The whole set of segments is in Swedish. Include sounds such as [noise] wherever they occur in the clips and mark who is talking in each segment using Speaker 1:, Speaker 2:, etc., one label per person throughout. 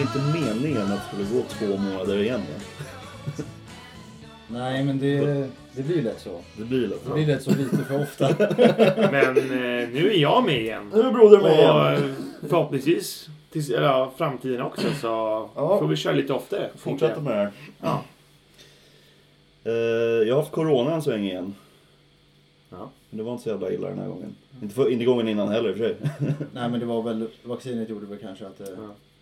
Speaker 1: inte meningen att det skulle gå två månader igen. va?
Speaker 2: Nej, men det, det blir lätt så.
Speaker 1: Det blir lätt.
Speaker 2: Det blir lätt så lite för ofta.
Speaker 3: Men eh, nu är jag med igen.
Speaker 1: Nu är broder
Speaker 3: Och
Speaker 1: med igen.
Speaker 3: eh, förhoppningsvis tills, eller, ja, framtiden också så
Speaker 1: Ja.
Speaker 3: får vi köra lite oftare.
Speaker 1: Fortsätter med det här.
Speaker 3: Ja.
Speaker 1: Eh, jag har haft corona en sväng igen.
Speaker 3: Ja.
Speaker 1: Men det var inte så jävla illa den här gången. Inte, för, inte gången innan heller i och för sig.
Speaker 2: [laughs] Nej, men det var väl vaccinet gjorde väl kanske att... eh,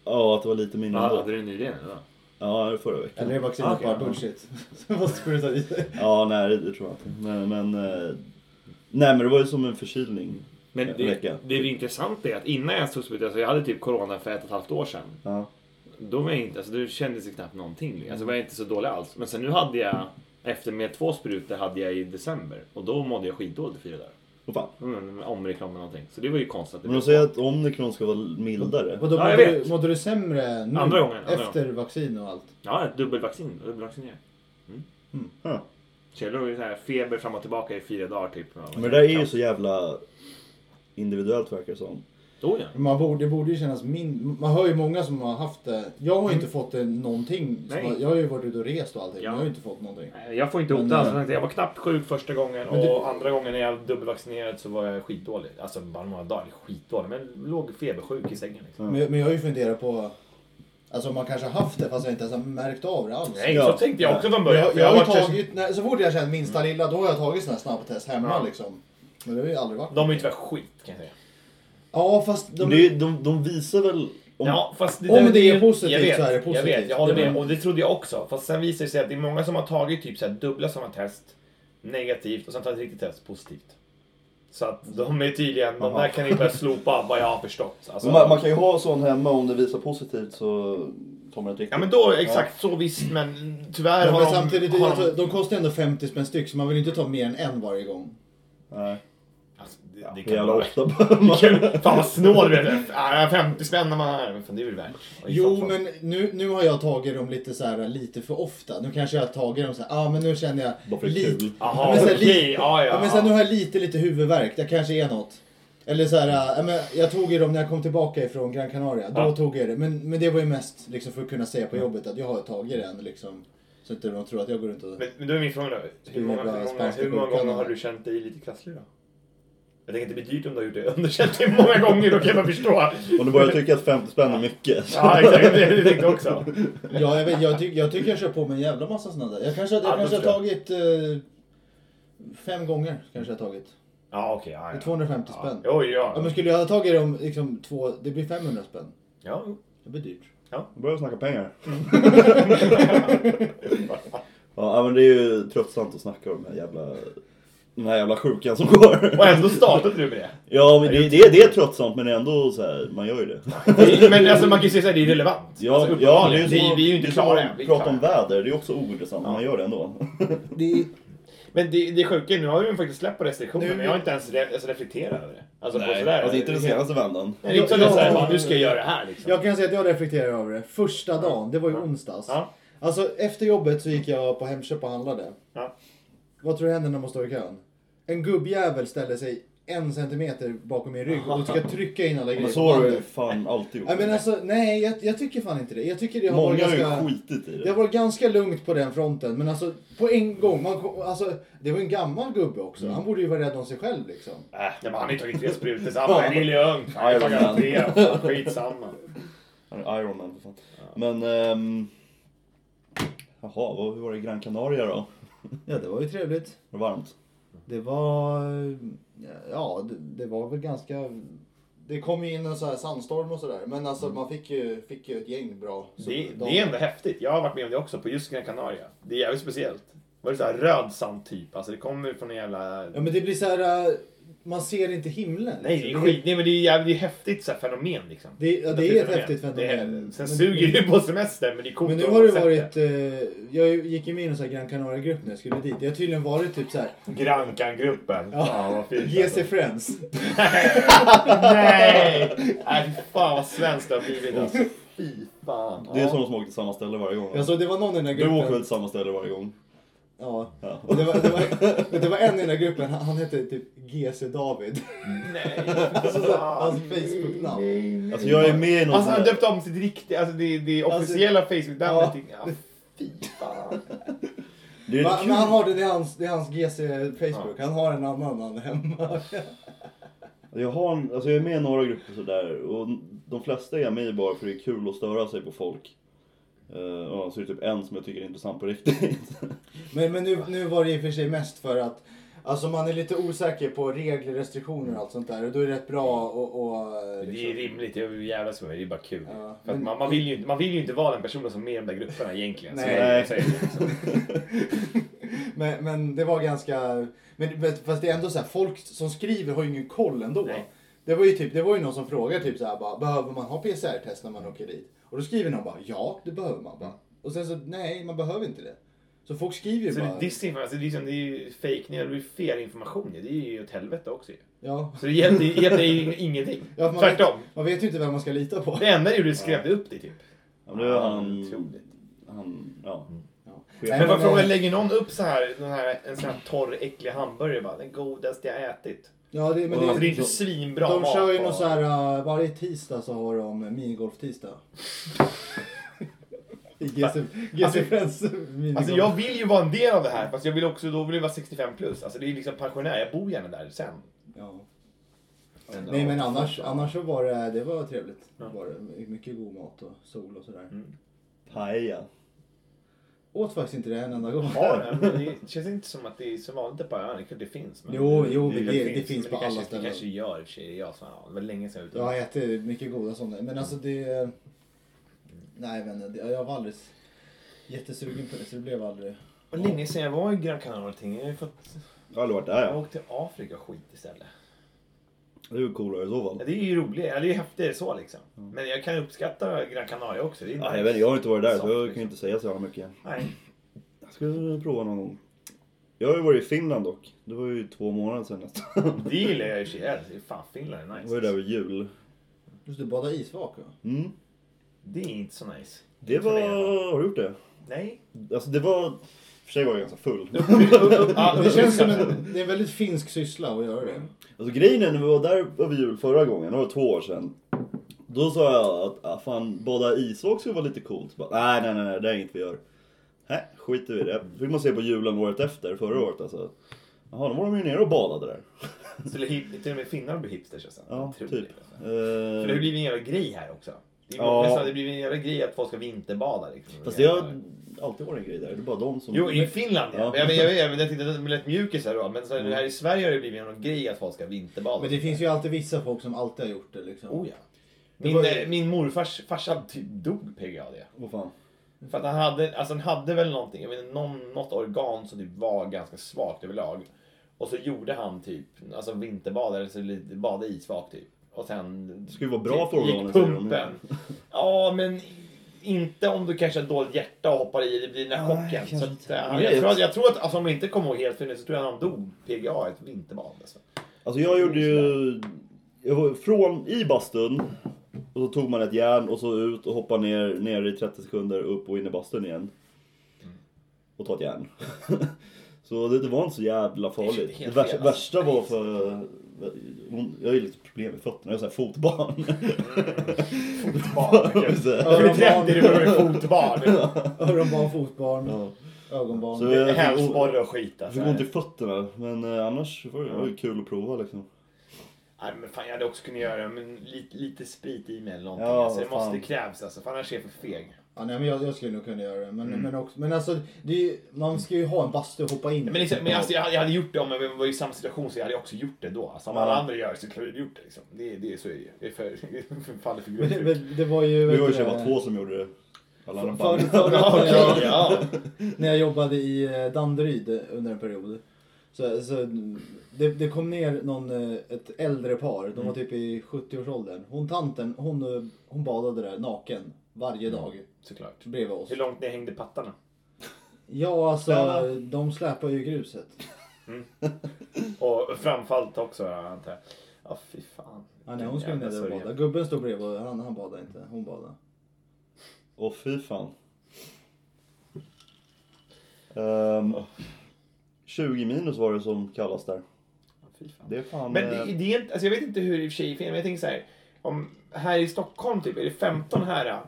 Speaker 1: ja, att det var lite mindre
Speaker 3: Ja,
Speaker 1: ändå.
Speaker 3: hade du nyligen eller?
Speaker 1: Ja, det var förra veckan.
Speaker 2: Eller är vaccinet
Speaker 3: Okej,
Speaker 2: bara
Speaker 3: ja.
Speaker 2: bullshit? [laughs] Så måste spruta i sig.
Speaker 1: Ja, nej det tror jag inte. Men, men, eh, nej, men det var ju som en förkylning.
Speaker 3: Men
Speaker 1: En
Speaker 3: det,
Speaker 1: vecka.
Speaker 3: det är ju intressant det att innan jag stod sprutade, så jag hade typ corona för ett och ett halvt år sedan.
Speaker 1: Ja.
Speaker 3: Då var jag inte, alltså då kändes det knappt någonting. Alltså var jag inte så dålig alls. Men sen nu hade jag, efter med två sprutor hade jag i december. Och då mådde jag skitdåligt i fyra dagar.
Speaker 1: Vad fan.
Speaker 3: Mm, omreklam eller någonting. Så det var ju konstigt. att det
Speaker 1: Men de
Speaker 3: blev
Speaker 1: säger
Speaker 3: så.
Speaker 1: att omikron ska vara mildare.
Speaker 2: Vadå,
Speaker 3: Ja, jag
Speaker 2: mådde, du,
Speaker 3: vet.
Speaker 2: mådde du sämre nu?
Speaker 3: Andra gången, andra
Speaker 2: efter vaccin och allt?
Speaker 3: Ja, ett dubbelvaccin. Dubbelvaccinerad.
Speaker 1: Ja.
Speaker 3: Så jag låg i så här feber fram och tillbaka i fyra dagar typ.
Speaker 1: Men det där är ju så jävla individuellt verkar det som.
Speaker 3: Oh, ja.
Speaker 2: Man borde, det borde ju kännas min... Man hör ju många som har haft det. Jag har ju inte fått det någonting. Så
Speaker 3: Mm. Nej.
Speaker 2: jag har ju varit ute och rest och allting.
Speaker 3: Ja.
Speaker 2: Men jag har ju inte fått någonting.
Speaker 3: Nej, Jag får inte ihop
Speaker 2: Men,
Speaker 3: det alls.
Speaker 2: eh,
Speaker 3: Jag tänkte, Jag var knappt sjuk första gången
Speaker 2: Men du-
Speaker 3: och andra gången när jag dubbelvaccinerad så var jag skitdålig. Alltså bara några dagar skitdålig. Men låg febersjuk i sängen. Liksom.
Speaker 1: Mm.
Speaker 2: Men, men jag har ju funderat på... Alltså man kanske har haft det fast jag inte ens har märkt av det alls.
Speaker 3: Nej,
Speaker 1: Ja.
Speaker 3: så tänkte jag också från
Speaker 2: Jag,
Speaker 3: början.
Speaker 2: jag,
Speaker 3: för jag
Speaker 2: har ju
Speaker 3: varit så-
Speaker 2: tagit, nej, så fort jag känt minsta lilla då har jag tagit sådana här snabbtest hemma
Speaker 3: Ja.
Speaker 2: liksom. Men det har ju aldrig varit.
Speaker 3: De är ju tyvärr skit kan jag säga.
Speaker 2: Ja fast
Speaker 1: Men
Speaker 2: de...
Speaker 1: det är, ju- de, de visar väl... Om,
Speaker 3: Ja, fast
Speaker 2: Om
Speaker 3: där-
Speaker 2: det är
Speaker 3: ju-
Speaker 2: positivt
Speaker 3: jag vet,
Speaker 2: så är det positivt.
Speaker 3: Jag vet, jag håller med.
Speaker 2: Mm.
Speaker 3: Och det trodde jag också. Fast sen visar det sig att det är många som har tagit typ så här dubbla sådana test. Negativt och sen tagit ett riktigt test positivt. Så att de är tydligen, de
Speaker 1: Aha.
Speaker 3: där kan ni börja slopa vad jag har förstått. Alltså,
Speaker 1: Men man, man kan ju ha sån hemma om det visar positivt så tar man ett riktigt.
Speaker 3: Ja men då exakt så visst men tyvärr
Speaker 2: Men,
Speaker 3: har
Speaker 2: men
Speaker 3: de...
Speaker 2: samtidigt,
Speaker 3: har
Speaker 2: jag tror, de kostar ändå 50 spänn styck så man vill ju inte ta mer än en varje gång.
Speaker 1: Nej,
Speaker 3: Alltså, det, det
Speaker 1: det är
Speaker 3: kan
Speaker 1: jävla
Speaker 3: vara [laughs]
Speaker 1: ofta. bara.
Speaker 3: Kul. Fan vad snål du är. Ah, 50 spänn när man är Men fan, det är väl värt.
Speaker 2: Jo men nu, nu har jag tagit dem lite så här lite för ofta. Nu kanske jag har tagit dem så här, ah men nu känner jag...
Speaker 1: Bara för det är
Speaker 2: lite-
Speaker 1: kul.
Speaker 3: Jaha
Speaker 2: men så här,
Speaker 3: okej,
Speaker 2: lite-
Speaker 3: ja
Speaker 2: Ja,
Speaker 3: ja.
Speaker 2: men sen nu har jag lite, lite huvudvärk. Det kanske är något. Eller så här, äh, men jag tog ju dem när jag kom tillbaka ifrån Gran Canaria. Då
Speaker 3: Ja.
Speaker 2: tog jag det. Men, men det var ju mest liksom, för att kunna säga på jobbet att jag har tagit den. Liksom, så inte de tror att jag går runt och...
Speaker 3: Men, men då är min fråga då. Hur många,
Speaker 2: Jävla
Speaker 3: hur många,
Speaker 2: spanska
Speaker 3: hur många
Speaker 2: sjukan.
Speaker 3: gånger har du känt dig lite krasslig då? Jag tänker att det blir dyrt om du har gjort det. [laughs] Om du har känt dig många gånger då kan jag förstå.
Speaker 1: Om du börjar tycka att 50 spänn är mycket.
Speaker 3: Ja exakt, det är det jag tänkte också.
Speaker 2: Ja, jag, vet, jag, tyck, jag tycker jag kör på med en jävla massa sådana där. Jag kanske, jag
Speaker 3: Ja, då
Speaker 2: kanske har
Speaker 3: tror jag.
Speaker 2: tagit... Eh, fem gånger kanske jag har tagit.
Speaker 3: Ja okej. ja,
Speaker 2: Det är
Speaker 3: ja.
Speaker 2: 250
Speaker 3: Ja.
Speaker 2: spänn.
Speaker 3: Oj
Speaker 2: Ja,
Speaker 3: ja.
Speaker 2: men skulle jag ha tagit dem liksom två... Det blir 500 spänn.
Speaker 3: Ja.
Speaker 2: Det blir dyrt.
Speaker 1: Nu [laughs] börjar vi snacka pengar. [laughs] ja men det är ju tröttsamt att snacka om den här jävla, den här jävla sjukan som går. [laughs]
Speaker 3: Och ändå startade du med det.
Speaker 1: Ja men det, det, det är tröttsamt men ändå så här, man gör ju det.
Speaker 3: Det är- Men alltså man kan ju säga såhär, det är relevant.
Speaker 1: Ja,
Speaker 3: alltså,
Speaker 1: men det
Speaker 3: uppenbarligen.
Speaker 1: som
Speaker 3: vi,
Speaker 1: att-
Speaker 3: vi är ju
Speaker 1: det
Speaker 3: inte
Speaker 1: är som
Speaker 3: klara
Speaker 1: att
Speaker 3: än. liksom. Vi är
Speaker 1: Prata
Speaker 3: klara.
Speaker 1: om väder, det är också ointressant men man gör det ändå.
Speaker 2: Det är,
Speaker 3: Men det, det sjuka är, nu har vi ju faktiskt släppt på restriktioner
Speaker 2: Nu-
Speaker 3: men jag har inte ens re, alltså, reflekterat över det. Alltså på
Speaker 1: Nej,
Speaker 3: sådär.
Speaker 1: alltså inte den senaste vändan.
Speaker 3: Nej, det är inte så
Speaker 2: Ja,
Speaker 3: att jag
Speaker 2: ja.
Speaker 3: ja, nu ska jag göra det här liksom.
Speaker 2: Jag kan säga att jag reflekterar över det. Första dagen, det var ju onsdags.
Speaker 3: Ja.
Speaker 2: Alltså efter jobbet så gick jag på Hemköp och handlade.
Speaker 3: Ja.
Speaker 2: Vad tror du händer när man står i kön? En gubbjävel ställer sig en centimeter bakom min rygg och ska trycka in alla grejer.
Speaker 1: Men
Speaker 2: på
Speaker 1: så har
Speaker 2: handen.
Speaker 1: du fan alltid gjort.
Speaker 2: Nej men alltså, nej jag, jag tycker fan inte det. Jag tycker det har
Speaker 1: Många
Speaker 2: varit
Speaker 1: har ju
Speaker 2: ganska...
Speaker 1: skitit i
Speaker 2: Det har
Speaker 1: det.
Speaker 2: varit ganska lugnt på den fronten. Men alltså på en gång. Man, kom- alltså, det var en gammal gubbe också.
Speaker 1: Mm.
Speaker 2: Han borde ju vara rädd om sig själv liksom.
Speaker 3: Äh, jag bara, han har ju tagit
Speaker 2: [laughs]
Speaker 3: tre sprutor så han bara, det är lugnt. Han har
Speaker 1: Iron Man.
Speaker 3: tagit tre, fan, skitsamma.
Speaker 1: Han är Iron Man för fan. Men... ehm, Jaha, vad, hur var det i Gran Canaria då?
Speaker 2: Ja det var ju trevligt.
Speaker 1: Var det varmt?
Speaker 2: Det var... Ja, det, det var väl ganska... Det kom ju in en så här sandstorm och sådär. Men alltså man fick ju, fick ju ett gäng bra. Så
Speaker 3: Mm. Det,
Speaker 2: de-
Speaker 3: det är ändå häftigt. Jag har varit med om det också på just Gran Canaria. Det är jävligt speciellt. Var det såhär röd sand typ? Alltså det kommer från en jävla...
Speaker 2: Ja men det blir så här... äh, Man ser inte himlen.
Speaker 3: Nej, det är skit. Nej, men det är jävligt det är häftigt så här, fenomen liksom.
Speaker 2: Det, ja, det är ett häftigt fenomen.
Speaker 3: Det är- Sen
Speaker 2: Men-
Speaker 3: suger det ju på semester men det är coolt
Speaker 2: Men nu
Speaker 3: att
Speaker 2: har det
Speaker 3: sett
Speaker 2: varit... eh, Jag gick ju med i en sån här Gran Canaria-grupp när jag skulle dit. Det har tydligen varit typ så här...
Speaker 3: Grankan-gruppen.
Speaker 2: Ja.
Speaker 3: Fan
Speaker 2: [laughs]
Speaker 3: vad fint. alltså.
Speaker 2: GC Friends.
Speaker 3: Nej! Nej, fy fan vad svenskt det har blivit alltså.
Speaker 2: Mm.
Speaker 3: Fy alltså. fan.
Speaker 1: Det är
Speaker 3: Ja.
Speaker 1: sådana som åker till samma ställe varje gång. va?
Speaker 2: Alltså det var någon i den här
Speaker 1: Du
Speaker 2: gruppen.
Speaker 1: åker väl till samma ställe varje gång?
Speaker 2: Ja.
Speaker 1: Ja.
Speaker 2: Och det, var, det, var, [laughs] det var en i den här gruppen, han, han hette typ GC David. [laughs]
Speaker 3: Nej.
Speaker 2: Alltså, så, hans Facebook-namn.
Speaker 1: Alltså jag är med i någon
Speaker 3: Alltså
Speaker 1: sån
Speaker 3: han
Speaker 1: här...
Speaker 3: döpte om sitt riktiga, alltså det, det officiella Facebook-namnet. till- Ja. Fy fan.
Speaker 1: Det är
Speaker 2: Men,
Speaker 1: kul.
Speaker 2: men han har det, det är hans, det är hans GC Facebook. Han har en annan han hemma. [laughs]
Speaker 1: Jag, har en, alltså jag är med i några grupper sådär och de flesta är jag med i bara för det är kul att störa sig på folk. Eh, ja, så är det typ en som jag tycker är intressant på riktigt. [laughs]
Speaker 2: Men, men nu, nu var det i och för sig mest för att alltså man är lite osäker på regler, restriktioner och allt sånt där. Och då är det rätt bra att... liksom- och,
Speaker 3: Det är rimligt, jag vill jävlas med mig. Det är bara kul.
Speaker 2: Ja,
Speaker 3: För att
Speaker 2: men-
Speaker 3: man, man, vill ju, inte- man vill ju inte vara den personen som är med i de där grupperna egentligen. Så
Speaker 2: Nej.
Speaker 3: jag- jag säger det, liksom.
Speaker 2: [laughs] Men, men det var ganska... Men, men, fast det är ändå så här, folk som skriver har ju ingen koll ändå.
Speaker 3: Nej.
Speaker 2: Det var ju typ, det var ju någon som frågade typ så här, bara, behöver man ha PCR-test när man
Speaker 3: Mm.
Speaker 2: åker dit? Och då skriver någon bara, ja det behöver man. Bara. Och sen så, nej man behöver inte det. Så folk skriver ju
Speaker 3: Så det
Speaker 2: bara,
Speaker 3: är disinformation, alltså det är, liksom, det är ju fake det är ju fel information ju. Det är ju åt helvete också ju.
Speaker 2: ja.
Speaker 3: Så det hjälpte ju- hjälpte ju ingenting.
Speaker 2: Ja, för man
Speaker 3: Tvärtom.
Speaker 2: Vet, man vet ju inte vem man ska lita på.
Speaker 3: Det enda det gjorde skrämde upp det typ.
Speaker 1: Ja, men det var han...
Speaker 3: Otroligt.
Speaker 1: Han, ja.
Speaker 2: Ja.
Speaker 1: Chef.
Speaker 2: Nej,
Speaker 3: Men vad
Speaker 2: men,
Speaker 3: frågan,
Speaker 2: eh,
Speaker 3: lägger någon upp så här, den här, en sån här torr äcklig hamburgare bara? Den godaste jag ätit.
Speaker 2: Ja, det, men
Speaker 3: Men det, alltså, det är inte
Speaker 2: det,
Speaker 3: svinbra
Speaker 2: de
Speaker 3: mat.
Speaker 2: kör ju
Speaker 3: och-
Speaker 2: någon så här, eh, varje tisdag så har de
Speaker 3: [laughs]
Speaker 2: minigolf-tisdag. I GC GC Friends minigolf.
Speaker 3: Alltså jag vill ju vara en del av det här fast jag vill också, då vill jag vara 65 plus. Alltså det är liksom pensionär, jag bor gärna där sen.
Speaker 2: Ja. Nej men annars, annars så var det, det var trevligt. Det var det. mycket god mat och sol och sådär.
Speaker 3: Mm.
Speaker 1: Paella.
Speaker 2: Åt faktiskt inte det en enda gång.
Speaker 3: Ja, men det känns inte som att det är så vanligt på ön. Det kanske finns. Men
Speaker 2: Jo, jo, men det- det
Speaker 3: men
Speaker 2: finns på
Speaker 3: kanske,
Speaker 2: alla
Speaker 3: Det
Speaker 2: ställen.
Speaker 3: kanske gör i och för sig. Det är jag som, ja, det var länge sedan jag var ute.
Speaker 2: Jag har ätit mycket goda sådana. Men alltså
Speaker 3: Mm.
Speaker 2: det... Nej men det- jag var aldrig jättesugen på det så det blev aldrig...
Speaker 3: Det var länge sedan jag var i Gran Canaria och allting. Jag har ju fått...
Speaker 1: Jag har aldrig varit där
Speaker 3: Jag
Speaker 1: ja.
Speaker 3: åkte till Afrika och skit istället.
Speaker 1: Det är ju coolare i så
Speaker 3: Ja,
Speaker 1: fall.
Speaker 3: det är ju roligt. Ja, det är häftigt så liksom. Men jag kan uppskatta Gran Canaria också. Det är
Speaker 1: Mm. Ja, Ah, jag, vet, inte, jag har inte varit där så
Speaker 3: Soft,
Speaker 1: jag kan
Speaker 3: liksom.
Speaker 1: inte säga så jävla mycket.
Speaker 3: Nej.
Speaker 1: Jag skulle prova någon gång. Jag har ju varit i Finland dock. Det var ju två månader sedan nästan.
Speaker 3: [laughs] Det gillar jag i och för sig. Alltså, Fan, Finland är
Speaker 1: Det
Speaker 3: nice.
Speaker 1: var ju där vid jul.
Speaker 2: Just det, bada isvak va?
Speaker 1: Mm.
Speaker 3: Det är inte så nice.
Speaker 1: Det
Speaker 3: Inte för
Speaker 1: var...
Speaker 3: mig i alla fall.
Speaker 1: Har du gjort det?
Speaker 3: Nej.
Speaker 1: Alltså det var... I och för sig var jag ganska
Speaker 3: [laughs]
Speaker 1: full. Alltså,
Speaker 3: Ja,
Speaker 2: Det känns som en, det är en väldigt finsk syssla att göra det.
Speaker 1: Alltså grejen är när vi var där över jul förra gången, det var två år sedan. Då sa jag att ah, fan, bada isvak skulle vara lite coolt. Så Bara, nej, nej, nej, nej, det är inget vi gör. Nej, skiter vi i det. Fick man se på julen året efter, förra året alltså. Jaha, då var de ju nere och badade där.
Speaker 3: Så det är hip- till och med finnar blir hipsters alltså.
Speaker 1: Ja,
Speaker 3: Otroligt,
Speaker 1: typ.
Speaker 3: alltså. För det har
Speaker 1: Eh,
Speaker 3: blivit en jävla grej här också. Det är
Speaker 1: Ja.
Speaker 3: nästan, det blir en jävla grej att folk ska vinterbada. Liksom.
Speaker 1: fast det har alltid varit en grej där. Det är bara de som...
Speaker 3: Jo, i Finland ja.
Speaker 1: Ja. Mm.
Speaker 3: Men Jag, men jag, jag, men jag tyckte att det blev lätt mjukis här då. Men så här, här i Sverige har det blivit en grej att folk ska vinterbada.
Speaker 2: Men det finns ju alltid vissa folk som alltid har gjort det liksom.
Speaker 3: Oh ja.
Speaker 2: Det
Speaker 3: Min,
Speaker 2: var-
Speaker 3: eh, min morfars farsa typ dog på grund av det.
Speaker 1: Vad fan.
Speaker 3: För att han hade, alltså han hade väl någonting, jag vet inte, någon, något organ som typ var ganska svagt överlag. Och så gjorde han typ, alltså vinterbad eller så lite, badade isvak typ. Och sen... typ
Speaker 1: Det ska ju vara bra för organen,
Speaker 3: Gick
Speaker 1: säger de.
Speaker 3: pumpen. Ja, men inte om du kanske har dåligt hjärta och hoppar i, det blir den där
Speaker 1: Nej,
Speaker 3: chocken. Så
Speaker 1: kanske
Speaker 3: att,
Speaker 1: inte.
Speaker 3: ja,
Speaker 1: Men
Speaker 3: jag,
Speaker 1: det-
Speaker 3: tror att, jag tror att, alltså, om jag inte kommer ihåg helt fel så tror jag han dog PGA i ett vinterbad.
Speaker 1: [laughs]
Speaker 3: Alltså.
Speaker 1: Alltså jag gjorde ju... Jag var från i bastun och så tog man ett järn och så ut och hoppa ner, ner i 30 sekunder upp och in i bastun igen. Och ta ett järn. [laughs] så det, det var inte så jävla farligt. Det,
Speaker 3: helt
Speaker 1: värsta,
Speaker 3: fel, alltså.
Speaker 1: värsta var för... hon- Jag har ju lite problem med fötterna, jag är såhär fotbarn.
Speaker 3: Fotbad.
Speaker 1: Så här.
Speaker 3: Över 30 du börjar med
Speaker 1: [laughs]
Speaker 3: fotbad.
Speaker 2: [laughs] Öronbarn, fotbarn,
Speaker 1: Ja.
Speaker 2: ögonbarn.
Speaker 1: Så jag fick ont-
Speaker 3: Hälsporre och skit
Speaker 1: jag
Speaker 3: alltså.
Speaker 1: fick ont i fötterna men eh, annars var det var det kul att prova liksom.
Speaker 3: Nej, men fan, jag hade också kunnat göra men lite, lite sprit i mig eller någonting.
Speaker 1: Ja,
Speaker 3: alltså, det
Speaker 1: vad fan.
Speaker 3: måste krävs alltså, för annars är jag för feg.
Speaker 2: Ja, nej, men jag, jag skulle nog kunna göra det. Men, men, också, men alltså, det är, ju- man ska ju ha en bastu och hoppa in i.
Speaker 3: Men, liksom, men alltså, jag, hade- jag hade gjort det om jag var i samma situation så jag hade också gjort det då. Alltså, om alla andra gör det så hade jag gjort det. Liksom. det, det så är det ju. Det är för, [laughs] för faller för
Speaker 2: Men
Speaker 3: grundtryck.
Speaker 2: det, men det var ju...
Speaker 1: Vi var ju
Speaker 2: vet
Speaker 1: så
Speaker 2: du,
Speaker 1: bara två som gjorde det. Alla andra
Speaker 2: För,
Speaker 1: bara-
Speaker 2: förra
Speaker 3: [laughs] Ja,
Speaker 2: året
Speaker 3: okej, ja.
Speaker 2: när jag jobbade i eh, Danderyd under en period. Så, så det, det kom ner någon, eh, ett äldre par, de var typ i 70-årsåldern. Hon tanten, hon, eh, hon badade där naken varje
Speaker 3: Mm.
Speaker 2: dag
Speaker 3: Såklart.
Speaker 2: bredvid oss.
Speaker 3: Hur långt ner hängde pattarna?
Speaker 2: Ja, alltså
Speaker 1: Ja.
Speaker 2: de släpar ju gruset.
Speaker 3: Och framfallt också antar jag. Ja, fy fan.
Speaker 2: Ja, nej, hon skulle
Speaker 3: Jävla
Speaker 2: ner där och
Speaker 3: sörja.
Speaker 2: bada. Gubben stod bredvid och han, han badade inte, hon badade.
Speaker 1: Åh fy fan. Ehm, 20 minus var det som kallas där.
Speaker 3: Fy fan.
Speaker 1: Det är fan...
Speaker 3: Men
Speaker 1: eh,
Speaker 3: det, det är inte, alltså jag vet inte hur det i och för sig är i Finland, men jag tänker så här. Om här i Stockholm typ, är det 15 här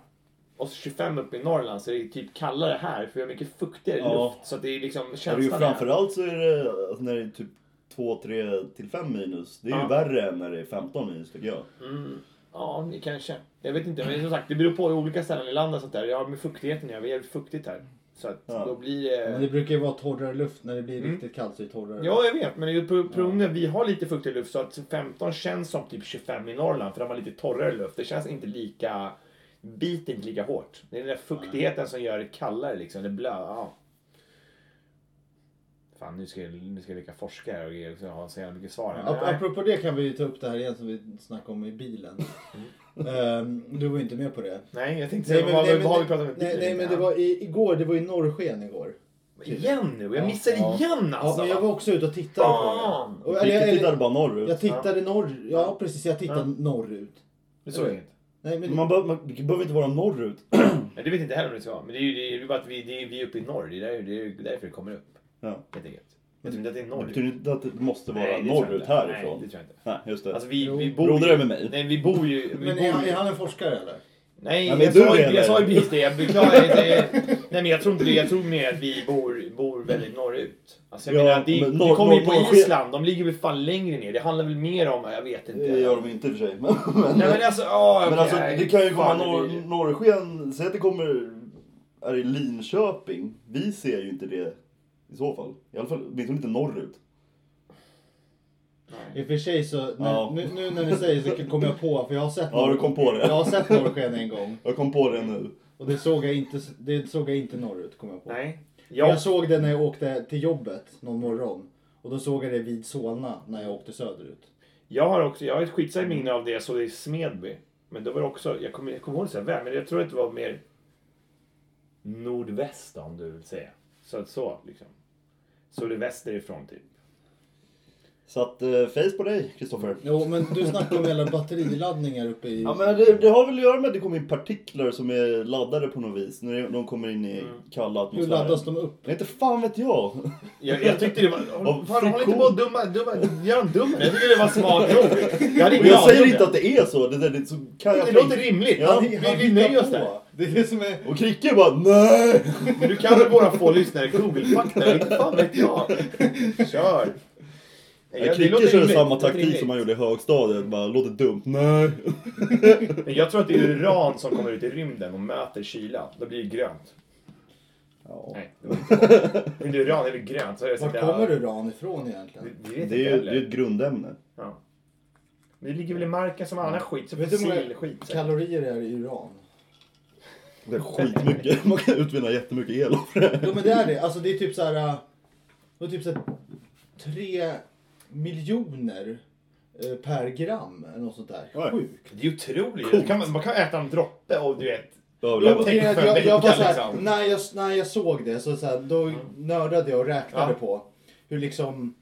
Speaker 3: och så 25 uppe i Norrland så är det typ kallare här för vi har mycket fuktigare
Speaker 1: Ja.
Speaker 3: luft. Så att det är liksom
Speaker 1: Ja, det är ju
Speaker 3: känslan här.
Speaker 1: framförallt så är det alltså, när det är typ 2, 3 till 5 minus. Det är ju
Speaker 3: Ja.
Speaker 1: värre än när det är 15 minus tycker jag.
Speaker 3: Mm. Ja, det kanske. Jag vet inte, men som sagt det beror på olika ställen i landet och sånt där. Ja, med fuktigheten ja, vi är jävligt fuktigt här. Så att
Speaker 1: Ja.
Speaker 3: då blir det...
Speaker 2: Men det brukar ju vara torrare luft när det blir
Speaker 3: Eh. Mm.
Speaker 2: riktigt kallt så är det torrare.
Speaker 3: Ja, jag vet. Men det är ju pro- problemet att vi har lite fuktig luft så att 15 känns som typ 25 i Norrland för de har lite torrare luft. Det känns inte lika... Biter inte lika hårt. Det är den där fuktigheten som gör det kallare liksom. Det blö... Ja. Fan, nu ska, jag- nu ska jag leka forska här och ge- och ha så jävla mycket svar. här.
Speaker 2: Ap-
Speaker 3: Nej.
Speaker 2: Apropå det kan vi ju ta upp det här igen som vi snackade om i bilen. Ehm, du var ju inte med på det.
Speaker 3: Nej, jag tänkte säga, vad, vad Mm. har vi pratat om?
Speaker 2: nej, nej, men det
Speaker 3: Ja.
Speaker 2: var i, igår, det var ju norrsken igår.
Speaker 3: Igen nu? Jag
Speaker 2: Ja,
Speaker 3: missade
Speaker 2: ja.
Speaker 3: igen
Speaker 2: Ja,
Speaker 3: alltså!
Speaker 2: men jag var också ute och tittade
Speaker 3: Fan!
Speaker 2: på det. Och, eller,
Speaker 1: Vilket
Speaker 2: eller,
Speaker 1: tittade bara norrut.
Speaker 2: jag tittade norr, ja precis, jag tittade norrut.
Speaker 3: Det såg jag inte.
Speaker 2: Nej, men,
Speaker 1: Man, be- man det behöver inte vara norrut.
Speaker 3: Men det vet inte heller om det ska vara. Men det är ju det är ju bara att vi, det är, vi är uppe i norr. Det är, där, det är ju därför det kommer upp.
Speaker 1: Ja.
Speaker 3: Helt enkelt. Jag tror inte att det är
Speaker 1: Det
Speaker 3: norr.
Speaker 1: betyder inte att det måste vara
Speaker 3: Nej, det tror jag
Speaker 1: norrut
Speaker 3: inte.
Speaker 1: härifrån.
Speaker 3: Nej, det
Speaker 1: Nej,
Speaker 3: tror jag inte.
Speaker 1: just det.
Speaker 3: Alltså vi,
Speaker 2: Jo.
Speaker 3: vi bor
Speaker 1: Berodde
Speaker 3: ju...
Speaker 1: det med mig?
Speaker 3: Nej, vi bor ju... Vi
Speaker 2: men
Speaker 3: bor
Speaker 2: är, han- är
Speaker 3: ju
Speaker 2: han en forskare eller?
Speaker 3: nej,
Speaker 1: Ja, men
Speaker 3: jag,
Speaker 1: du
Speaker 3: sa ju,
Speaker 1: eller?
Speaker 3: jag sa ju precis det. Jag beklagar inte. Jag- Nej, men jag tror inte det. Jag tror mer att vi bor, bor väldigt norrut. Alltså jag
Speaker 1: Ja,
Speaker 3: menar, det,
Speaker 1: men
Speaker 3: vi
Speaker 1: norr-
Speaker 3: kommer ju på
Speaker 1: norr- norr-
Speaker 3: Island. De ligger väl fan längre ner. Det handlar väl mer om... Jag vet inte.
Speaker 1: Det gör de inte i och för sig. Men, men,
Speaker 3: Nej, men alltså... Oh,
Speaker 1: men alltså, det kan ju komma norr, norrsken. Säg att det kommer är i Linköping. Vi ser ju inte det i så fall. I alla fall åtminstone inte norrut. Mm.
Speaker 2: I och för sig så, när,
Speaker 1: Ja.
Speaker 2: nu, nu när ni säger så kom jag på, för jag har sett
Speaker 1: Ja, du kom på det.
Speaker 2: Jag har sett norrsken en gång.
Speaker 1: Jag kom på det nu.
Speaker 2: Och det såg jag inte, det såg jag inte norrut, kom jag på.
Speaker 3: Nej.
Speaker 2: Ja.
Speaker 3: Jag,
Speaker 2: Jag såg det när jag åkte till jobbet någon morgon. Och då såg jag det vid Solna när jag åkte söderut.
Speaker 3: Jag har också, jag har ett skitsamt minne av det jag såg i Smedby. Men då var det också, jag kommer, jag kommer ihåg så här väl, men jag tror att det var mer nordväst om du vill säga. Så att så liksom. Så det är västerifrån typ.
Speaker 1: Så att, eh, face på dig, Kristoffer.
Speaker 2: Jo, men du snackade om alla batteriladdningar uppe i...
Speaker 1: Ja, men det, det har väl att göra med att det kommer in partiklar som är laddade på något vis. När de kommer in i
Speaker 3: Mm.
Speaker 1: kalla
Speaker 2: Hur
Speaker 1: atmosfären.
Speaker 2: laddas de upp?
Speaker 1: Nej, inte fan vet jag.
Speaker 3: Jag, jag tyckte det [laughs] var,
Speaker 1: Av
Speaker 3: håll, fan, håll inte
Speaker 1: friktion.
Speaker 3: på och dumma, dumma, gör en dum Jag tyckte det var smart nog. Jag, hade
Speaker 1: Och
Speaker 3: ingen
Speaker 1: jag
Speaker 3: aning om
Speaker 1: säger inte
Speaker 3: det.
Speaker 1: att det är så. Det, där, det, så kan jag
Speaker 3: Det låter
Speaker 1: tänka.
Speaker 3: rimligt.
Speaker 1: Ja,
Speaker 3: vi
Speaker 2: Han
Speaker 3: vi
Speaker 2: hittar
Speaker 3: nöjer oss
Speaker 2: på.
Speaker 3: där.
Speaker 2: Det är det som är...
Speaker 1: Och Kricke bara nej.
Speaker 3: Men du kan väl bara få lyssnare
Speaker 1: [laughs]
Speaker 3: Google-fakta? Inte fan vet jag. Kör. Nej,
Speaker 1: Ja,
Speaker 3: det låter
Speaker 1: Kricke körde
Speaker 3: rimligt.
Speaker 1: samma
Speaker 3: Det låter
Speaker 1: taktik
Speaker 3: rimligt.
Speaker 1: som han gjorde i högstadiet. Bara låter dumt, nej.
Speaker 3: Men jag tror att det är uran som kommer ut i rymden och möter kyla. Då blir det grönt.
Speaker 1: Ja.
Speaker 3: Nej, det var inte så. Men det är uran, det blir grönt. Så är det så
Speaker 2: Vart
Speaker 3: där-
Speaker 2: kommer uran ifrån
Speaker 3: Det,
Speaker 2: egentligen?
Speaker 3: det vet
Speaker 1: Det
Speaker 3: inte
Speaker 1: är ju det
Speaker 3: heller.
Speaker 1: är ju ett grundämne.
Speaker 3: Ja. Men Det ligger väl i marken som annan skit, så
Speaker 2: Vet du hur många
Speaker 3: fossilskit. säkert.
Speaker 2: Kalorier är i uran.
Speaker 1: Det är skitmycket. [laughs] Man kan utvinna jättemycket el av det.
Speaker 2: Jo, men det är det. Alltså det är typ så här... äh, Det är typ så här... Tre miljoner eh, per gram eller något sånt där.
Speaker 1: Oj.
Speaker 2: Sjukt.
Speaker 3: Det är otroligt.
Speaker 1: Coolt.
Speaker 3: Man kan, man kan äta en droppe och du vet...
Speaker 1: Överleva.
Speaker 3: tänker
Speaker 2: jag,
Speaker 3: för en
Speaker 2: jag, jag,
Speaker 3: vecka,
Speaker 2: var såhär,
Speaker 3: liksom. Mm.
Speaker 2: när, jag, när jag såg det så, såhär, då nördade jag och räknade
Speaker 3: Ja.
Speaker 2: på hur liksom...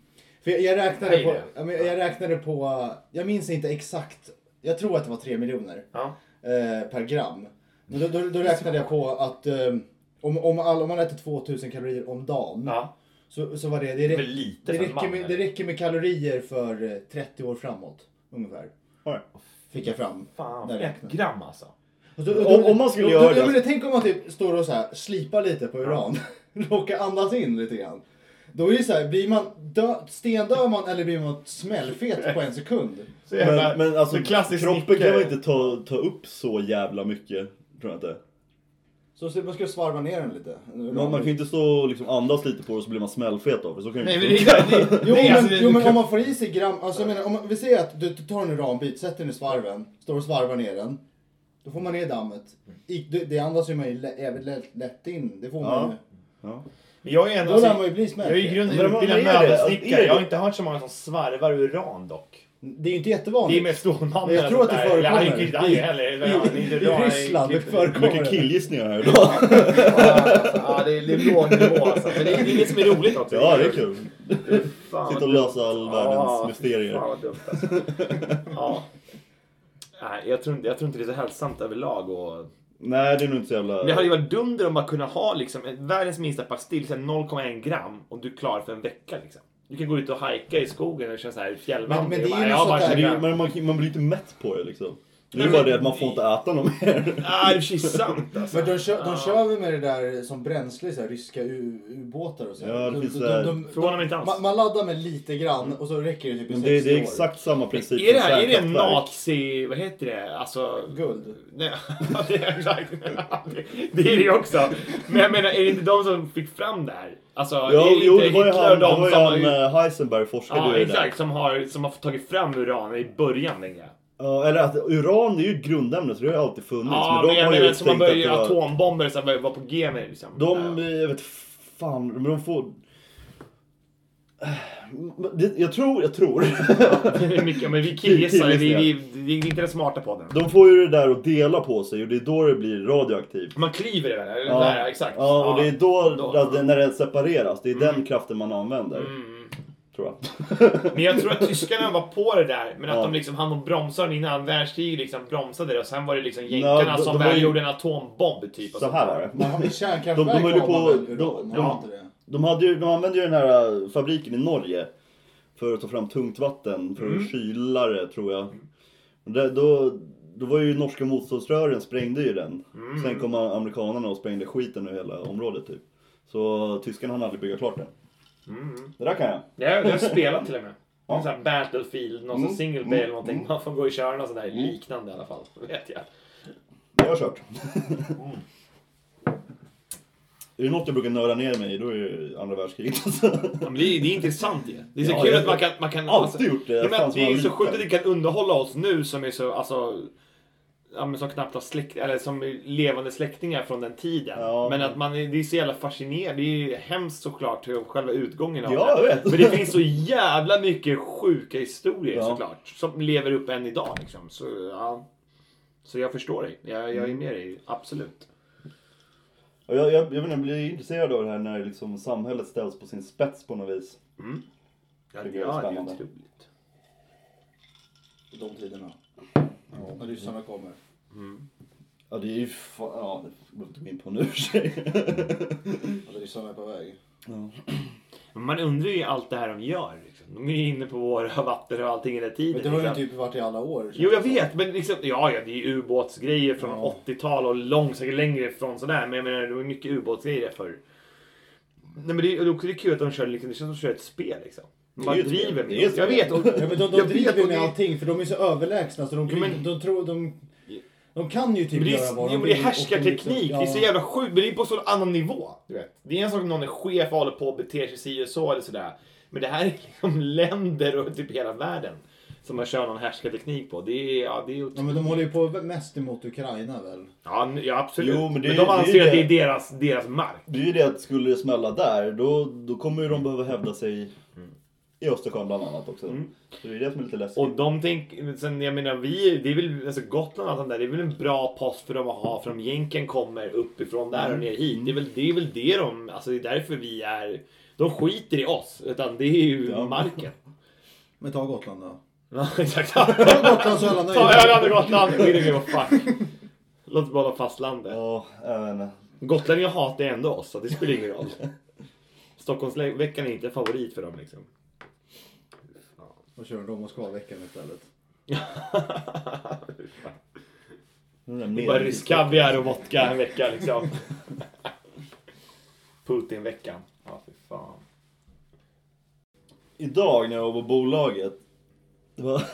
Speaker 2: För jag, jag räknade
Speaker 3: Hej
Speaker 2: på...
Speaker 3: där.
Speaker 2: Jag, jag räknade på... Jag minns inte exakt. Jag tror att det var 3 miljoner
Speaker 3: Ja.
Speaker 2: eh, per gram. Men då, då, då räknade jag på att eh, om, om, all, om man äter 2000 kalorier om dagen
Speaker 3: ja.
Speaker 2: så, så var det... Det,
Speaker 3: Det är
Speaker 2: rä-
Speaker 3: väl lite
Speaker 2: det,
Speaker 3: för en
Speaker 2: räcker
Speaker 3: man.
Speaker 2: med, det
Speaker 3: eller?
Speaker 2: räcker med kalorier för eh, 30 år framåt ungefär.
Speaker 1: Ja.
Speaker 2: Fick jag fram.
Speaker 3: Fan,
Speaker 2: Där
Speaker 3: ett
Speaker 2: räknar.
Speaker 3: gram alltså.
Speaker 2: Och då-
Speaker 1: Om-
Speaker 2: då-
Speaker 1: om man skulle
Speaker 2: då-
Speaker 1: göra
Speaker 2: då-
Speaker 1: det-
Speaker 2: Men tänk om man typ står och så här, slipar lite på uran. [laughs] Råkar andas in lite grann. Då är det så här, blir man dö, stendör man eller blir man smällfet på en sekund?
Speaker 3: Så jävla-
Speaker 1: Men, men alltså
Speaker 3: så klassisk
Speaker 1: kroppen
Speaker 3: snickare.
Speaker 1: kan väl inte ta, ta upp så jävla mycket. Tror jag inte.
Speaker 2: Så så man ska svarva ner den lite.
Speaker 1: Man, man kan ju inte stå och liksom andas lite på det och så blir man smällfet av det. Så kan
Speaker 3: Nej,
Speaker 1: ju
Speaker 3: men
Speaker 1: inte
Speaker 3: det är... det-
Speaker 2: Jo,
Speaker 3: nej,
Speaker 2: men,
Speaker 3: alltså, det-
Speaker 2: jo, men
Speaker 3: det-
Speaker 2: om man får i sig gram, alltså jag menar, om man, vi säger att du, du tar en uranbit, sätter den i svarven, står och svarvar ner den. Då får man ner dammet. I, det, det andas ju man ju lä- jävligt lätt, lätt in. Det får man
Speaker 1: Ja.
Speaker 2: ju.
Speaker 1: ja.
Speaker 3: Men jag är ändå...
Speaker 2: Då lär man
Speaker 3: Alltså,
Speaker 2: ju bli
Speaker 3: jag är i
Speaker 2: smällfet.
Speaker 3: grunden
Speaker 1: Men vad
Speaker 3: utbildad
Speaker 1: är det? Alltså, är
Speaker 3: möbelsnickare.
Speaker 1: det-
Speaker 3: Jag har inte hört så många som svarvar uran dock.
Speaker 2: Det är ju inte
Speaker 3: Det är
Speaker 2: jättevanligt.
Speaker 3: med Stålmannen.
Speaker 2: Men jag tror att det
Speaker 3: och sånt där. Eller Han är
Speaker 2: förekommer.
Speaker 3: ju han är ju heller... eller han är
Speaker 2: I,
Speaker 3: inte
Speaker 2: i
Speaker 3: uran, han är
Speaker 2: Ryssland det
Speaker 3: klipper.
Speaker 2: förekommer
Speaker 1: [laughs] Mycket killgissningar här idag.
Speaker 3: [laughs]
Speaker 2: [laughs]
Speaker 3: Ja, det är låg nivå alltså. Men det är inget som är roligt också.
Speaker 1: Ja, det är kul.
Speaker 3: Fan,
Speaker 1: Sitta
Speaker 3: vad
Speaker 1: och
Speaker 3: dumt.
Speaker 1: lösa all
Speaker 3: Ja,
Speaker 1: världens
Speaker 3: fy Fan
Speaker 1: mysterier.
Speaker 3: vad dumt
Speaker 1: [laughs]
Speaker 3: alltså. Ja. Nej, jag tror, inte, jag tror inte det är så hälsosamt överlag att
Speaker 1: Nej, det är nog inte så jävla...
Speaker 3: Men Det hade ju varit dunder om man kunde ha liksom, en- världens minsta pastill, så här 0,1 gram, och du är klar för en vecka. Liksom. Du kan gå ut och hajka i skogen och köra så här fjällvandring.
Speaker 2: Men- men det
Speaker 3: och
Speaker 2: är
Speaker 3: bara,
Speaker 2: ju
Speaker 3: "Jag
Speaker 2: något
Speaker 3: bara
Speaker 1: Men,
Speaker 2: sånt
Speaker 1: det är,
Speaker 3: käkar-
Speaker 1: ju- men man, man blir inte mätt på det liksom. Det är ju
Speaker 3: Nej,
Speaker 1: bara det
Speaker 3: men-
Speaker 1: att man får inte äta något
Speaker 3: [laughs]
Speaker 1: mer.
Speaker 3: Ah, det är precis sant alltså.
Speaker 2: Men de kör, de kör väl med det där som bränsle i så här, ryska u- ubåtar och så.
Speaker 1: Ja, det
Speaker 2: de,
Speaker 1: finns
Speaker 2: de,
Speaker 1: det här.
Speaker 3: Förvånar mig inte alls.
Speaker 2: man, man laddar med lite grann och så räcker det typ i
Speaker 1: Men
Speaker 2: 60
Speaker 1: det, det är
Speaker 2: år.
Speaker 1: exakt samma princip
Speaker 3: Är det här, är det en
Speaker 1: Typ kärnkraftverk.
Speaker 3: nazi, vad heter det, alltså...
Speaker 2: Guld.
Speaker 3: Nej, [laughs] det är exakt. Det är det ju också. Men jag menar, är det inte de som fick fram det här? Alltså,
Speaker 1: Ja,
Speaker 3: är det
Speaker 1: jo,
Speaker 3: inte
Speaker 1: det var ju
Speaker 3: Hitler
Speaker 1: han,
Speaker 3: och
Speaker 1: det
Speaker 3: de
Speaker 1: var ju
Speaker 3: som
Speaker 1: han
Speaker 3: har-
Speaker 1: eh, Heisenberg forskade
Speaker 3: Ja,
Speaker 1: ju i det.
Speaker 3: exakt. Som har, som har tagit fram uran i början länge.
Speaker 1: Ja, eller att uran är ju ett grundämne så det har ju alltid funnits.
Speaker 3: Ja, men
Speaker 1: de
Speaker 3: jag
Speaker 1: har ju
Speaker 3: menar, som
Speaker 1: tänkt
Speaker 3: man började göra
Speaker 1: att det var...
Speaker 3: atombomber som var på G med liksom.
Speaker 1: De, eh, jag vet fan, men de får... Men det- Jag tror, jag tror. [laughs]
Speaker 3: Det är mycket, men vi killgissar, vi, vi,
Speaker 1: Killgissningar.
Speaker 3: vi, det är inte den smarta podden.
Speaker 1: De får ju det där att dela på sig och det är då det blir radioaktivt.
Speaker 3: Man kliver det väl? Eller
Speaker 1: Ja.
Speaker 3: där, exakt.
Speaker 1: Ja, och det är då,
Speaker 3: Då. Mm.
Speaker 1: att det- när det separeras. Det är den kraften man använder. Tror jag.
Speaker 3: Men jag tror att tyskarna var på det där, men att
Speaker 1: Ja.
Speaker 3: de liksom hann och bromsa den innan världskriget liksom bromsade det och sen var det liksom
Speaker 1: Ja,
Speaker 3: jänkarna
Speaker 1: de-
Speaker 3: som
Speaker 1: de var
Speaker 3: väl
Speaker 1: ju-
Speaker 3: gjorde en atombomb typ. och
Speaker 1: Så
Speaker 3: sånt
Speaker 1: här
Speaker 3: där.
Speaker 1: var det.
Speaker 2: Man har väl
Speaker 1: De- de
Speaker 2: kärnkraftverk
Speaker 1: höll ju
Speaker 2: har
Speaker 1: på-
Speaker 2: man väl
Speaker 1: de-
Speaker 2: uran?
Speaker 1: ja.
Speaker 2: Har man inte det?
Speaker 1: De, hade ju, de använde ju den här äh, fabriken i Norge för att ta fram tungt vatten för att kyla det tror jag. Och Det, då, då var ju norska motståndsrörelsen sprängde ju den.
Speaker 3: Mm,
Speaker 1: Sen kom amerikanerna och sprängde skiten ur hela området typ. Så tyskarna hann aldrig bygga klart den. Det där kan jag.
Speaker 3: mm, Det har jag spelat till och med.
Speaker 1: Ja.
Speaker 3: Någon sån här Battlefield, någon
Speaker 1: Mm,
Speaker 3: sån single play
Speaker 1: mm,
Speaker 3: eller någonting.
Speaker 1: mm.
Speaker 3: Man får gå i körna och sådär. Liknande i alla fall. [laughs] Vet jag.
Speaker 1: Jag har kört. Är det något jag brukar nörda ner mig i, då är det andra världskriget. [laughs]
Speaker 3: Ja, men det, är, det är intressant ju. Det är så
Speaker 1: Ja,
Speaker 3: kul
Speaker 1: jag-
Speaker 3: att man kan... Man kan alltså-
Speaker 1: Alltid gjort det,
Speaker 3: Ja, men
Speaker 1: fan, som
Speaker 3: det är
Speaker 1: man
Speaker 3: så
Speaker 1: litar.
Speaker 3: sjukt att det kan underhålla oss nu som är så, alltså... Ja, men som knappt har släkt, eller som är levande släktingar från den tiden.
Speaker 1: Ja.
Speaker 3: Men att man är, det är så jävla fascinerande. Det är ju hemskt såklart hur själva utgången av
Speaker 1: Ja,
Speaker 3: det.
Speaker 1: jag vet.
Speaker 3: Men det finns så jävla mycket sjuka historier
Speaker 1: Ja.
Speaker 3: såklart. Som lever upp än idag liksom. Så, ja. så jag förstår dig. Jag,
Speaker 1: Mm.
Speaker 3: jag är med dig, absolut.
Speaker 1: Och jag, jag, jag, vet inte, jag blir intresserad av det här när liksom samhället ställs på sin spets på något vis.
Speaker 3: Ja,
Speaker 1: Tycker jag är spännande.
Speaker 3: otroligt.
Speaker 2: I de tiderna. När ryssarna kommer.
Speaker 1: Ja, det är ju fan... Ja, det går inte gå in på nu [laughs] i och för sig.
Speaker 2: Att ryssarna är på väg.
Speaker 3: Men man undrar ju allt det här de gör. Liksom. De är ju inne på våra [laughs] vatten och allting hela tiden.
Speaker 2: Men det har ju
Speaker 3: liksom.
Speaker 2: typ varit i alla år.
Speaker 3: Jo, jag vet. Men liksom, ja, ja, det är ju ubåtsgrejer från 80-tal och långsamt längre från sådär. Men jag menar, det var mycket ubåtsgrejer där förr. Nej, men det är, och det är också kul att de kör, liksom, det känns som att de kör ett spel liksom. De
Speaker 1: Det är
Speaker 3: bara
Speaker 1: ju ett spel.
Speaker 3: driver med
Speaker 1: Det är ett
Speaker 3: oss. Jag
Speaker 1: spel.
Speaker 3: vet. Och,
Speaker 2: Ja, men de
Speaker 3: jag
Speaker 2: de driver
Speaker 3: och
Speaker 2: ju
Speaker 3: det-
Speaker 2: med allting för de är så överlägsna så de, kan, ju-
Speaker 3: men-
Speaker 2: de tror... De, de kan ju typ
Speaker 3: Men det,
Speaker 2: göra
Speaker 3: är,
Speaker 2: vad
Speaker 3: jo,
Speaker 2: de liksom-
Speaker 3: men det liksom- är
Speaker 2: vill och
Speaker 3: härskarteknik.
Speaker 2: de-
Speaker 3: Det är så jävla sjukt. Men det är på en sån annan nivå. Du vet. Det är en sak om någon är chef och håller på och beter sig si och så eller sådär. Men det här är [laughs] liksom länder och typ hela världen. Som man kör någon härskarteknik på. Det är, ja, det är
Speaker 2: Ja,
Speaker 3: otroligt.
Speaker 2: men de håller ju på mest emot Ukraina väl?
Speaker 3: Ja, nu- ja absolut.
Speaker 1: Jo, men
Speaker 3: men,
Speaker 1: det är-
Speaker 3: de
Speaker 1: det är
Speaker 3: anser
Speaker 1: ju
Speaker 3: att
Speaker 1: det.
Speaker 3: det är deras, deras mark.
Speaker 1: Det är ju det att skulle det smälla där, då, då kommer ju de behöva hävda sig i Östersjön bland annat också. Så det är det som är lite läskigt.
Speaker 3: Och de tänker, sen jag menar vi, det är väl, alltså Gotland och allt sånt där, det är väl en bra post för dem att ha för om jänken kommer uppifrån där och
Speaker 1: Mm.
Speaker 3: ner hit. Det är väl det, är väl det de, alltså det är därför vi är, de skiter i oss. Utan det är ju
Speaker 1: Ja.
Speaker 3: marken.
Speaker 2: Men ta Gotland då.
Speaker 3: Ja, [laughs] exakt.
Speaker 2: Ta Gotland så är alla
Speaker 3: [laughs] Ta
Speaker 2: nöjda.
Speaker 3: Öland och Gotland. We don't give a fuck. Låt oss bara hålla fastlandet.
Speaker 1: Ja, jag vet inte.
Speaker 3: Gotlänningar hatar ju ändå oss, så det spelar ingen roll. Stockholmsveckan är inte en favorit för dem liksom.
Speaker 2: Och kör de Moskva-veckan istället.
Speaker 1: Den där
Speaker 3: Bara
Speaker 1: mer-
Speaker 3: rysk kaviar och vodka en vecka liksom. Putin-veckan. Ja, fy fan.
Speaker 1: Idag när jag var på bolaget. Det var... [laughs]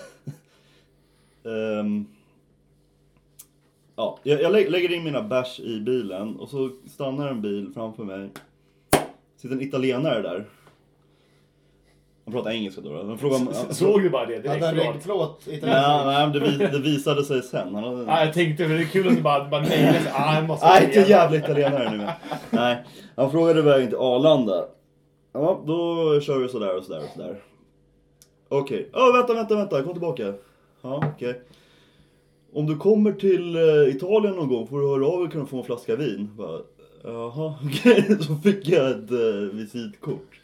Speaker 1: Ehm, ja, jag, jag lä- lägger in mina bärs i bilen och så stannar en bil framför mig. Sitter en italienare där. Han pratar engelska då. då. Han frågar om...
Speaker 3: [laughs] Såg du bara det direkt?
Speaker 2: Hade han
Speaker 3: Förlåt.
Speaker 2: ringt plåt
Speaker 1: Ja,
Speaker 2: italiensk?
Speaker 1: nej, men det, vis, det visade sig sen. Han hade...
Speaker 3: Ja, jag tänkte, men det är kul att du bara, bara mejlade. så, Ah, jag måste
Speaker 1: Nej, inte
Speaker 3: igenom.
Speaker 1: jävla italienare nu men. Nej, han frågade vägen till Arlanda. Ja, då kör vi sådär och sådär och sådär. Okej, ja vänta, vänta, vänta, kom tillbaka. Ja, okej. Om du kommer till eh, Italien någon gång får du höra av dig kan du få en flaska vin. Bara, Jaha, okej. [laughs] Så fick jag ett eh, visitkort.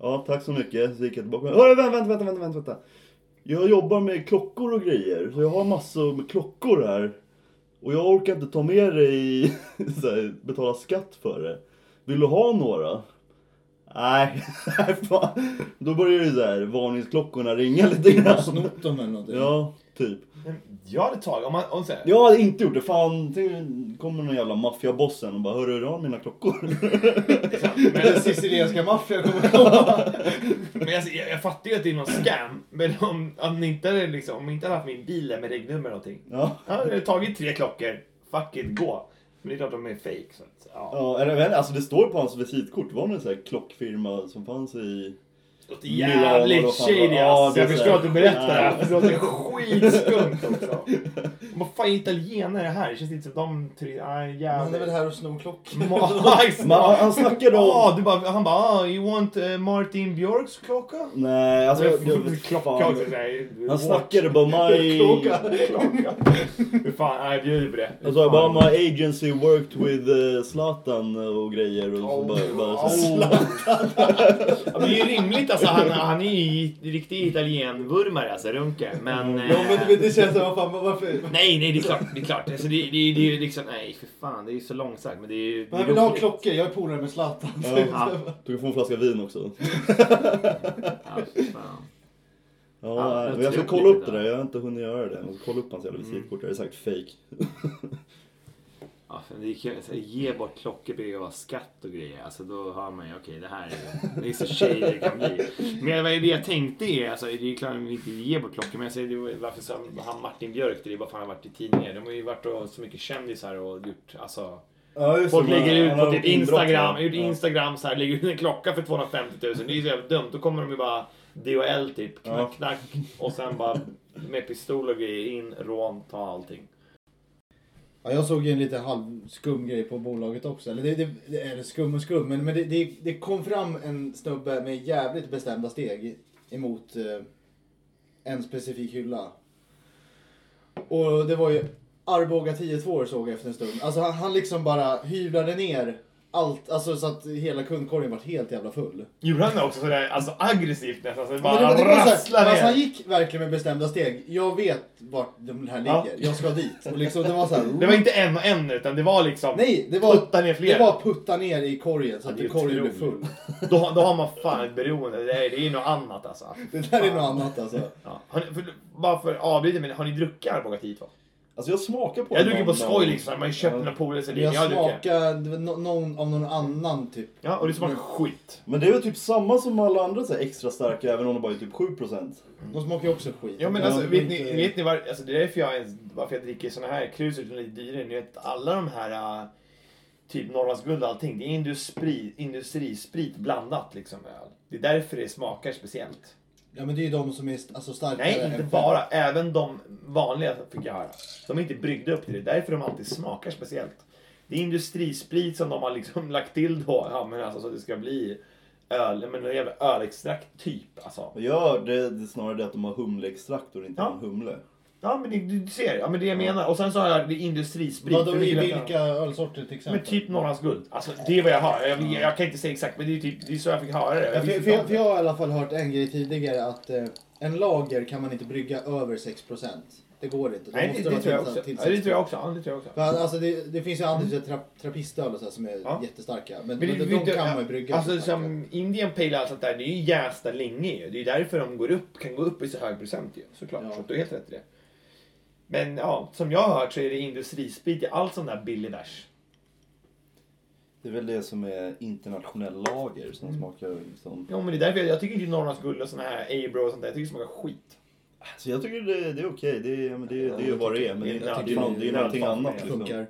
Speaker 1: Ja, tack så mycket. Så gick jag tillbaka. Hörru, vänta, vänta, vänta, vänta, vänta. Jag jobbar med klockor och grejer, så jag har massor med klockor här. Och jag orkar inte ta med det i... [laughs] Så här, betala skatt för det. Vill du ha några? Nej, [laughs] nej, fan. Då börjar ju så här, varningsklockorna ringa lite
Speaker 2: Jag har
Speaker 1: grann.
Speaker 2: snott dem eller någonting.
Speaker 1: Ja, typ.
Speaker 3: Jag hade tagit, om man, om så här,
Speaker 1: Jag hade inte gjort det. Fan, tänk, kommer någon jävla maffiabossen och bara hörru, du har mina klockor.
Speaker 2: [laughs]
Speaker 1: [laughs]
Speaker 2: Den sicilianska maffian kommer komma.
Speaker 3: Men jag, jag, jag fattar ju att det är någon scam. Men om, om ni inte hade liksom, om ni inte hade haft min bil där med regnummer eller någonting.
Speaker 1: Ja.
Speaker 3: Jag hade tagit tre klockor. Fuck it, gå. Men det är klart de är fake. Så att, ja.
Speaker 1: Ja, eller, men, alltså det står på hans visitkort. Var det en sån här klockfirma som fanns i...
Speaker 3: Det är
Speaker 1: Milano,
Speaker 3: jävligt
Speaker 1: vad fan,
Speaker 3: shady
Speaker 1: ja,
Speaker 3: alltså.
Speaker 1: det är
Speaker 3: Jag
Speaker 1: så här.
Speaker 3: förstår att du berättar det här.
Speaker 1: Nej.
Speaker 3: för Det låter skitskumt också. Vad fan är italienare här? Det känns inte som de tre... Nej,
Speaker 2: Han är väl
Speaker 3: jävligt. [laughs]
Speaker 2: här och snor klockor.
Speaker 1: Men [laughs] han, han snackade om...
Speaker 3: Ja, du bara, han bara, ah, you want eh, Martin Björks klocka?
Speaker 1: Nej, alltså... Jag, jag,
Speaker 3: Klocka också.
Speaker 1: fan,
Speaker 3: så här,
Speaker 1: han
Speaker 3: watch.
Speaker 1: snackade bara my...
Speaker 2: Klocka.
Speaker 3: Klocka. Hur fan, nej, jag bjuder på det. Hur
Speaker 1: Alltså jag bara
Speaker 3: fan.
Speaker 1: my agency worked with eh, Zlatan och grejer och
Speaker 3: Oh.
Speaker 1: så bara... bara så,
Speaker 3: [laughs] Ja, men det är ju rimligt alltså. Han, han är ju riktig italienvurmare alltså, Runke. Men...
Speaker 2: [laughs] Ja men
Speaker 3: eh,
Speaker 2: men det känns som, vad fan, varför?
Speaker 3: Nej, nej, det är klart. Det är klart. Alltså, det, det, det är ju liksom... Nej, för fan. Det är ju så långsamt. Men det är ju... det är
Speaker 2: Men jag vill ha
Speaker 3: roligt.
Speaker 2: klockor, jag är polare med Zlatan.
Speaker 1: Ja.
Speaker 3: Ja,
Speaker 1: du kan få en flaska vin också.
Speaker 3: ja, för
Speaker 1: Ja,
Speaker 3: fan. Ja,
Speaker 1: nej,
Speaker 3: jag
Speaker 1: men jag ska
Speaker 3: tror
Speaker 1: kolla
Speaker 3: lite
Speaker 1: upp det
Speaker 3: där.
Speaker 1: där. Jag har inte hunnit göra det. Jag måste kolla upp hans jävla
Speaker 3: Mm.
Speaker 1: visitkort. Det är säkert fake.
Speaker 3: Ja, för det är kul. Så här, Ge bort klockor på grund av skatt och grejer. Alltså då hör man ju, okej det här är, det är så shady det kan bli. Men vad är det jag tänkte är, alltså, det är ju klart att vi inte ger bort klockor. Men jag säger, det var- varför sa han Martin Björk det? Det är bara för att han har varit i tidningar. De har ju varit och, så mycket kändisar och gjort, alltså.
Speaker 1: Ja, just
Speaker 3: Folk
Speaker 1: det, men
Speaker 3: lägger ut
Speaker 1: han har
Speaker 3: på typ
Speaker 1: gjort inbrott,
Speaker 3: Instagram,
Speaker 1: va?
Speaker 3: gjort Instagram så här, lägger ut en klocka för 250 000. Det är ju så jävla dumt. Då kommer de ju bara DHL typ,
Speaker 1: Ja.
Speaker 3: knack knack. Och sen bara med pistol och grejer in, rån, ta allting.
Speaker 2: Ja, jag såg ju en lite halvskum grej på bolaget också. Eller det, det, det är skum och skum, men, men det, det, det kom fram en snubbe med jävligt bestämda steg emot eh, en specifik hylla. Och det var ju Arboga 10-2 såg jag efter en stund. Alltså han, han liksom bara hyvlade ner allt, alltså så att hela kundkorgen vart helt jävla full.
Speaker 3: Gjorde han det också sådär alltså, aggressivt nästan? Så det
Speaker 2: Men
Speaker 3: bara
Speaker 2: det, det var så
Speaker 3: rasslade
Speaker 2: här, alltså
Speaker 3: ner?
Speaker 2: han gick verkligen med bestämda steg. Jag vet vart de här
Speaker 3: Ja.
Speaker 2: ligger, jag ska dit. Och liksom, det var så här,
Speaker 3: Det var inte en och en utan det var liksom...
Speaker 2: Nej, det var,
Speaker 3: Putta ner flera.
Speaker 2: det var putta ner i korgen så
Speaker 3: Ja,
Speaker 2: att
Speaker 3: det är
Speaker 2: korgen blev
Speaker 3: otroligt.
Speaker 2: full. [laughs]
Speaker 3: Då, har- då har man fan ett beroende. Det är, det är ju något annat alltså.
Speaker 2: Det där är något annat alltså.
Speaker 3: Ja. Har ni, för, bara för att avbryta, men har ni druckit Arboga 10 2?
Speaker 1: Alltså jag smakar på
Speaker 3: Jag
Speaker 1: den
Speaker 3: dricker på
Speaker 1: någon
Speaker 3: skoj
Speaker 1: dag.
Speaker 3: liksom. Man har ju köpt
Speaker 1: Ja.
Speaker 3: mina polare så
Speaker 2: Men
Speaker 3: det
Speaker 2: Jag
Speaker 3: jag har druckit.
Speaker 2: smakade no- någon av någon annan typ.
Speaker 3: Ja, och det smakar skit.
Speaker 1: Men det är väl typ samma som alla andra så här, extra starka även om de bara är typ 7%.
Speaker 2: De smakar ju också skit.
Speaker 3: Ja men
Speaker 1: Ja,
Speaker 3: alltså
Speaker 1: men
Speaker 3: vet ni,
Speaker 1: inte-
Speaker 3: vet ni var, alltså, det är därför jag, ens, varför jag dricker såna här krus utan lite dyrare. Ni vet alla de här, äh, typ Norrlandsguld och allting. Det är industri, industrisprit blandat liksom med öl. Det är därför det smakar speciellt.
Speaker 2: Ja men det är ju de som är st- alltså, starkare.
Speaker 3: Nej,
Speaker 2: än
Speaker 3: inte
Speaker 2: fem.
Speaker 3: bara. Även de vanliga fick jag höra. De är inte bryggda upp till det. Därför de alltid smakar speciellt. Det är industrisprit som de har liksom [laughs] lagt till då. Ja, men alltså så att det ska bli öl. Men en jävla ölextrakt typ alltså.
Speaker 1: Jag gör det, det är snarare det att de har humleextrakt och det inte
Speaker 3: Ja.
Speaker 1: är en humle.
Speaker 3: Ja, men det, du ser. Ja, men det jag menar. Och sen så har jag det är industrisprit.
Speaker 2: Vadå,
Speaker 3: För
Speaker 2: i
Speaker 3: mycket
Speaker 2: vilka ölsorter till exempel?
Speaker 3: Men typ Norrlands guld. Alltså det är vad jag hör. Jag, jag, jag kan inte säga exakt men det är typ det är så jag fick höra det.
Speaker 2: Ja,
Speaker 3: Jag
Speaker 2: för,
Speaker 3: visste
Speaker 2: för, jag,
Speaker 3: inte
Speaker 2: för
Speaker 3: om
Speaker 2: jag har i alla fall hört en grej tidigare att eh, en lager kan man inte brygga över 6%. Det går inte.
Speaker 3: det.
Speaker 2: Då
Speaker 3: Nej,
Speaker 2: måste
Speaker 3: det, det
Speaker 2: vara
Speaker 3: tror jag
Speaker 2: tillsatt
Speaker 3: också.
Speaker 2: till
Speaker 3: Ja, det
Speaker 2: 6%.
Speaker 3: tror jag också. Ja, det tror jag också.
Speaker 2: För, alltså, det, det finns ju andra typ tra, trappistöl och så här, som är
Speaker 3: Ja.
Speaker 2: jättestarka. Men,
Speaker 3: Men det,
Speaker 2: men,
Speaker 3: det,
Speaker 2: de kan man ju brygga.
Speaker 3: Alltså
Speaker 2: starka.
Speaker 3: som Indian Pale Ale och sånt där, det är ju jästa länge ju. Det är ju därför de går upp, kan gå upp i så hög procent ju. Såklart,
Speaker 2: Ja.
Speaker 3: så att du har helt rätt i det. Men ja, som jag har hört så är det industrisprit i allt sån där billig bärs.
Speaker 1: Det är väl det som är internationell lager som smakar liksom.
Speaker 3: Jo men det är därför jag, jag tycker inte Norrlands guld och sån här Abro och sånt där, jag tycker det smakar skit.
Speaker 1: Så Alltså, jag tycker det, det är okej. Det, är- ja, men det, det är ju vad det är. Men det är,
Speaker 3: Jag
Speaker 1: inte, det
Speaker 3: tycker
Speaker 1: är, någon, det är någonting
Speaker 3: det är
Speaker 1: annat
Speaker 3: fan
Speaker 1: liksom.
Speaker 2: funkar.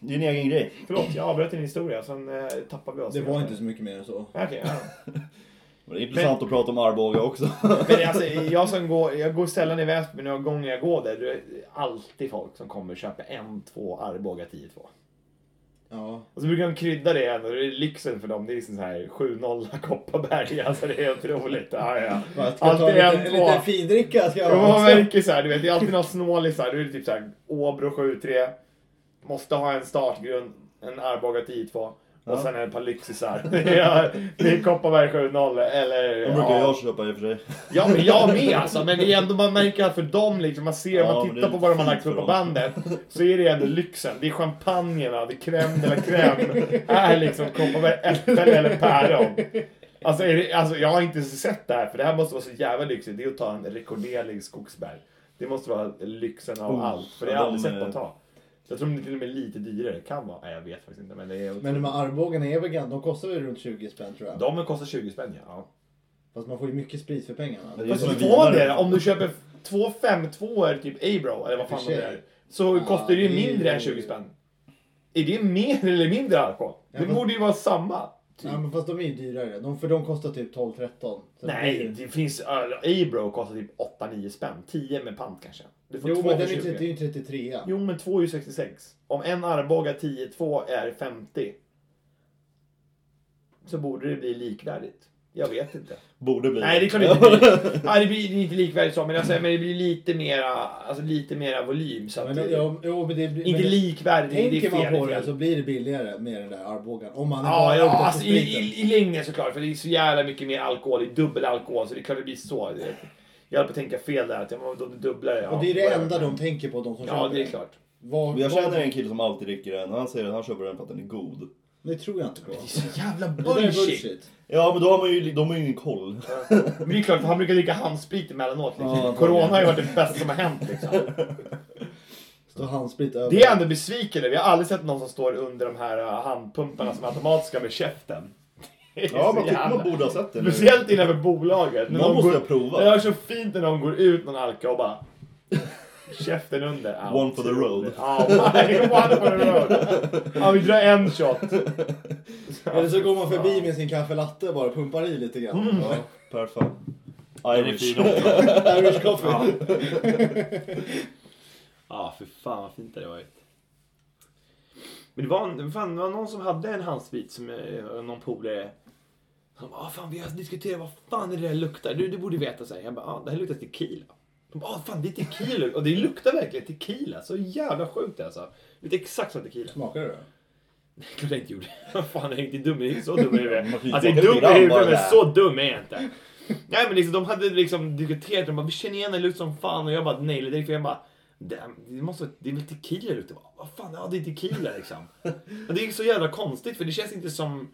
Speaker 1: Det är en egen grej.
Speaker 3: Förlåt, jag avbröt din historia, sen eh, tappade vi oss.
Speaker 2: Det var inte så mycket mer än så.
Speaker 3: Okej, ja.
Speaker 1: Men det är intressant att prata om Arboga [laughs] också.
Speaker 3: Men alltså, jag, som går, jag går sällan i Väsby, men några gånger jag går där, det är alltid folk som kommer och köper en, två Arboga 10-2.
Speaker 2: Ja.
Speaker 3: Och så brukar de krydda det ändå. Det är lyxen för dem. Det är liksom så här 7-0 Kopparberg. [laughs] Alltså det är otroligt. Ja, ja.
Speaker 2: Bara, ska jag ta
Speaker 3: Alltid
Speaker 2: lite,
Speaker 3: en
Speaker 2: en liten
Speaker 3: två.
Speaker 2: findricka ska jag
Speaker 3: Ja, Man
Speaker 2: ha också.
Speaker 3: märker så här, du vet. Det är alltid någon snålisar. Du är det typ så här Åbro 7-3. Måste ha en startgrund. En Arboga 10-2.
Speaker 2: Ja.
Speaker 3: Och sen ett par lyxisar. [laughs] ja, det är Kopparberg 7-0 eller...
Speaker 1: De brukar
Speaker 3: ja.
Speaker 1: jag köpa i och för sig.
Speaker 3: Ja, men jag med alltså. Men det är ändå, man märker att för dem liksom, man ser,
Speaker 1: Ja,
Speaker 3: man
Speaker 1: men det
Speaker 3: tittar
Speaker 1: är
Speaker 3: på vad de har lagt
Speaker 1: fint
Speaker 3: upp på
Speaker 1: för dem.
Speaker 3: bandet. Så är det ändå lyxen. Det är champagnerna, det är crème de la crème. är liksom Kopparberg äpplen eller päron. Alltså, är det, alltså, jag har inte sett det här, för det här måste vara så jävla lyxigt. Det är att ta en rekorderlig skogsbär. Det måste vara lyxen av
Speaker 1: Oh,
Speaker 3: allt. För det har
Speaker 1: ja,
Speaker 3: jag aldrig
Speaker 1: de
Speaker 3: sett
Speaker 1: är-
Speaker 3: någon ta. Jag tror det till och med är lite dyrare. Det kan vara. Nej, jag vet faktiskt inte. Men det är
Speaker 2: Men de här armbågarna är väl ganska, de kostar väl runt 20 spänn tror jag.
Speaker 3: de kostar 20 spänn, ja.
Speaker 2: Fast man får ju mycket sprit för pengarna.
Speaker 1: Det är
Speaker 3: Fast
Speaker 1: som en
Speaker 3: får man
Speaker 1: vinare.
Speaker 3: det om du köper två 52 typ A-bro eller vad fan det är. Så
Speaker 2: Ja,
Speaker 3: kostar det ju
Speaker 2: det är-
Speaker 3: mindre än 20 spänn. Är det mer eller mindre alkohol? Det
Speaker 2: Ja, men-
Speaker 3: borde ju vara samma.
Speaker 2: Ja, men fast de är ju dyrare. De, för de kostar typ 12-13. Så det blir
Speaker 3: Nej,
Speaker 2: ju-
Speaker 3: det finns... alltså, A-bro kostar typ 8-9 spänn. 10 med pant kanske. Du får
Speaker 2: Jo,
Speaker 3: två
Speaker 2: men den
Speaker 3: för
Speaker 2: är ju
Speaker 3: 20.
Speaker 2: 30 det är ju 33.
Speaker 3: Jo, men två är ju 66. Om en armbåge 10, två är 50. Så borde det bli likvärdigt. Jag vet inte.
Speaker 1: Borde bli.
Speaker 3: Nej, det är klart det inte
Speaker 2: [laughs]
Speaker 3: blir. Nej, det blir inte likvärdigt så, men, alltså, men det blir lite mera, alltså, lite mera volym. Så att,
Speaker 2: Men, ja, jo, men det, blir-
Speaker 3: inte
Speaker 2: men,
Speaker 3: likvärdigt, det är
Speaker 2: Tänker
Speaker 3: fel.
Speaker 2: man på
Speaker 3: det är
Speaker 2: det
Speaker 3: fel.
Speaker 2: så blir det billigare med den där armbågen. Om man
Speaker 3: Ja, ja
Speaker 2: ute efter
Speaker 3: alltså, i,
Speaker 2: spriten.
Speaker 3: i, i längden såklart, för det är så jävla mycket mer alkohol, det är dubbel alkohol, så det är klart det blir så. Det- Jag höll på att tänka fel där, att ja, de dubblar ja,
Speaker 2: Och det är det
Speaker 3: whatever.
Speaker 2: enda de tänker på, de som
Speaker 3: Ja,
Speaker 2: köper
Speaker 3: det är
Speaker 2: den.
Speaker 3: klart.
Speaker 2: Vad,
Speaker 1: [laughs] Jag
Speaker 2: vad-
Speaker 1: känner en kille som alltid dricker den och han säger att han köper den för att den är god.
Speaker 2: Det tror jag inte
Speaker 3: [laughs]
Speaker 2: på.
Speaker 3: Det är så jävla
Speaker 2: Det där är
Speaker 3: bullshit.
Speaker 2: bullshit.
Speaker 1: Ja men då har man ju, de har ju ingen koll.
Speaker 3: Men det är klart, för han brukar dricka handsprit emellanåt. Liksom.
Speaker 1: Ja, antagligen.
Speaker 3: Corona har ju varit det bästa som har hänt liksom.
Speaker 2: Står handsprit över.
Speaker 3: Det är jag ändå besviken över. Jag har aldrig sett någon som står under de här uh, handpumparna som är automatiska med käften. Det är
Speaker 1: Ja
Speaker 3: så
Speaker 1: man tycker
Speaker 3: jävla-
Speaker 1: man borde ha sett den. nu.
Speaker 3: Speciellt innanför bolaget. När
Speaker 1: Någon måste
Speaker 3: går...
Speaker 1: jag prova.
Speaker 3: Det är så fint när någon går ut någon alka och bara... Käften under. Ja,
Speaker 1: One for the road.
Speaker 3: [laughs] Ja, nej, one for the road. Ja, vi drar en shot.
Speaker 2: Eller så går man förbi med sin kaffelatte och bara pumpar i lite grann.
Speaker 1: Ja, per fan.
Speaker 4: Den är
Speaker 1: Irish.
Speaker 4: fin
Speaker 1: [laughs]
Speaker 4: också.
Speaker 2: Irish coffee.
Speaker 4: [laughs] Ja, för fan vad fint det hade varit. Men det var, en- fan, det var någon som hade en handsprit som eh, någon polare. Han bara, ah, fan vi har diskuterat vad fan är det där luktar. Du, du borde veta så här. Jag bara, ah, det här luktar tequila. De bara, ah, fan det är tequila. Och det luktar verkligen tequila. Så jävla sjukt alltså. Det luktar exakt som tequila.
Speaker 2: Smakar det då?
Speaker 4: Klart jag inte gjorde. [laughs] Vad fan, jag är inte dum. Jag är inte så
Speaker 1: [laughs]
Speaker 4: dum i
Speaker 1: Man kan
Speaker 4: huvudet.
Speaker 1: ju
Speaker 4: Alltså jag är
Speaker 1: smaka
Speaker 4: dum
Speaker 1: lite grann
Speaker 4: i huvudet,
Speaker 1: bara
Speaker 4: men
Speaker 1: där.
Speaker 4: så dum är jag inte. Nej men liksom, de hade liksom diskuterat de bara vi känner igen den lukt som fan och jag bara nej det direkt för jag bara "Damn, det, måste, vara- det är väl tequila ute? Vad fan, ja det är tequila
Speaker 1: [laughs]
Speaker 4: liksom. Och det är så jävla konstigt för det känns inte som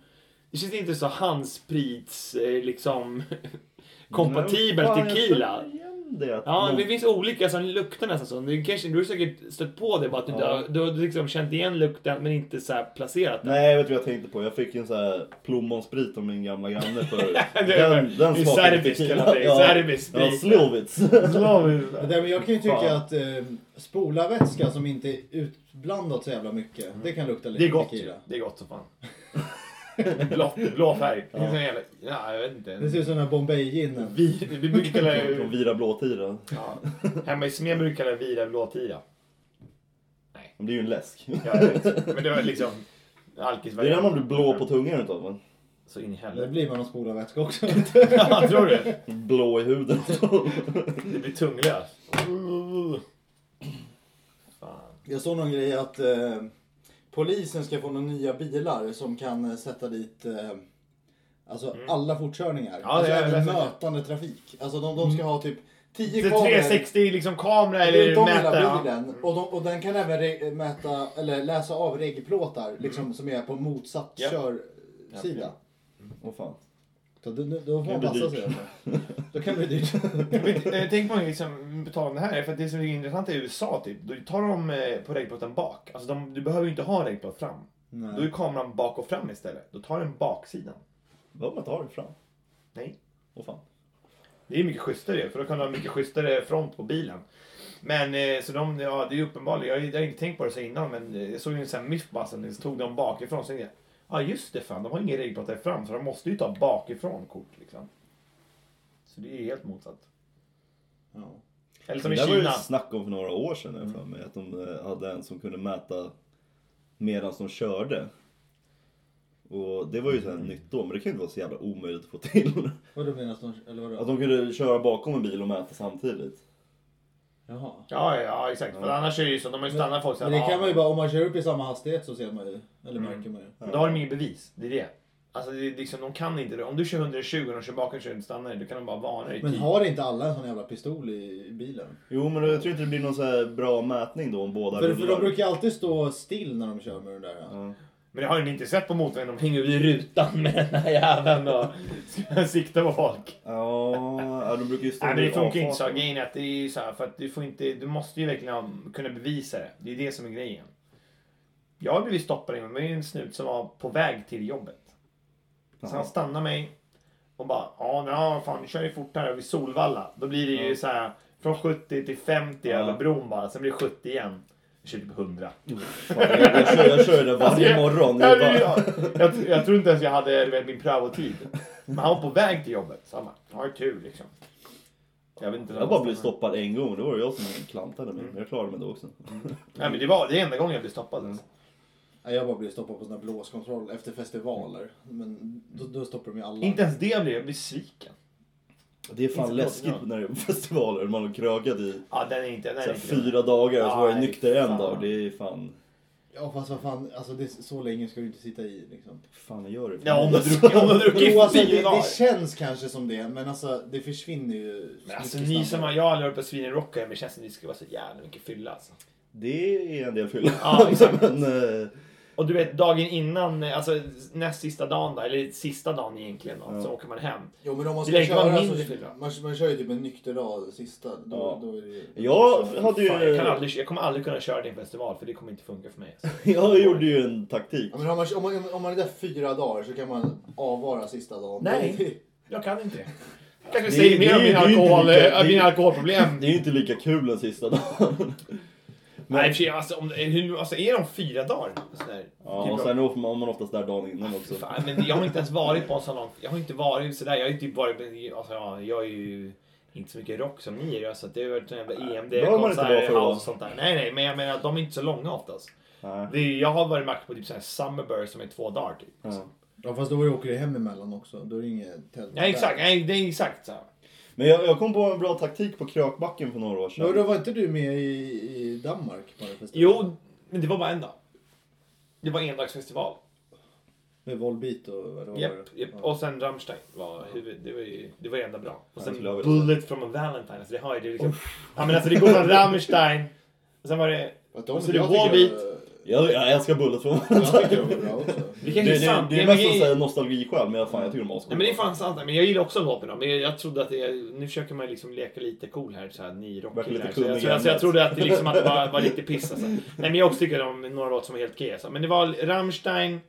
Speaker 4: det känns inte så handsprits eh, liksom [laughs] kompatibel
Speaker 1: Men fan,
Speaker 4: tequila.
Speaker 1: Jag Mm. känner igen det.
Speaker 4: Ja,
Speaker 1: Någon-
Speaker 4: det finns olika som luktar nästan så. Du, kanske, du har säkert stött på det bara att du,
Speaker 1: Ja.
Speaker 4: du har liksom känt igen lukten men inte så här placerat den.
Speaker 1: Nej, vet du vad jag tänkte på? Jag fick en sån här plommonsprit av min gamla
Speaker 4: [laughs]
Speaker 1: granne förut.
Speaker 4: Det är-
Speaker 1: Den, den
Speaker 4: det är
Speaker 1: smakade
Speaker 4: serbisk
Speaker 1: tequila.
Speaker 4: eller någonting. Serbisk
Speaker 1: ja,
Speaker 4: sprit.
Speaker 1: slovits.
Speaker 2: Men det- men jag kan ju tycka
Speaker 1: Fan.
Speaker 2: att eh, spolarvätska som inte är utblandat så jävla mycket, Mm. det kan lukta lite
Speaker 3: Det är gott ju.
Speaker 2: tequila.
Speaker 3: Det är gott som fan. [laughs] Blå, blå färg. Det är sån jävla... Ja, jag vet
Speaker 2: Det
Speaker 3: inte.
Speaker 2: ser ut som den här Bombay-ginen.
Speaker 3: Vi, vi brukar
Speaker 1: [laughs] [laughs]
Speaker 3: kalla
Speaker 1: Från Vira blåtira.
Speaker 3: ja. Hemma i Smed brukar vi kalla vira blåtira.
Speaker 1: Men Det är ju en läsk.
Speaker 3: Ja, jag vet. Men det var liksom...
Speaker 1: Det är den man blir blå på tungan utav. va?
Speaker 3: Så in i
Speaker 2: Det
Speaker 1: [laughs]
Speaker 3: helvete.
Speaker 2: blir man av spolarvätska också.
Speaker 3: Ja, tror du?
Speaker 1: Blå i huden. [laughs]
Speaker 3: Det blir tunglöst.
Speaker 2: [laughs] Jag såg någon grej att eh, polisen ska få några nya bilar som kan eh, sätta dit eh, alltså alla fortkörningar.
Speaker 3: Ja,
Speaker 2: alltså
Speaker 3: det är-
Speaker 2: även
Speaker 3: det är-
Speaker 2: mötande trafik. Alltså de, de ska ha typ 10
Speaker 3: Så
Speaker 2: kameror
Speaker 3: 360 liksom kamera eller
Speaker 2: runt om
Speaker 3: mätare.
Speaker 2: hela
Speaker 3: ja.
Speaker 2: bilen. Och, de, och den kan även re- mäta, eller läsa av reggplåtar liksom, som är på motsatt
Speaker 3: Mm. Ja.
Speaker 2: körsida.
Speaker 1: Åh fan.
Speaker 2: Så då, då då får man
Speaker 1: Det blir
Speaker 2: passa
Speaker 1: dyrt.
Speaker 2: sig. Alltså. Då kan det bli
Speaker 3: [laughs]
Speaker 2: dyrt.
Speaker 3: Men, eh, Tänk på liksom, på tal om det här, för att det som är intressant i USA typ, då tar de eh, på regplåten bak. Alltså de, du behöver ju inte ha regplåt fram. Då är
Speaker 2: Nej.
Speaker 3: kameran bak och fram istället. Då tar den baksidan.
Speaker 1: Vad man tar det fram.
Speaker 3: Nej.
Speaker 1: Åh fan.
Speaker 3: Det är mycket schysstare för då kan du ha mycket schysstare front på bilen. Men eh, så de, ja det är uppenbarligen, jag, har- jag har inte tänkt på det så innan men eh, jag såg ju en sån här mythbussen, så tog de bakifrån så tänkte jag, ja ah, just det fan, de har ingen regplåt där fram så de måste ju ta bakifrån kort liksom. Så det är ju helt motsatt.
Speaker 2: Ja.
Speaker 3: Eller som
Speaker 1: Det
Speaker 3: i
Speaker 1: där var ju
Speaker 3: Kina.
Speaker 1: snack om för några år sedan jag har
Speaker 4: Mm.
Speaker 1: för mig. Att de eh, hade en som kunde mäta medan de körde. Och det var ju så här nytt då, men det kan ju inte vara så jävla omöjligt att få till.
Speaker 3: Alltså-
Speaker 2: Vadå menas de, eller vadå?
Speaker 1: Att de kunde köra bakom en bil och mäta samtidigt.
Speaker 2: Jaha.
Speaker 3: Ja, ja, exakt. För annars är det ju så. De har ju stannat folk så här,
Speaker 2: Men det
Speaker 3: "Ah,
Speaker 2: kan man ju bara, om man kör upp i samma hastighet så ser man ju, eller märker man ju.
Speaker 3: Men Mm. Då har de inget bevis. Det är det. Alltså det är liksom, de kan inte det. Om du kör 120 och de kör bakom och kör stannar dig, då kan de bara varna dig. i typ.
Speaker 2: Men
Speaker 3: tid.
Speaker 2: har inte alla en sån jävla pistol i i bilen?
Speaker 1: Jo men jag tror inte det blir någon så här bra mätning då om båda
Speaker 2: För, för de
Speaker 1: rullar.
Speaker 2: brukar ju alltid stå still när de kör med den där. Ja.
Speaker 1: Ja.
Speaker 3: Men det har ni inte sett på motorvägen. De hänger vid rutan med den här jäveln och [laughs] ska sikta på folk.
Speaker 1: Ja, ja, de brukar ju stå
Speaker 3: Nej, men
Speaker 1: i
Speaker 3: det funkar ju inte så.
Speaker 1: avfarten.
Speaker 3: Grejen är att det är ju så här, för att du får inte, du måste ju verkligen ha- kunna bevisa det. Det är det som är grejen. Jag har blivit stoppad en gång. Det var ju en snut som var på väg till jobbet. Så han stannar mig och bara, ja, ja fan vi kör ju fort här vid Solvalla. Då blir det ju så här från 70 till 50
Speaker 1: Ja.
Speaker 3: över bron bara, sen blir det 70 igen. Jag kör typ 100.
Speaker 1: Fan, jag, jag, kör, jag kör ju det varje morgon.
Speaker 3: Jag,
Speaker 1: Jag
Speaker 3: jag,
Speaker 1: bara,
Speaker 3: jag, jag, jag tror inte ens jag hade du vet, min prövotid. Men han var på väg till jobbet, så han bara, jag har ju tur liksom. Jag, vet inte när
Speaker 1: jag
Speaker 3: han
Speaker 1: bara blev
Speaker 3: stannade.
Speaker 1: stoppad en gång, det var det jag som klantade mig. Men jag klarade mig då också.
Speaker 3: Nej men det var det är enda gången jag blev stoppad.
Speaker 1: Mm.
Speaker 3: Alltså.
Speaker 2: Nej, Jag bara blir stoppad på såna här blåskontroller efter festivaler. Men då, då stoppar de ju alla.
Speaker 3: Inte ens det blev jag besviken.
Speaker 1: Det är fan
Speaker 3: Inte
Speaker 1: läskigt
Speaker 3: klart,
Speaker 1: när det är festivaler, man har krökat i
Speaker 3: Ja den är inte, den
Speaker 1: så
Speaker 3: är
Speaker 1: här,
Speaker 3: inte
Speaker 1: fyra dagar och så var jag
Speaker 3: Nej,
Speaker 1: nykter en
Speaker 3: fan.
Speaker 1: dag. Det är fan,
Speaker 2: Ja fast vad fan, alltså det, så länge ska du inte sitta i liksom.
Speaker 1: fan jag gör det.
Speaker 3: Ja, om du har druckit- om du har druckit
Speaker 2: Jo, alltså, det,
Speaker 3: fyra dagar.
Speaker 2: det känns kanske som det, men alltså det försvinner ju.
Speaker 3: Men alltså
Speaker 2: mycket
Speaker 3: ni som
Speaker 2: snabbare.
Speaker 3: har, jag har aldrig varit på Sweden Rock och jag men känns som att ni skulle vara så jävla mycket fylla alltså.
Speaker 1: Det är en del fylla.
Speaker 3: Ja,
Speaker 1: [laughs]
Speaker 3: exakt.
Speaker 1: Men, eh,
Speaker 3: Och du vet dagen innan, alltså näst sista dagen då, eller sista dagen egentligen då, så åker man hem.
Speaker 2: Jo men om man
Speaker 3: Det
Speaker 2: ska
Speaker 3: lär inte vara
Speaker 2: köra
Speaker 3: mindre
Speaker 2: så,
Speaker 3: fylla.
Speaker 2: man, man kör ju typ en nykter dag sista. Då,
Speaker 1: Ja.
Speaker 2: då är det ju...
Speaker 1: jag hade
Speaker 3: Fan, jag,
Speaker 1: ju,
Speaker 3: kan aldrig, jag kommer aldrig kunna köra din festival för det kommer inte funka för mig. Alltså.
Speaker 1: [laughs] jag gjorde ju en taktik.
Speaker 2: Ja, men om, man, om, man, om man är där fyra dagar så kan man avvara sista dagen. [laughs]
Speaker 3: Nej. Jag kan inte det. Kanske
Speaker 1: Det-
Speaker 3: säger mer om
Speaker 1: det-
Speaker 3: min
Speaker 1: det är inte
Speaker 3: alkohol,
Speaker 1: lika-
Speaker 3: äh,
Speaker 1: det- [laughs]
Speaker 3: mina alkoholproblem.
Speaker 1: Det är ju inte lika kul den sista dagen.
Speaker 3: [laughs] Nej, i och för sig, alltså, om, hur, alltså är de fyra dagar? Sådär, typ
Speaker 1: Ja, och sen är man oftast där dagen innan också.
Speaker 3: Ah, Fan, men jag har inte ens varit på en salong. Jag har inte varit sådär. Jag har ju typ varit... Alltså, ja, jag är ju inte så mycket rock som ni är. Så att det har varit en jävla E
Speaker 1: behöver man inte vara
Speaker 3: EMD-konserter,
Speaker 1: för att vara.
Speaker 3: house och sånt där. Nej, nej, men jag menar att de är inte så långa oftast.
Speaker 1: Nej.
Speaker 3: Det är, jag har varit max på typ sådär Summerburst som är två dagar typ.
Speaker 1: Ja.
Speaker 2: Ja fast då åker du hem emellan också. Då är det inget tält.
Speaker 3: Nej, exakt. Nej, det är exakt så. här.
Speaker 1: Men jag, jag kom på en bra taktik på Krökbacken för några år
Speaker 2: Men
Speaker 1: sedan.
Speaker 2: då var inte du med i, i Danmark på den festivalen?
Speaker 3: Jo, men det var bara en dag. Det var endagsfestival.
Speaker 2: Med Volbeat och vad det var.
Speaker 3: Japp,
Speaker 2: det?
Speaker 3: japp.
Speaker 2: Ja.
Speaker 3: Och sen Rammstein var huvud, det var ju det var ju ändå bra. Och
Speaker 1: Ja,
Speaker 3: sen
Speaker 1: det skulle jag vilja
Speaker 3: Bullet from a Valentine. Alltså det har ju det är liksom. Ja men alltså det går från Rammstein. Och sen var det.
Speaker 2: Att de,
Speaker 3: Och så är Alltså, det
Speaker 2: jag tycker- [laughs]
Speaker 3: Volbeat.
Speaker 1: Jag, jag älskar Bullet från det,
Speaker 2: Jag tycker de var bra också.
Speaker 1: [laughs]
Speaker 3: Det
Speaker 1: det,
Speaker 3: kanske är
Speaker 1: det,
Speaker 3: sant.
Speaker 1: det är
Speaker 3: men
Speaker 1: mest en
Speaker 3: det-
Speaker 1: sån här nostalgiskäl, men jag, fan, jag tycker de är ascoola.
Speaker 3: Nej men det är fan sant. Men jag gillar också vapen då. Men jag trodde att det, nu försöker man liksom leka lite cool här så här ni
Speaker 1: Verkar lite
Speaker 3: rockkillar. Så
Speaker 1: kunnig
Speaker 3: jag, så jag, så jag
Speaker 1: gammal.
Speaker 3: trodde att det liksom att det
Speaker 1: [laughs]
Speaker 3: var, var lite piss alltså. Nej men jag också tycker om några låtar som var helt okej alltså. Men det var Rammstein,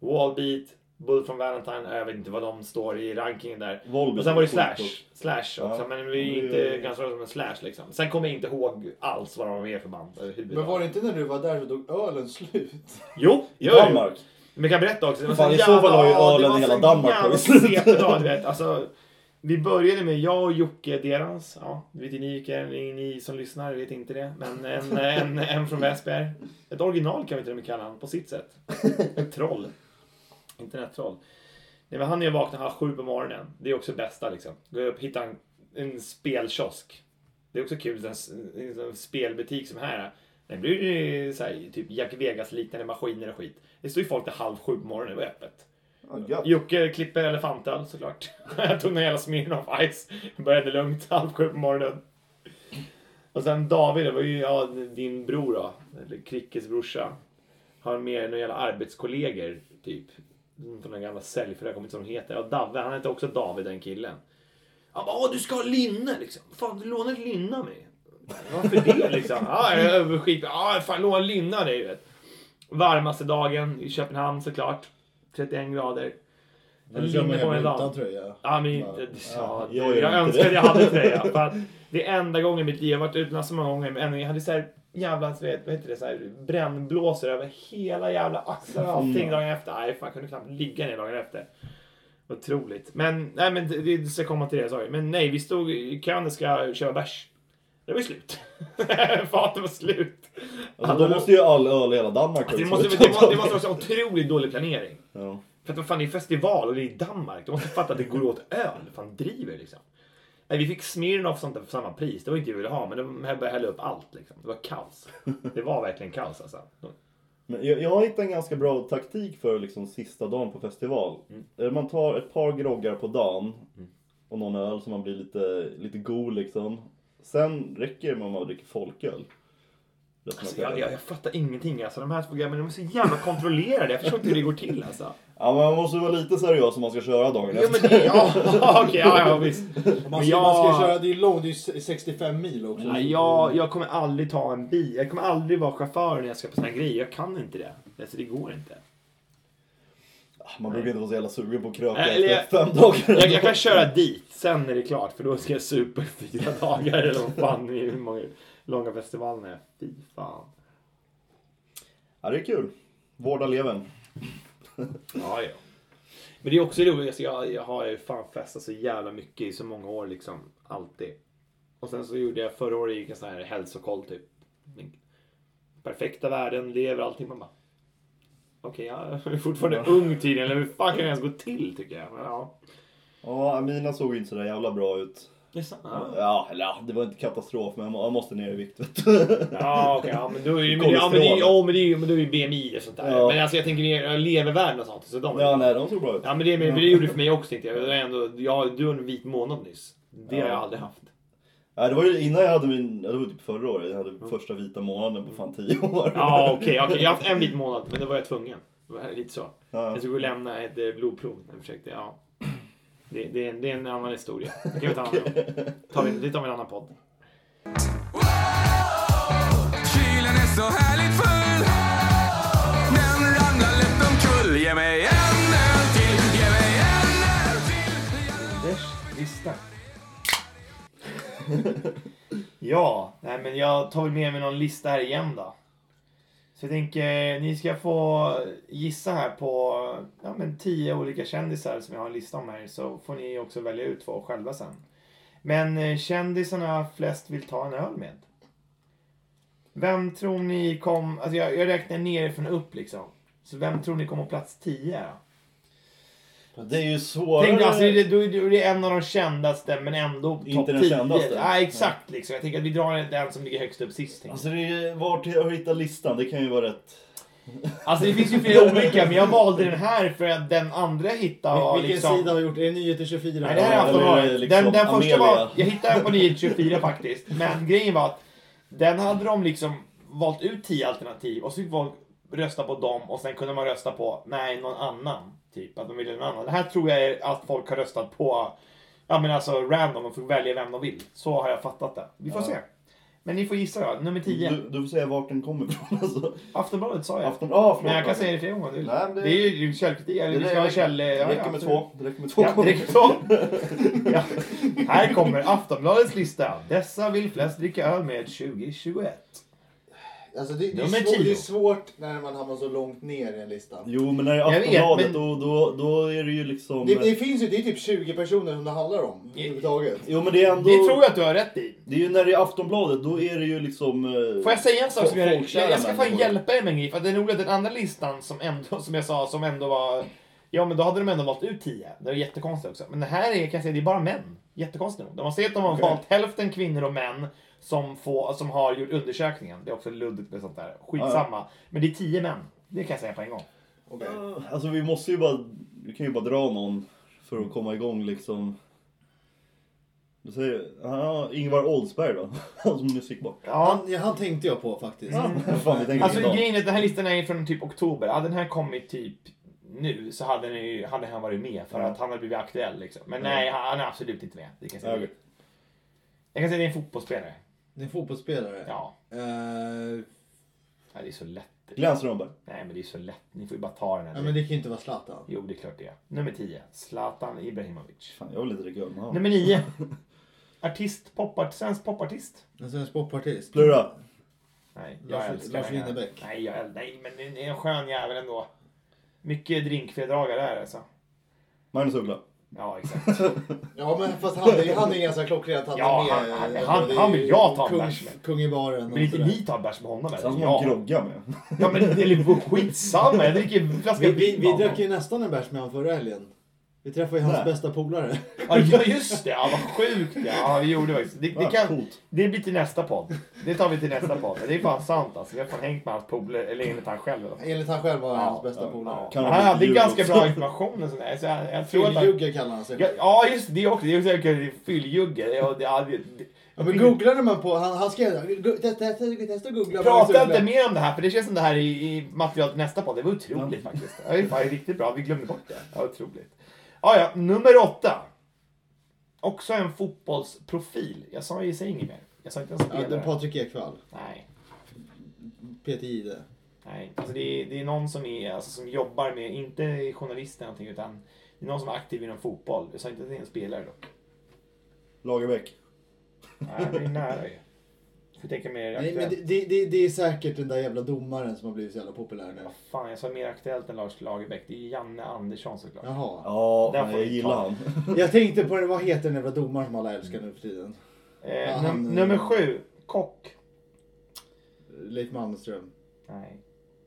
Speaker 3: Wallbeat, Bullet from Valentine. Jag vet inte vad de står i rankingen där.
Speaker 1: Volbeat
Speaker 3: Och sen var det
Speaker 1: är coolt
Speaker 3: Slash. Slash också.
Speaker 1: Ja.
Speaker 3: Men vi är
Speaker 1: Mm.
Speaker 3: inte ganska roliga med Slash liksom. Sen kommer jag inte ihåg alls vad de var mer för band. överhuvudtaget.
Speaker 2: Men var det inte när du var där så tog ölen slut?
Speaker 3: Jo,
Speaker 1: också.
Speaker 3: gör det.
Speaker 1: Danmark.
Speaker 3: Men jag kan berätta också. Det var
Speaker 1: Fan,
Speaker 3: så
Speaker 1: i så fall har ju
Speaker 3: jävla-
Speaker 1: ölen
Speaker 3: det var
Speaker 1: hela
Speaker 3: så
Speaker 1: Danmark
Speaker 3: jävla
Speaker 1: tagit slut.
Speaker 3: fet dag, du vet. Alltså, vi började med jag och Jocke Derans. Ja, det vet ju ni vilka, ni, ni som lyssnar vet inte det. Men en, en, en från Väsberg. Ett original kan vi till och med kalla honom, på sitt sätt. Ett troll. Internettroll. Nej, men han är ju vaknade halv sju på morgonen. Det är också bästa liksom. Går upp, hittar en, en spelkiosk. Det är också kul, en, en, en spelbutik som här. Det blir det ju så här, typ Jack Vegas-liknande maskiner och skit. Det står ju folk till halv sju på morgonen, det var öppet.
Speaker 1: Ja, gött.
Speaker 3: Jocke klipper elefantöl såklart. [laughs] Jag tog någon jävla Smirnoff Ice. Började lugnt [laughs] halv sju på morgonen. Och sen David, det var ju ja, din bror då. Eller Krickes brorsa. Har med några jävla arbetskollegor typ. Från den gamla säljfirma, jag kommer inte ihåg vad de heter. Och Davve, han heter också David den killen. Han bara, "Åh, du ska ha linne liksom. Fan, du lånar ett linne av mig. Varför det liksom? Ja, jag är skit. Ja, fan låna linne av dig. vet. Varmaste dagen i Köpenhamn såklart. 31 grader.
Speaker 2: Då kör man
Speaker 3: Linne på
Speaker 2: hem
Speaker 3: en
Speaker 2: utan
Speaker 3: dag.
Speaker 2: tröja.
Speaker 3: Ja, men inte, ja,
Speaker 1: jag
Speaker 3: jag,
Speaker 1: gör inte
Speaker 3: önskar att
Speaker 1: det.
Speaker 3: jag hade tröja.
Speaker 1: [laughs]
Speaker 3: För att det är enda gången i mitt liv, jag har varit utomlands så många gånger, men ändå, jag hade så här jävla så vet, vad heter det, så här, brännblåsor över hela jävla axeln och
Speaker 1: Mm.
Speaker 3: allting dagen efter. Nej, fan, jag kunde knappt ligga ner dagen efter. Otroligt. Men, nej, men det, det ska komma till det jag sa. ju. Men nej, vi stod i kön och ska köpa bärs. Det var ju slut. [laughs] Fatet var slut.
Speaker 1: Alltså, då måste ju all öl i hela Danmark
Speaker 3: Alltså, det,
Speaker 1: ut. [laughs]
Speaker 3: måste, det, måste, det måste också vara otroligt dålig planering.
Speaker 1: ja.
Speaker 3: För att vad fan, det är festival och det är i Danmark. De måste fatta att det går åt öl. Vad fan driver liksom? Nej, vi fick Smirnoff och sånt där för samma pris. Det var inte jag ville ha, men de här började hälla upp allt. Liksom. Det var kaos. Det var verkligen kaos alltså.
Speaker 1: Men jag, jag har hittat en ganska bra taktik för liksom sista dagen på festival.
Speaker 3: Mm.
Speaker 1: Eh, Man tar ett par groggar på dagen och någon öl så man blir lite, lite god liksom. Sen räcker det med om man dricker folköl. Resten av
Speaker 3: Alltså, jag,
Speaker 1: kvällen.
Speaker 3: jag, jag fattar ingenting. Alltså. De här programmen de är så jävla kontrollerade. Jag förstår inte hur det går till. [laughs] Alltså.
Speaker 1: Ja, men man måste vara lite seriös om man ska köra dagen
Speaker 3: Ja, men det, ja, [laughs] okej, ja, ja, visst.
Speaker 2: Man
Speaker 3: Men
Speaker 2: ska, man ska ju
Speaker 3: jag,
Speaker 2: köra, det är ju långt, det är ju 65 mil också.
Speaker 3: nej, jag, jag kommer aldrig ta en bil. Jag kommer aldrig vara chaufför när jag ska på såna här grejer. Jag kan inte det. Alltså, det går inte.
Speaker 1: Man brukar inte vara så jävla sugen på att kröka
Speaker 3: Nej, eller
Speaker 1: efter fem dagar.
Speaker 3: Jag, jag kan köra dit, sen är det klart. För då ska jag supa i fyra [laughs] dagar. Eller vad fan, hur många långa festivalerna är. Fy fan.
Speaker 1: Ja, det är kul. Vårda levern.
Speaker 3: Ja, ja. Men det är också roligt, alltså jag, jag har ju fan festat så jävla mycket i så många år liksom. Alltid. Och sen så gjorde jag förra året gick en sån här hälsokoll typ. Min perfekta världen, lever allting. Man bara... Okej, jag är fortfarande ung tydligen. Eller hur fan kan det ens gå till tycker jag. Men, ja.
Speaker 1: Ja, Amina såg ju inte så där jävla bra ut.
Speaker 3: Det är sant. Ja,
Speaker 1: Ja, eller ja, det var inte katastrof men jag må- jag måste ner i vikt vet du. [laughs]
Speaker 3: ja okej. ja, men då är ju... Men, ja, men, det är ju- ja, men det är ju men då är ju BMI och sånt där.
Speaker 1: Ja.
Speaker 3: Men alltså jag tänker mer levervärden och sånt. Så de är
Speaker 1: Ja, nej, de såg bra ut.
Speaker 3: Ja men det, men det gjorde det för mig också tänkte jag. Det är ändå, jag du har en vit månad nyss. Det har jag aldrig haft.
Speaker 1: Ja, det var ju innan jag hade min, ja, det var typ förra året, jag hade första vita månaden på fan 10 år.
Speaker 3: Ja okej, okej. jag har haft en vit månad men det var jag tvungen. Det var lite så.
Speaker 1: [laughs] Ja.
Speaker 3: Jag skulle gå och lämna ett eh, blodprov. Jag försökte, ja. Det, det, är en- det är en annan historia. Det kan vi ta en annan gång. Tar vi- Det tar vi en annan podd.
Speaker 5: Kylen är så härligt full Den ramlar lätt omkull Ge mig en öl till, ge mig en öl till
Speaker 6: Anders lista.
Speaker 3: [laughs] Ja, nej men jag tar väl med mig någon lista här igen då. Så jag tänker, eh, ni ska få gissa här på ja, men tio olika kändisar som jag har en lista om här. Så får ni också välja ut två själva sen. Men eh, kändisarna flest vill ta en öl med. Vem tror ni kom, alltså jag, jag räknar nerifrån upp liksom. Så vem tror ni kommer på plats 10?
Speaker 1: Det är ju svårare.
Speaker 3: Tänk dig, alltså, det, då är det- det är en av de kändaste men ändå topp 10.
Speaker 1: Inte den kändaste.
Speaker 3: Ja, exakt liksom. Jag tänker att vi drar den som ligger högst upp sist. tänker jag.
Speaker 1: Alltså det är ju, vart jag hittar listan, det kan ju vara rätt.
Speaker 3: Alltså det finns ju flera olika, men jag valde den här för att den andra jag hittade var
Speaker 2: Vilken
Speaker 3: liksom...
Speaker 2: sida har gjort det? Är det 9 till 24?
Speaker 3: Nej, det här är
Speaker 1: Ja, eller
Speaker 3: Aftonbladet.
Speaker 1: liksom
Speaker 3: den, den första var...
Speaker 1: Amelia.
Speaker 3: Jag hittade den på 924 faktiskt. Men grejen var att den hade de liksom valt ut 10 alternativ och så fick folk rösta på dem och sen kunde man rösta på, nej, någon annan. Typ, att de ville någon annan. Det här tror jag är att folk har röstat på, ja men alltså random, de får välja vem de vill. Så har jag fattat det. Vi får se. Men ni får gissa då. Nummer 10.
Speaker 1: Du, du får säga vart den kommer ifrån [laughs] alltså.
Speaker 3: Aftonbladet sa jag.
Speaker 1: Afton... Ah, förlåt.
Speaker 3: Men jag kan säga det flera gånger.
Speaker 1: Nej, men
Speaker 3: det...
Speaker 1: det-
Speaker 3: är ju det är ju källkritik. Eller
Speaker 1: Det
Speaker 3: vi ska ha
Speaker 1: räcker-
Speaker 3: käll...
Speaker 1: det
Speaker 3: ja,
Speaker 1: räcker med
Speaker 3: absolut.
Speaker 1: två. Det räcker med två.
Speaker 3: Ja, det räcker med två. [laughs] ja. Här kommer Aftonbladets lista. Dessa vill flest dricka öl med 2021.
Speaker 2: Alltså det, det, är
Speaker 3: Nummer
Speaker 2: svårt,
Speaker 3: tio.
Speaker 2: det är svårt när man hamnar så långt ner i en lista.
Speaker 1: Jo men när det är
Speaker 3: Jag vet,
Speaker 1: Aftonbladet
Speaker 3: men-
Speaker 1: då, då, då är det ju liksom...
Speaker 2: Det, det finns ju, det är typ 20 personer som det handlar om överhuvudtaget.
Speaker 1: Jo men det är ändå...
Speaker 3: Det tror jag att du har rätt i.
Speaker 1: Det är ju när det är Aftonbladet, då är det ju liksom... eh,
Speaker 3: Får jag säga en sak som jag,
Speaker 1: folkkära
Speaker 3: jag, jag ska fan
Speaker 1: människor.
Speaker 3: hjälpa er med en grej. För att det är roligt att den andra listan som ändå, som jag sa, som ändå var... Ja men då hade de ändå valt ut 10. Det var jättekonstigt också. Men det här är, kan jag säga, det är bara män. Jättekonstigt nog. De har sett att de har valt hälften kvinnor och män som, får, som har gjort undersökningen. Det är också luddigt med sånt där. Skitsamma. Men det är 10 män. Det kan jag säga på en gång.
Speaker 2: Okej.
Speaker 1: Alltså vi måste ju bara... Vi kan ju bara dra någon för att komma igång liksom. Du säger... Ja, Ingvar Oldsberg då. [laughs] Han som musik bara.
Speaker 3: Ja.
Speaker 2: Han, ja, han tänkte jag på faktiskt.
Speaker 1: Fan, vi tänker
Speaker 3: Alltså
Speaker 1: likadant.
Speaker 3: grejen är att den här listan är från typ oktober. Hade den här kommit typ nu så hade, den ju, hade han varit med för att han hade blivit aktuell liksom. Men nej, han är absolut inte med. Det kan jag säga.
Speaker 1: Okej.
Speaker 3: Jag kan säga att det är en fotbollsspelare.
Speaker 2: Det är en fotbollsspelare.
Speaker 3: Ja,
Speaker 2: Eh,
Speaker 3: nej, det är så lätt.
Speaker 1: Glenn Strömberg.
Speaker 3: Nej, men det är så lätt. Ni får ju bara ta den här.
Speaker 2: ja, men det kan ju inte vara Zlatan.
Speaker 3: Jo, det är klart det är. Nummer 10. Zlatan Ibrahimovic.
Speaker 1: Fan, jag vill inte dricka öl med honom.
Speaker 2: [laughs]
Speaker 3: Nummer 9. Artist, popart, svensk popartist.
Speaker 2: Alltså, En svensk popartist.
Speaker 1: Plura.
Speaker 3: Nej, jag
Speaker 2: Lars-
Speaker 3: älskar
Speaker 2: Lars
Speaker 3: den här.
Speaker 2: Winnerbäck.
Speaker 3: Nej, jag älskar, nej, men det är en skön jävel ändå. Mycket drinkföredragare där alltså.
Speaker 1: Magnus Uggla.
Speaker 3: Ja,
Speaker 2: [laughs]
Speaker 3: exakt.
Speaker 2: Ja men fast han, är- han är ganska klockren att han
Speaker 3: Ja,
Speaker 2: är med.
Speaker 3: han- han-
Speaker 2: eh,
Speaker 3: han-
Speaker 2: det är
Speaker 3: han vill jag ta en
Speaker 2: kung,
Speaker 3: bärs med.
Speaker 2: kung i baren.
Speaker 3: Men
Speaker 2: och
Speaker 3: inte
Speaker 2: sådär.
Speaker 3: ni tar bärs med honom
Speaker 1: Han
Speaker 3: eller?
Speaker 1: som man
Speaker 3: [laughs] Ja.
Speaker 1: groggar med.
Speaker 3: ja, men eller skitsamma. Jag dricker en flaska
Speaker 2: Vi, vi,
Speaker 3: vin
Speaker 2: vi
Speaker 3: av
Speaker 2: drack
Speaker 3: honom.
Speaker 2: ju nästan en bärs med honom förra helgen. Vi träffade ju hans
Speaker 1: Nej.
Speaker 2: bästa polare.
Speaker 3: Ja, ja, just det. Ja, vad sjukt ja. ja vi gjorde faktiskt. Det, det,
Speaker 1: Ja,
Speaker 3: kan,
Speaker 1: coolt.
Speaker 3: det blir till nästa podd. Det tar vi till nästa podd. Det är fan sant alltså. Vi har fan hängt med hans polare, eller enligt han själv. Eller?
Speaker 2: Enligt han själv var det
Speaker 3: Ja,
Speaker 2: hans bästa
Speaker 1: ja,
Speaker 2: polare.
Speaker 1: Kan
Speaker 3: Han
Speaker 1: ha blivit
Speaker 3: hade
Speaker 1: jul
Speaker 3: ganska
Speaker 1: också.
Speaker 3: bra information. och sånt där, Så jag, jag tror att han...
Speaker 2: Fylljugge kallar han sig.
Speaker 3: Ja, Ja, just det också. Det är också jag kallar det fylljugge. Ja, det- ja, det- det-
Speaker 2: Ja, men googlade man på, han, han skrev "Gu- gu- testa- testa- testa att googla.
Speaker 3: Prata inte mer om det här för det känns som det här är i material till nästa podd. Det var otroligt faktiskt. Ja, Det är fan riktigt bra. Vi glömde bort det. Ja, otroligt. Ja, ja, nummer åtta. Också en fotbollsprofil. Jag sa ju, säg inget mer. Jag sa inte en
Speaker 2: Ja, det
Speaker 3: spelare.
Speaker 2: är Patrik Ekwall,
Speaker 3: Nej.
Speaker 2: Peter Jihde.
Speaker 3: Nej, alltså det, är, det är någon som, är, alltså, som jobbar med, inte journalist eller någonting, utan det är någon som är aktiv inom fotboll. Jag sa inte att det är en spelare dock.
Speaker 1: Lagerbäck.
Speaker 3: Nej, det är nära ju. Får tänka mer
Speaker 2: Nej,
Speaker 3: aktuellt.
Speaker 2: men det, det, det, det är säkert den där jävla domaren som har blivit så jävla populär nu.
Speaker 3: Vad fan, jag sa mer aktuellt än Lars Lagerbäck. Det är Janne Andersson såklart.
Speaker 2: Jaha.
Speaker 1: Ja,
Speaker 3: Där får
Speaker 1: nej,
Speaker 3: vi
Speaker 1: jag gillar
Speaker 3: ta.
Speaker 1: han. [laughs]
Speaker 2: Jag tänkte på det, vad heter den jävla domaren som alla älskar nu för tiden?
Speaker 3: Eh,
Speaker 2: Ja,
Speaker 3: num-
Speaker 2: han-
Speaker 3: nummer sju, kock.
Speaker 2: Leif Mannerström.
Speaker 3: Nej,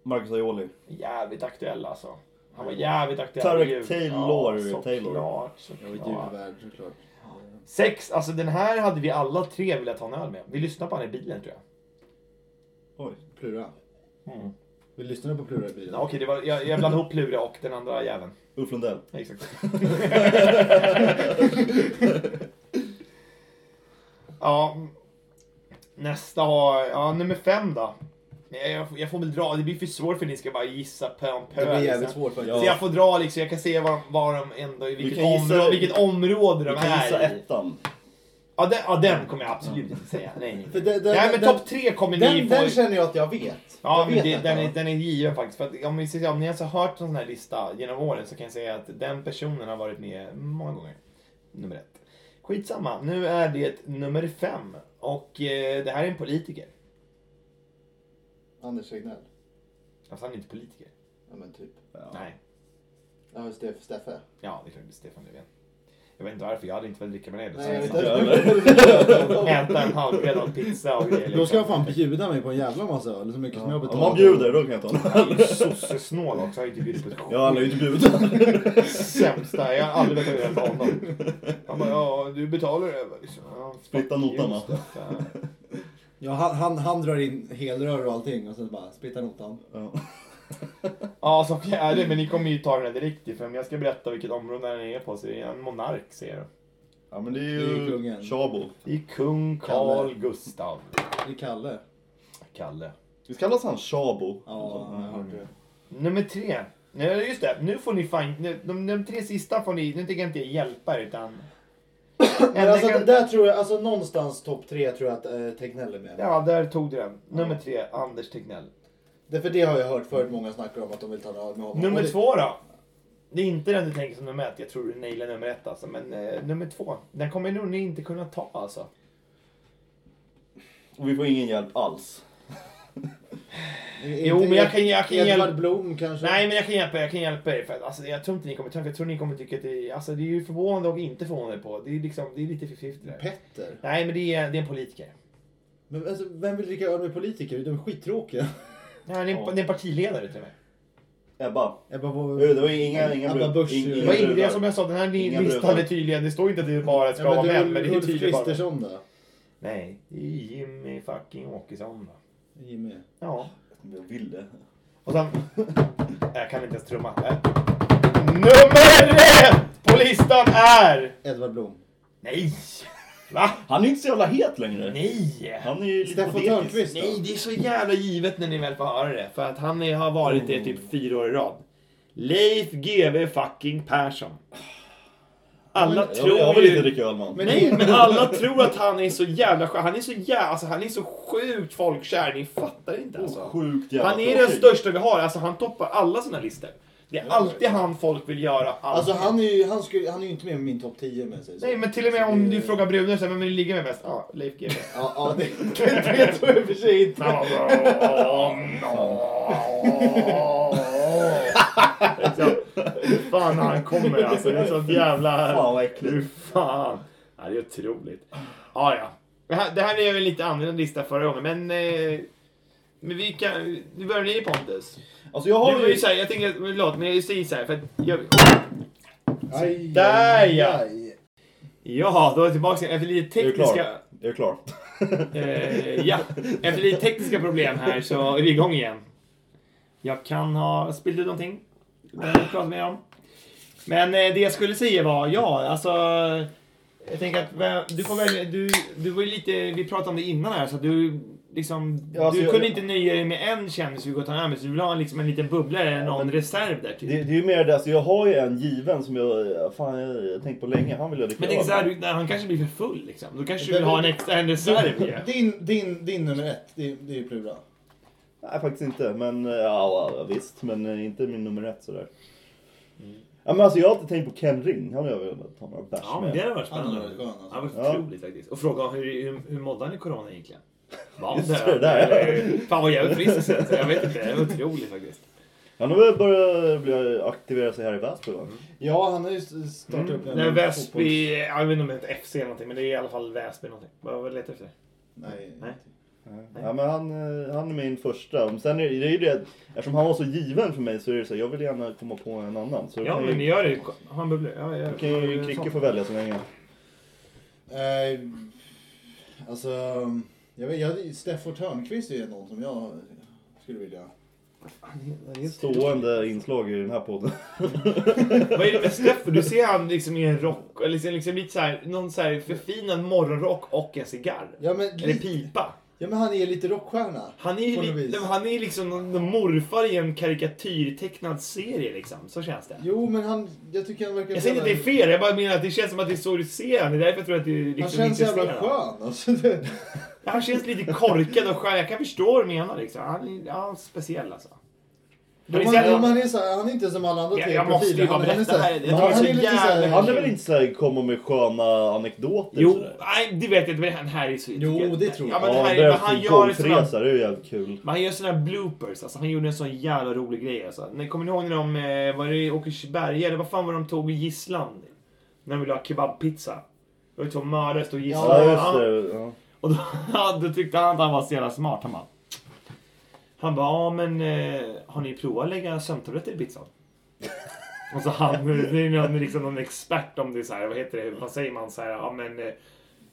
Speaker 1: Marcus Aioli.
Speaker 3: jävligt aktuell alltså. Han var jävligt aktuell.
Speaker 1: Tarek
Speaker 3: i jul.
Speaker 1: Taylor,
Speaker 3: Ja,
Speaker 1: Taylor.
Speaker 3: såklart.
Speaker 2: Jag var
Speaker 3: såklart.
Speaker 2: julvärd såklart.
Speaker 3: Sex, alltså den här hade vi alla tre velat ha en öl med. Vi lyssnade på han i bilen tror jag.
Speaker 1: Oj.
Speaker 2: Plura.
Speaker 3: Mm.
Speaker 2: Vi lyssnade på Plura i bilen.
Speaker 3: Ja, Okej, det var, jag, jag blandade ihop Plura och den andra jäveln.
Speaker 1: Ulf
Speaker 3: [laughs]
Speaker 1: Lundell.
Speaker 3: Ja, Exakt. ja, nästa har, ja nummer fem då. Nej, Jag, får- jag får väl dra, det blir för svårt för ni ska bara gissa pö om pö.
Speaker 2: Det blir
Speaker 3: liksom.
Speaker 2: jävligt svårt faktiskt.
Speaker 1: Ja.
Speaker 3: Så jag får dra liksom, jag kan se var, var de ändå, i vilket,
Speaker 1: kan gissa-
Speaker 3: område, vilket område
Speaker 1: Du
Speaker 3: de
Speaker 1: kan gissa
Speaker 3: är i.
Speaker 1: ettan.
Speaker 3: Ja den, ja, den kommer jag absolut inte säga. Nej, nej.
Speaker 2: För det- det-
Speaker 3: nej
Speaker 2: det-
Speaker 3: men
Speaker 2: det-
Speaker 3: topp tre kommer ni
Speaker 2: Den,
Speaker 3: få.
Speaker 2: den känner jag att jag vet.
Speaker 3: Ja,
Speaker 2: jag
Speaker 3: men
Speaker 2: vet
Speaker 3: det,
Speaker 2: att
Speaker 3: den,
Speaker 2: jag-
Speaker 3: är, den är given faktiskt. För att, om, vi, ser- om ni ens har hört en sån här lista genom åren så kan jag säga att den personen har varit med många gånger. Nummer ett. Skitsamma, nu är det nummer fem. Och eh, det här är en politiker.
Speaker 2: Anders Regnell.
Speaker 3: Alltså han är inte politiker.
Speaker 2: Ja men typ.
Speaker 1: Ja.
Speaker 3: Nej.
Speaker 2: Ja men Steff- Steffe.
Speaker 3: Ja, det är klart det är Stefan Löfven. Jag vet inte varför, jag hade inte velat dricka med det.
Speaker 2: Nej jag vet
Speaker 1: sant. Ja,
Speaker 2: [laughs] inte.
Speaker 3: Äta en halvbrännad pizza och grejer. liksom.
Speaker 2: Då ska han fan bjuda mig på en jävla massa öl, så mycket som jag
Speaker 1: Om
Speaker 2: betalar.
Speaker 1: han bjuder, då kan jag ta honom.
Speaker 3: Han är ju sossesnål också, han har ju inte bjudit på ett skit.
Speaker 1: [laughs] Ja, han lär ju inte bjuda.
Speaker 3: sämsta, jag har aldrig betalat över på honom. Han bara, ja du betalar över. Liksom. Ja,
Speaker 1: Splitta
Speaker 3: fuck
Speaker 1: notan,
Speaker 2: alltså.
Speaker 3: you,
Speaker 1: va?
Speaker 3: Steffe.
Speaker 2: Ja, han, han, han drar in helrör och allting och sen bara splittar notan.
Speaker 1: [laughs] Ja.
Speaker 3: Ja, som fjärde, men ni kommer ju ta den här direkt ifrån. Jag ska berätta vilket område den är på, så det är en monark ser du.
Speaker 1: Ja, men det är
Speaker 2: Det är
Speaker 1: ju
Speaker 2: kungen.
Speaker 1: Tjabo.
Speaker 3: Det är kung Carl Gustav.
Speaker 2: Det är Kalle.
Speaker 3: Kalle.
Speaker 1: Visst kallas han Tjabo?
Speaker 2: Ja, jag har hört det.
Speaker 3: Nummer tre. Nej, just det. Nu får ni fan... nu- De, de tre sista får ni... Nu tänker jag inte hjälpa er, utan...
Speaker 2: Men alltså
Speaker 3: kan-
Speaker 2: det där tror jag, alltså någonstans topp tre tror jag att eh, Tegnell är med.
Speaker 3: Ja, där tog du den. Nummer tre, Anders Tegnell.
Speaker 2: Därför det har jag hört förut många snackar om att de vill ta en öl med honom. Och
Speaker 3: Nummer
Speaker 2: det,
Speaker 3: två då? Det är inte den du tänker som nummer ett. Jag tror du nailar nummer ett alltså. Men eh, nummer två. Den kommer nog ni inte kunna ta alltså.
Speaker 1: Och vi får ingen hjälp alls.
Speaker 2: Eh, Inte-
Speaker 3: Jo, men jag kan- jag kan
Speaker 2: Edvard
Speaker 3: hjälp-
Speaker 2: Blom kanske?
Speaker 3: Nej men jag kan hjälpa er, jag kan hjälpa er. För att, alltså, jag tror inte ni kommer ta den, för jag tror ni kommer tycka att det är, alltså, det är ju förvånande och inte förvånande på. Det är, liksom, det är lite 50-50 där.
Speaker 2: Petter?
Speaker 3: Nej men det är, det är en politiker.
Speaker 2: Men alltså, vem vill dricka öl med politiker? De är skittråkiga.
Speaker 3: Nej, det, är en, det är en partiledare till och med.
Speaker 1: Ebba.
Speaker 2: [laughs] Ebba Bo...
Speaker 1: Du, det var inga, inga
Speaker 2: Ebba Busch,
Speaker 1: ing-
Speaker 2: ju.
Speaker 1: inga
Speaker 3: Det var
Speaker 1: brudar.
Speaker 3: in, det är som jag sa, den här
Speaker 1: Inga
Speaker 3: listan
Speaker 1: brudar.
Speaker 3: är tydligen, det står inte att det bara ska vara
Speaker 2: det är
Speaker 3: män, men det är
Speaker 2: Ulf
Speaker 3: tydligen bara män.
Speaker 2: Kristersson då?
Speaker 3: Nej, det är Jimmy fucking Åkesson. va?
Speaker 2: Jimmy.
Speaker 3: Ja.
Speaker 1: Jag ville.
Speaker 3: Och sen... [laughs] Jag kan inte ens trumma. Nej. Nummer ett på listan är...
Speaker 2: Edvard Blom.
Speaker 3: Nej! Va?
Speaker 1: Han är inte så jävla het längre.
Speaker 3: Nej!
Speaker 1: Han är ju lite
Speaker 2: Steffo
Speaker 1: patetisk.
Speaker 2: Törnqvist då?
Speaker 3: Nej, det är så jävla givet när ni väl får höra det. För att han är, har varit det typ fyra år i rad. Leif GW fucking Persson. Alla
Speaker 1: Jag,
Speaker 3: tror
Speaker 1: jag vill inte
Speaker 3: ju...
Speaker 1: dricka öl med honom.
Speaker 3: Nej, men alla tror att han är så jävla skön. Han är så jävla... Alltså, han är så sjukt folkkär. Ni fattar inte alltså.
Speaker 1: Sjukt jävla
Speaker 3: Han är den
Speaker 1: tråkig.
Speaker 3: största vi har. Alltså, han toppar alla sina listor. Det är alltid han folk vill göra.
Speaker 2: Alltså
Speaker 3: Alltså,
Speaker 2: han är ju, han skulle, han är ju inte med i min topp 10 men säger så.
Speaker 3: Nej, men till och med om du frågar brudar så här, vem vill du ligga med mest? Ja, Leif GW.
Speaker 2: Ja, [laughs] ja det,
Speaker 3: [laughs]
Speaker 2: det tror jag i och för sig inte.
Speaker 3: Alltså, Hur fan han kommer alltså. Det är sånt jävla...
Speaker 1: Fan, vad äckligt.
Speaker 3: Hur fan. Ja, det är otroligt. Ja, ja. Det här- Det här är ju en lite annorlunda lista förra gången, men... eh, Men vi kan... Nu börjar ni Pontus.
Speaker 1: Alltså jag
Speaker 3: Du
Speaker 1: har
Speaker 3: var ju
Speaker 1: ju...
Speaker 3: såhär, jag tänker... Förlåt, men jag säger såhär för att... Jag,
Speaker 2: Aj,
Speaker 3: Där,
Speaker 2: aj,
Speaker 3: ja.
Speaker 2: aj.
Speaker 3: Ja, då är jag tillbaka efter lite
Speaker 1: Är du klar?
Speaker 3: tekniska...
Speaker 1: Är du klar?
Speaker 3: Eh, ja, efter lite tekniska problem här så är vi igång igen. Jag kan ha spillt ut någonting. Det har vi pratat med om. Men eh, det jag skulle säga var, ja, alltså... Jag tänker att vem- du får välja, du, du var ju lite, vi pratade om det innan här så att du liksom,
Speaker 1: Ja, alltså,
Speaker 3: du
Speaker 1: jag-
Speaker 3: kunde
Speaker 1: jag-
Speaker 3: inte nöja dig med en kändis vi går ta med så du vill ha liksom en liten bubblare, någon reserv där typ.
Speaker 1: Det, det är ju mer det, alltså jag har ju en given som jag, fan jag har tänkt på länge, han vill jag dricka
Speaker 3: Men tänk
Speaker 1: öl
Speaker 3: såhär,
Speaker 1: med.
Speaker 3: du- när han kanske blir för full liksom. Då kanske du vill ha en extra, en reserv ju.
Speaker 2: Din, din, din nummer ett, det, det är ju Plura.
Speaker 1: Nej faktiskt inte, men eh, ja ja, visst, men eh, inte min nummer ett sådär. Ja, men alltså jag har alltid tänkt på Ken Ring, han har jag velat ta några bärs
Speaker 3: Ja, men det
Speaker 1: med.
Speaker 3: hade varit
Speaker 2: Han
Speaker 3: spännande.
Speaker 2: hade varit skön alltså.
Speaker 3: Ja, det var
Speaker 1: Ja.
Speaker 3: otroligt faktiskt. Och fråga om hur, hur, hur mådde han i corona egentligen? Var han
Speaker 1: Just det,
Speaker 3: död?
Speaker 1: där, ja.
Speaker 3: Eller- Fan vad jävligt frisk så jag vet inte. Det var otroligt faktiskt.
Speaker 1: Han har väl börjat bli- aktivera sig här i Väsby va?
Speaker 2: Ja, han har ju startat upp en
Speaker 3: Nej,
Speaker 2: fotboll-
Speaker 3: Mm. Väsby, ja, jag vet inte om det heter FC eller någonting, men det är i alla fall Väsby någonting. Vad vad letar du efter?
Speaker 2: Nej.
Speaker 3: Nej.
Speaker 1: Ja, men han, eh, han är min första. Men Sen är det, det är ju det, eftersom han var så given för mig så är det så här, jag vill gärna komma på en annan. Så
Speaker 3: Ja,
Speaker 1: kan
Speaker 3: men
Speaker 1: ju,
Speaker 3: ni gör det. Ha en bubbla. Ja, jag
Speaker 1: då kan ju Kricke få välja så länge.
Speaker 2: Eh, alltså, jag vet, jag, Steffo Törnqvist är ju någon som jag skulle vilja...
Speaker 1: Stående inslag i den här podden.
Speaker 3: Vad är det med Steffo? Du ser han liksom i en rock, eller liksom, liksom lite såhär, någon såhär förfinad morgonrock och en cigarr.
Speaker 2: Ja men,
Speaker 3: Eller
Speaker 2: lite,
Speaker 3: pipa.
Speaker 2: ja, men han är lite rockstjärna.
Speaker 3: Han är ju
Speaker 2: På något
Speaker 3: li-
Speaker 2: vis.
Speaker 3: han är liksom någon någon morfar i en karikatyrtecknad serie liksom. Så känns det.
Speaker 2: Jo, men han, jag tycker han verkar...
Speaker 3: Jag säger inte att det är fel, jag bara menar att det känns som att det är så du ser han. Det är därför jag tror att du liksom
Speaker 2: Han känns
Speaker 3: inte ser
Speaker 2: jävla
Speaker 3: honom.
Speaker 2: skön [laughs] alltså. Det,
Speaker 3: Han känns lite korkad och skön. Jag kan förstå vad du menar liksom. Han är, ja, han är speciell alltså. Men
Speaker 2: han,
Speaker 3: det är så-
Speaker 2: han, är så här, han är inte som alla andra
Speaker 3: Jag-
Speaker 2: tre
Speaker 3: jag måste ju
Speaker 2: profiler. Han, han är
Speaker 3: bara berätta
Speaker 2: så
Speaker 3: det här. Jag
Speaker 2: här,
Speaker 3: tycker
Speaker 2: han,
Speaker 3: det är
Speaker 2: han är lite så här...
Speaker 1: [laughs]
Speaker 3: så jävla
Speaker 1: Han är väl inte såhär komma med sköna anekdoter?
Speaker 3: Jo,
Speaker 1: sådär?
Speaker 3: nej, det vet jag inte. Men det här är så...
Speaker 2: Jo, det tror
Speaker 3: Ja,
Speaker 2: jag.
Speaker 3: men, det
Speaker 1: Ja,
Speaker 3: här,
Speaker 1: det
Speaker 3: men han gör sådana
Speaker 1: golfresa, det är ju jävligt kul.
Speaker 3: Men han gör såna här bloopers, alltså han gjorde en sån jävla rolig grej alltså. När, kommer ni ihåg när de, eh, var det i Åkersberga eller vad fan var de tog i gisslan? När de ville ha kebabpizza. Det var ju två mördare stod och
Speaker 1: Ja,
Speaker 3: gisslade.
Speaker 1: just det. Ja.
Speaker 3: Och då, [laughs] ja, då tyckte han att han var så jävla smart. Han bara... Han bara, ja men eh, har ni provat att lägga sömntabletter i pizzan? [laughs] Och så han, det är någon, liksom någon expert om det så här, vad heter det, vad säger man så här, ja men eh,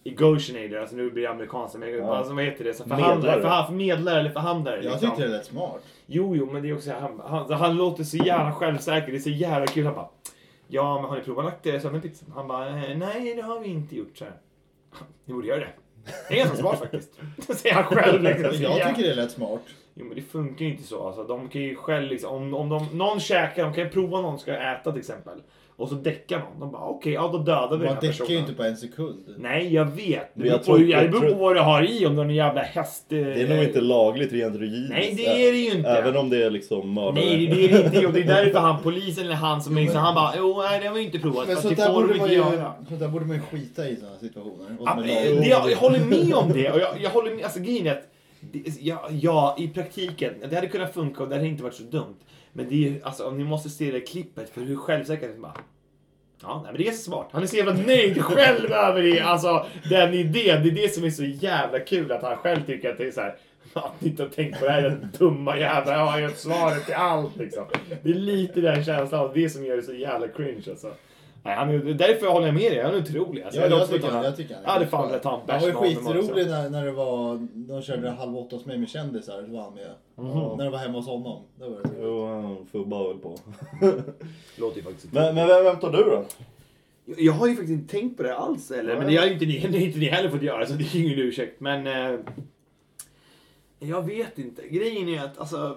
Speaker 3: negotiator, alltså nu blir det amerikanskt, men alltså, vad heter det, så förhandlare,
Speaker 1: Medlare.
Speaker 3: för, förmedlare eller förhandlare.
Speaker 2: Jag
Speaker 3: liksom.
Speaker 2: tyckte det lät
Speaker 3: [laughs]
Speaker 2: smart.
Speaker 3: Jo, jo, men det är också han, han, han låter så jävla självsäker. Det är så jävla kul. Han bara, ja, men har ni provat lagt eh, sömn i pizzan? Han bara, eh, nej, det har vi inte gjort. Så här. [laughs] Ni borde göra det. Det är ganska smart faktiskt. [laughs] Det säger han själv. Liksom, så jävla-
Speaker 2: Jag tycker det lät smart.
Speaker 3: Jo, men det funkar ju inte så. Alltså, de kan ju själv, liksom, om, om de, någon käkar, de kan ju prova någon ska äta till exempel. Och så däckar någon. De bara, okej, ja, då dödar vi den
Speaker 2: Man
Speaker 3: här
Speaker 2: däckar
Speaker 3: personen.
Speaker 2: ju inte på en sekund.
Speaker 3: Nej, jag vet. Det
Speaker 1: Men
Speaker 3: beror
Speaker 1: jag
Speaker 3: på,
Speaker 1: tror-
Speaker 3: hur- det
Speaker 1: jag
Speaker 3: beror på
Speaker 1: tror-
Speaker 3: vad du har i. Om du har en jävla häst... eh,
Speaker 1: Det är nog inte lagligt rent juridiskt.
Speaker 3: Nej, det är det ju inte.
Speaker 1: Även om det är liksom mördare.
Speaker 3: Nej, det är det inte. Och det är [laughs] därför han polisen eller han som liksom, han bara jo, nej det har vi inte
Speaker 2: Men
Speaker 3: provat. Men
Speaker 2: sånt
Speaker 3: det
Speaker 2: där,
Speaker 3: får
Speaker 2: borde
Speaker 3: de
Speaker 2: man
Speaker 3: inte
Speaker 2: ju,
Speaker 3: göra.
Speaker 2: sånt där borde man ju skita i sådana situationer. Och
Speaker 3: Ja,
Speaker 2: med
Speaker 3: men,
Speaker 2: lag.
Speaker 3: eh, det, jag, jag håller med om det. Och jag, jag håller med, alltså grejen är att det- ja, ja, i praktiken, det hade kunnat funka och det hade inte varit så dumt. Men det är ju, alltså om ni måste se det klippet för hur självsäker han bara. Ja, nej, men det är ganska smart. Han är så jävla nöjd själv över det. Alltså den idén, det är det som är så jävla kul att han själv tycker att det är så här. Att ni inte har tänkt på det här den dumma jävla, jag har ju svaret till allt liksom. Det är lite den känslan, av det som gör det så jävla cringe alltså. Nej, han är, därför håller jag med dig, han är otrolig. Alltså,
Speaker 2: Ja,
Speaker 3: är
Speaker 2: jag,
Speaker 3: också
Speaker 2: tycker,
Speaker 3: utan-
Speaker 2: jag tycker han
Speaker 3: Ja, det
Speaker 2: ganska
Speaker 3: fan
Speaker 2: skön.
Speaker 3: velat ta en
Speaker 2: Han
Speaker 3: bärs
Speaker 2: var ju
Speaker 3: med honom också.
Speaker 2: skitrolig när, när det var, de körde Halv åtta hos mig med kändisar. Då var han med.
Speaker 3: Mm.
Speaker 2: När det var hemma hos honom. Det var det. kul.
Speaker 1: Jo, han fubbar väl på.
Speaker 3: Låter ju faktiskt
Speaker 1: Men, men vem, vem tar du då?
Speaker 3: Jag jag har ju faktiskt inte tänkt på det alls eller, men det har ju inte ni, [laughs] det har inte ni heller fått göra så det är ju ingen ursäkt. Men eh, jag vet inte. Grejen är att alltså,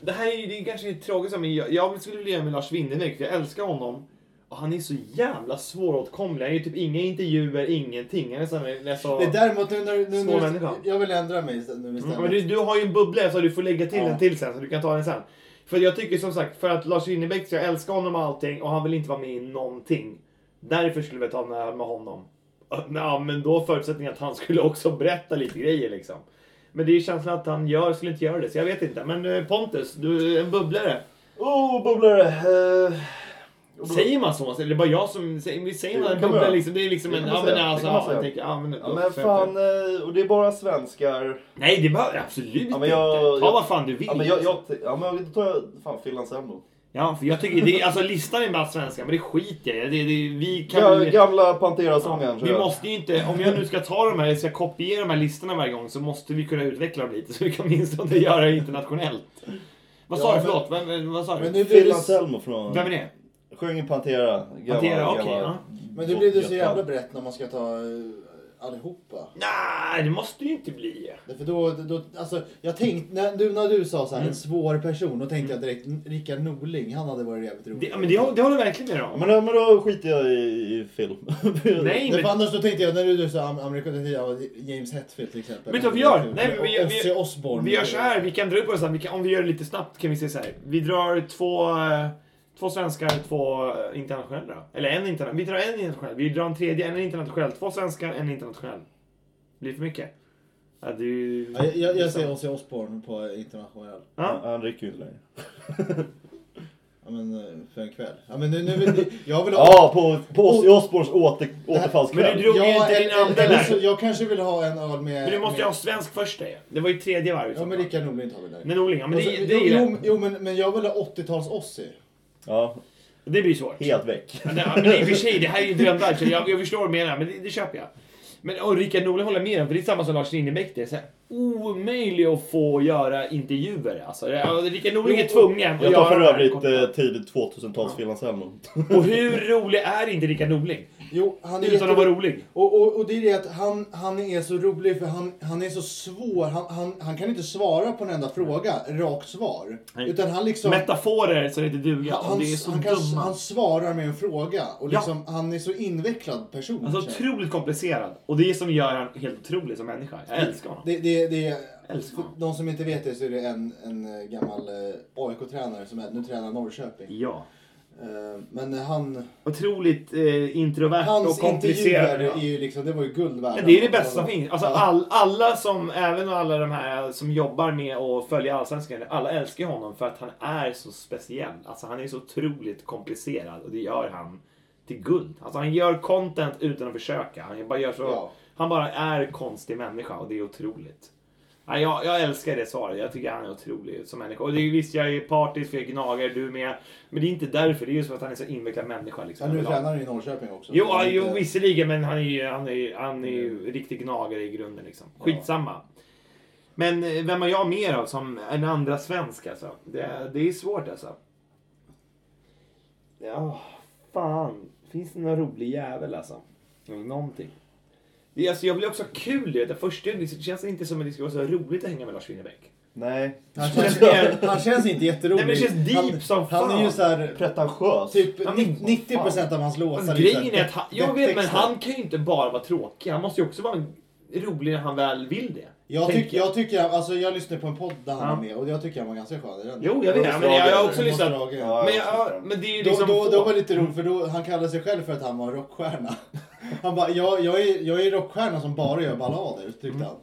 Speaker 3: det här är ju det är kanske är tragiskt men jag, jag skulle vilja göra med Lars Winnerbäck för jag älskar honom. Och han är så jävla svåråtkomlig. Han gör typ inga intervjuer, ingenting. Han är så här, nästan-
Speaker 2: Det är däremot nu när... Nu,
Speaker 3: Snål
Speaker 2: nu,
Speaker 3: människa. Mm.
Speaker 2: jag vill ändra mig istä- nu istället.
Speaker 3: Ja, Men du, du har ju en bubbla så du får lägga till
Speaker 2: Ja.
Speaker 3: en till sen så du kan ta den sen. För jag tycker som sagt, för att Lars Winnerbäck, så jag älskar honom och allting och han vill inte vara med i någonting. Därför skulle vi ta den här med honom. Ja, men då förutsättningen att han skulle också berätta lite grejer liksom. Men det är ju känslan att han gör, skulle inte göra det, så jag vet inte. Men eh, Pontus, du är en bubblare.
Speaker 1: Oh, bubblare! Eh,
Speaker 3: Säger man så? Eller är det bara jag som säger, vi säger
Speaker 1: Det
Speaker 3: man en
Speaker 1: kan man
Speaker 3: bubblare
Speaker 1: göra.
Speaker 3: liksom? Det är liksom
Speaker 1: Det
Speaker 3: en,
Speaker 1: kan man
Speaker 3: ja men
Speaker 1: säga,
Speaker 3: alltså,
Speaker 1: det kan man
Speaker 3: ja,
Speaker 1: säga.
Speaker 3: jag tänker, ja men...
Speaker 1: Ja, men fan, eh, och det är bara svenskar.
Speaker 3: Nej, det behöver absolut
Speaker 1: Ja, men jag-
Speaker 3: inte. Ta
Speaker 1: jag-
Speaker 3: vad fan du vill.
Speaker 1: Ja men jag, jag, ja, men då tar jag fan Finland Sembo.
Speaker 3: Ja, för jag tycker, det, är- alltså listan är bara svenska, men det skiter jag i. det, det, vi kan
Speaker 1: Ga-
Speaker 3: väl-
Speaker 1: Gamla Pantera-sången tror
Speaker 3: Vi
Speaker 1: jag.
Speaker 3: måste ju inte, om jag nu ska ta de här, ska kopiera de här listorna varje gång så måste vi kunna utveckla dem lite så vi kan åtminstone göra det internationellt. Vad sa
Speaker 2: Ja,
Speaker 3: du?
Speaker 2: men-
Speaker 3: Förlåt, vem, vad sa
Speaker 2: Men
Speaker 3: du?
Speaker 2: nu blir
Speaker 1: Phil
Speaker 2: det, så-
Speaker 1: Anselmo från...
Speaker 3: Vem är det?
Speaker 1: Sjöng i Pantera. Gammal,
Speaker 3: Pantera, okej,
Speaker 1: gammal-
Speaker 3: ja.
Speaker 2: men nu blir det så
Speaker 1: Götta.
Speaker 2: jävla brett när man ska ta eh, allihopa.
Speaker 3: Nej, det måste ju inte bli.
Speaker 2: Därför då, då, alltså, jag tänkte, när du, när du sa så här,
Speaker 3: Mm.
Speaker 2: en svår person, då tänkte jag direkt N- Rickard Norling, han hade varit jävligt rolig.
Speaker 3: Det, men det, hå- det håller jag verkligen med
Speaker 1: Ja,
Speaker 3: om.
Speaker 1: Men, men då skiter jag i, i film.
Speaker 3: [laughs] Nej,
Speaker 2: Nej, för
Speaker 3: men,
Speaker 2: annars då tänkte jag, när du, du sa am- amerikanska ja, James Hetfield till exempel.
Speaker 3: Vet du vad vi gör? Nej,
Speaker 2: Nej,
Speaker 3: men vi- vi-
Speaker 2: Ozzy Osbourne.
Speaker 3: vi gör så här, vi kan dra upp oss vi kan, om vi gör det lite snabbt kan vi se så här. Vi drar två, eh, två svenskar, två eh, internationella. Eller en internationell. Vi drar en internationell, vi drar en tredje, en internationell. Två svenskar, en internationell. Blir det för mycket? Ja, det är ju-
Speaker 2: Ja, jag- jag, jag ser
Speaker 3: Liksom.
Speaker 2: Ozzy Osbourne på internationell.
Speaker 3: Ja.
Speaker 1: Han dricker ju inte längre.
Speaker 2: Ja men eh, för en kväll. Ja men nu, nu vill jag- jag vill ha...
Speaker 1: Ja, på, på Ozzy Osbournes åter, återfallskväll.
Speaker 3: Men du drog ju inte din
Speaker 2: eller-
Speaker 3: andra
Speaker 2: eller
Speaker 3: där.
Speaker 2: eh, så- Jag kanske vill ha en öl med...
Speaker 3: Men du måste ju
Speaker 2: med,
Speaker 3: ha svensk först det. Det var ju tredje varvet.
Speaker 2: Ja men Rickard Norling tar vi där.
Speaker 3: Men Norling, ja men
Speaker 2: Och så-
Speaker 3: det, det
Speaker 2: jo,
Speaker 3: är ju
Speaker 2: jo,
Speaker 3: det.
Speaker 2: jo men, men jag vill ha 80-tals Ozzy.
Speaker 1: Ja,
Speaker 3: Det blir svårt.
Speaker 1: helt väck.
Speaker 3: Men, ja, men i och för sig, det här är ju en drömvärld. så Jag, jag förstår vad du menar, men det, det köper jag. Men och Rickard Norling håller med om, för det är samma som Lars Lindebäck. Det är så här, omöjligt att få göra intervjuer. Alltså, Ja, Rickard Norling är tvungen att
Speaker 1: Jag
Speaker 3: göra
Speaker 1: tar för
Speaker 3: de här
Speaker 1: övrigt
Speaker 3: korta.
Speaker 1: eh, tidigt 2000-tals Phil Anselmo.
Speaker 3: Och hur rolig är inte Rickard Norling?
Speaker 2: Jo, han är
Speaker 3: Utan att vara
Speaker 2: jätterolig.
Speaker 3: rolig.
Speaker 2: Och, och, och det är det att han, han är så rolig för han, han är så svår. Han, han, han kan inte svara på en enda fråga, rakt svar.
Speaker 3: Nej.
Speaker 2: Utan han liksom...
Speaker 3: Metaforer så det inte duga.
Speaker 2: han,
Speaker 3: och det är så
Speaker 2: han, kan,
Speaker 3: dumma.
Speaker 2: han svarar med en fråga. Och
Speaker 3: Ja.
Speaker 2: liksom, han är så invecklad person.
Speaker 3: Alltså
Speaker 2: känner jag.
Speaker 3: otroligt komplicerad. Och det är som gör han helt otrolig som människa. Jag älskar honom.
Speaker 2: Det, det, det är,
Speaker 3: Älskar
Speaker 2: för
Speaker 3: honom.
Speaker 2: de som inte vet det så är det en, en eh, gammal eh, AIK-tränare som är, nu tränar Norrköping.
Speaker 3: Ja. Mm.
Speaker 2: Eh, Men
Speaker 3: Äh,
Speaker 2: han,
Speaker 3: Otroligt eh, introvert och
Speaker 2: hans intervjuer
Speaker 3: komplicerad.
Speaker 2: är ju liksom, det var ju guld värda.
Speaker 3: Men det är det bästa som
Speaker 2: Ja.
Speaker 3: finns. Alltså, all, alla som, även alla de här som jobbar med att följa Allsvenskan, alla älskar ju honom för att han är så speciell. Alltså han är så otroligt komplicerad och det gör han till guld. Alltså han gör content utan att försöka. Han bara, gör så,
Speaker 2: Ja.
Speaker 3: han bara är konstig människa och det är otroligt. Ja, jag, jag älskar det svaret. Jag tycker han är otrolig som människa. Och det är, visst, jag är partisk, jag är gnagare, du med. Men det är inte därför. Det är ju så att han är så invecklad människa. Liksom,
Speaker 2: Ja, nu
Speaker 3: överlag.
Speaker 2: tränar han ju i Norrköping också.
Speaker 3: Jo,
Speaker 2: Så
Speaker 3: ja,
Speaker 2: det är
Speaker 3: jo
Speaker 2: inte-
Speaker 3: visserligen, men han är ju, han är, ju- han är ju riktig gnagare i grunden. Liksom. Skitsamma. Men eh, vem har jag mer av som en andra svensk alltså? Det, det är svårt alltså. Ja, fan. Finns det någon rolig jävel alltså? Eller någonting. Det, är- alltså, jag blir också ha kul i det. Det Första liksom- det känns inte som att det skulle vara så roligt att hänga med Lars Winnerbäck.
Speaker 1: Nej.
Speaker 2: Han känns, han känns inte jätterolig.
Speaker 3: Nej, men det känns deep
Speaker 2: han,
Speaker 3: som
Speaker 2: Han är
Speaker 3: fan.
Speaker 2: ju såhär,
Speaker 1: Pretentiös.
Speaker 2: typ
Speaker 3: Ja, men
Speaker 2: 90
Speaker 3: vad
Speaker 2: procent av hans låtar
Speaker 3: Men
Speaker 2: är ju så här
Speaker 3: grejen är att han,
Speaker 2: depp-
Speaker 3: jag vet, men
Speaker 2: depptexter.
Speaker 3: han kan ju inte bara vara tråkig. Han måste ju också vara rolig när han väl vill det.
Speaker 2: Jag,
Speaker 3: tänker
Speaker 2: tyck, jag tycker, han- alltså jag lyssnade på en podd där han
Speaker 3: Ja.
Speaker 2: var med och jag tycker han var ganska skön i den.
Speaker 3: Jo, jag vet.
Speaker 1: Måste
Speaker 3: men jag,
Speaker 1: ha
Speaker 3: jag har
Speaker 1: det.
Speaker 3: också
Speaker 2: Måste
Speaker 3: lyssnat.
Speaker 2: ha det.
Speaker 1: Ja,
Speaker 3: Men,
Speaker 1: jag
Speaker 3: jag,
Speaker 1: förstår.
Speaker 3: men det är ju
Speaker 2: Då,
Speaker 3: liksom...
Speaker 2: då,
Speaker 3: få. Mm.
Speaker 2: då var det lite roligt för då, han kallade sig själv för att han var rockstjärna. [laughs] Han bara, jag, jag, är, jag är rockstjärna som bara gör ballader, tyckte
Speaker 3: Mm.
Speaker 2: han.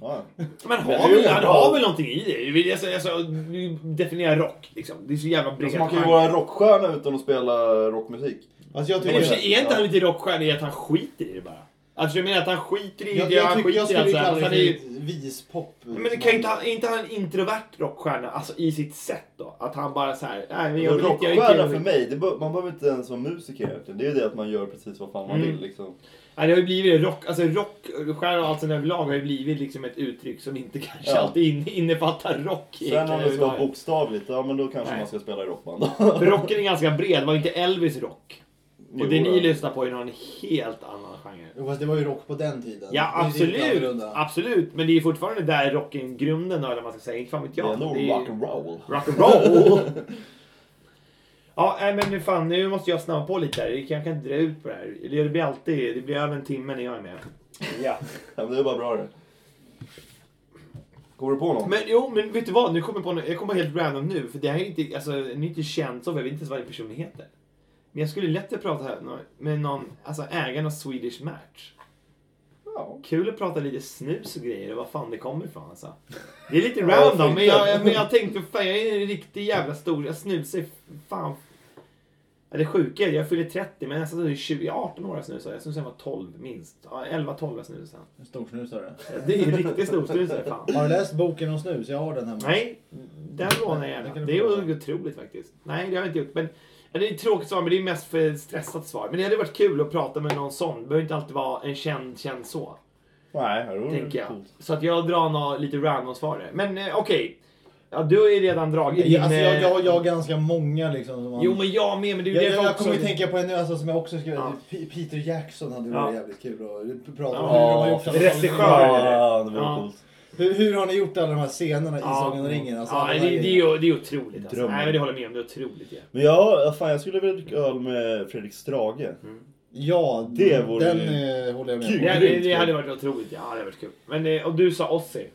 Speaker 1: Ja.
Speaker 3: Men
Speaker 1: Men
Speaker 3: har
Speaker 1: det är ju
Speaker 3: väl, han
Speaker 1: bra.
Speaker 3: har väl någonting i det? Vi- Alltså, alltså, vi definierar rock, liksom. Det är så jävla brett.
Speaker 1: Alltså, man kan ju vara en rockstjärna utan att spela rockmusik.
Speaker 2: Alltså jag
Speaker 3: Men i och för
Speaker 2: tycker...
Speaker 3: sig, är inte han lite rockstjärna i att han skiter i det bara? Alltså jag menar att han skiter i
Speaker 2: Jag,
Speaker 3: det,
Speaker 2: jag,
Speaker 3: han
Speaker 2: tycker, jag
Speaker 3: skiter i
Speaker 2: skulle
Speaker 3: allt. så
Speaker 2: kalla
Speaker 3: här.
Speaker 2: det
Speaker 3: Han
Speaker 2: för
Speaker 3: är ju...
Speaker 2: vispop.
Speaker 3: alltså, Men det kan ju inte, han- är inte han en introvert rockstjärna, alltså i sitt sätt då? Att han bara så här, nej men jag vill inte, jag är
Speaker 1: Rockstjärna
Speaker 3: inte...
Speaker 1: för mig, det be- man behöver inte ens vara musiker egentligen. Det är ju det att man gör precis vad fan man
Speaker 3: Mm.
Speaker 1: vill liksom.
Speaker 3: Nej, det har ju blivit rock, alltså rockstjärna och allt sånt överlag har ju blivit liksom ett uttryck som inte kanske
Speaker 1: Ja.
Speaker 3: alltid in, innefattar rock
Speaker 1: Sen om det ska vara
Speaker 3: överhuvudtaget.
Speaker 1: bokstavligt, ja men då kanske
Speaker 3: Nej.
Speaker 1: man ska spela i rockband.
Speaker 3: För rocken är ganska bred, var inte Elvis rock?
Speaker 1: Jo,
Speaker 3: och det ni
Speaker 1: ja.
Speaker 3: lyssnar på är någon helt annan genre.
Speaker 2: Jo, fast det var ju rock på den tiden.
Speaker 3: Ja
Speaker 2: Det är lite
Speaker 3: absolut,
Speaker 2: annorlunda.
Speaker 3: absolut. Men det är fortfarande där rocken grunden eller vad man ska säga. Inte fan
Speaker 1: [laughs]
Speaker 3: vet
Speaker 1: Det
Speaker 3: jag.
Speaker 1: är nog
Speaker 3: Det är-
Speaker 1: rock'n'roll.
Speaker 3: Rock'n'roll! ja, nej, men nu fan, nu måste jag snabba på lite här. Jag kan jag kan inte dra ut på det här. Det blir alltid, det blir över en timme när jag är med. Ja.
Speaker 1: Ja, men det är bara bra det. Kommer du på någon?
Speaker 3: Men jo, men vet du vad? Nu kommer jag på något, jag kommer på helt random nu. För det här är inte, alltså, ni är inte känt så, jag vet inte ens vad den personen heter. Men jag skulle lätt prata här nå- med någon, alltså ägaren av Swedish Match.
Speaker 1: Ja.
Speaker 3: Kul att prata lite snus och grejer och vad fan det kommer ifrån alltså. Det är lite random, men jag, men jag tänkte fan jag är en riktig jävla stor, jag snusar fan. Ja, Det sjuka är att jag fyller 30 men jag snusade i 20, 18 år jag snusade. Jag snusade när jag var 12 minst. Ja, 11-12 jag snusade.
Speaker 2: En storsnusare.
Speaker 3: Ja, Det är ju riktigt storsnusare
Speaker 2: [laughs]
Speaker 3: fan.
Speaker 2: Har du läst boken om snus? Jag har den hemma.
Speaker 3: Nej, den lånar
Speaker 2: Det
Speaker 3: jag gärna.
Speaker 2: kan du
Speaker 3: Det
Speaker 2: få.
Speaker 3: är otroligt faktiskt. Nej, det har jag inte gjort. Men, ja, det är ett tråkigt svar men det är mest för ett stressat svar. Men det hade varit kul att prata med någon sån. Det behöver inte alltid vara en känd, känd så.
Speaker 1: Nej, det
Speaker 2: Mm,
Speaker 1: vore
Speaker 3: Tänker jag.
Speaker 1: coolt.
Speaker 3: Så att jag drar nå- lite random svar där. Men eh, okej. Ja, du har ju redan dragit
Speaker 2: Jag, alltså, jag,
Speaker 3: eh,
Speaker 2: jag, jag har ganska många liksom. Som man...
Speaker 3: Jo men jag med, men det är ju
Speaker 2: jag, jag,
Speaker 3: det folk
Speaker 2: jag kommer ju
Speaker 3: som-
Speaker 2: tänka på en nu alltså, som jag också skrev.
Speaker 3: Ja.
Speaker 2: P- Peter Jackson hade
Speaker 3: Ja.
Speaker 2: varit jävligt kul att prata om.
Speaker 3: Ja,
Speaker 2: hur de har gjort alla-
Speaker 3: regissör.
Speaker 1: Ja, det vore
Speaker 3: Ja.
Speaker 1: coolt.
Speaker 2: Hur, hur har ni gjort alla de här scenerna i
Speaker 3: Ja.
Speaker 2: Sagan om ringen? Alltså,
Speaker 3: ja,
Speaker 2: alla de
Speaker 3: det, det,
Speaker 2: här
Speaker 3: är
Speaker 2: grejerna.
Speaker 3: ju, det är otroligt alltså.
Speaker 1: Drömmen.
Speaker 3: Nej men det håller jag med om, det är otroligt ja.
Speaker 1: Men ja, fan jag skulle vilja dricka öl med Fredrik Strage.
Speaker 3: Mm.
Speaker 2: Ja,
Speaker 1: Det vore
Speaker 2: den
Speaker 1: ju-
Speaker 2: eh, håller jag med
Speaker 1: Kul.
Speaker 2: om.
Speaker 3: Det, hade-
Speaker 1: Grymt
Speaker 3: det
Speaker 1: kul.
Speaker 3: hade varit otroligt ja, det hade varit kul. Men, eh, och du sa Ossi.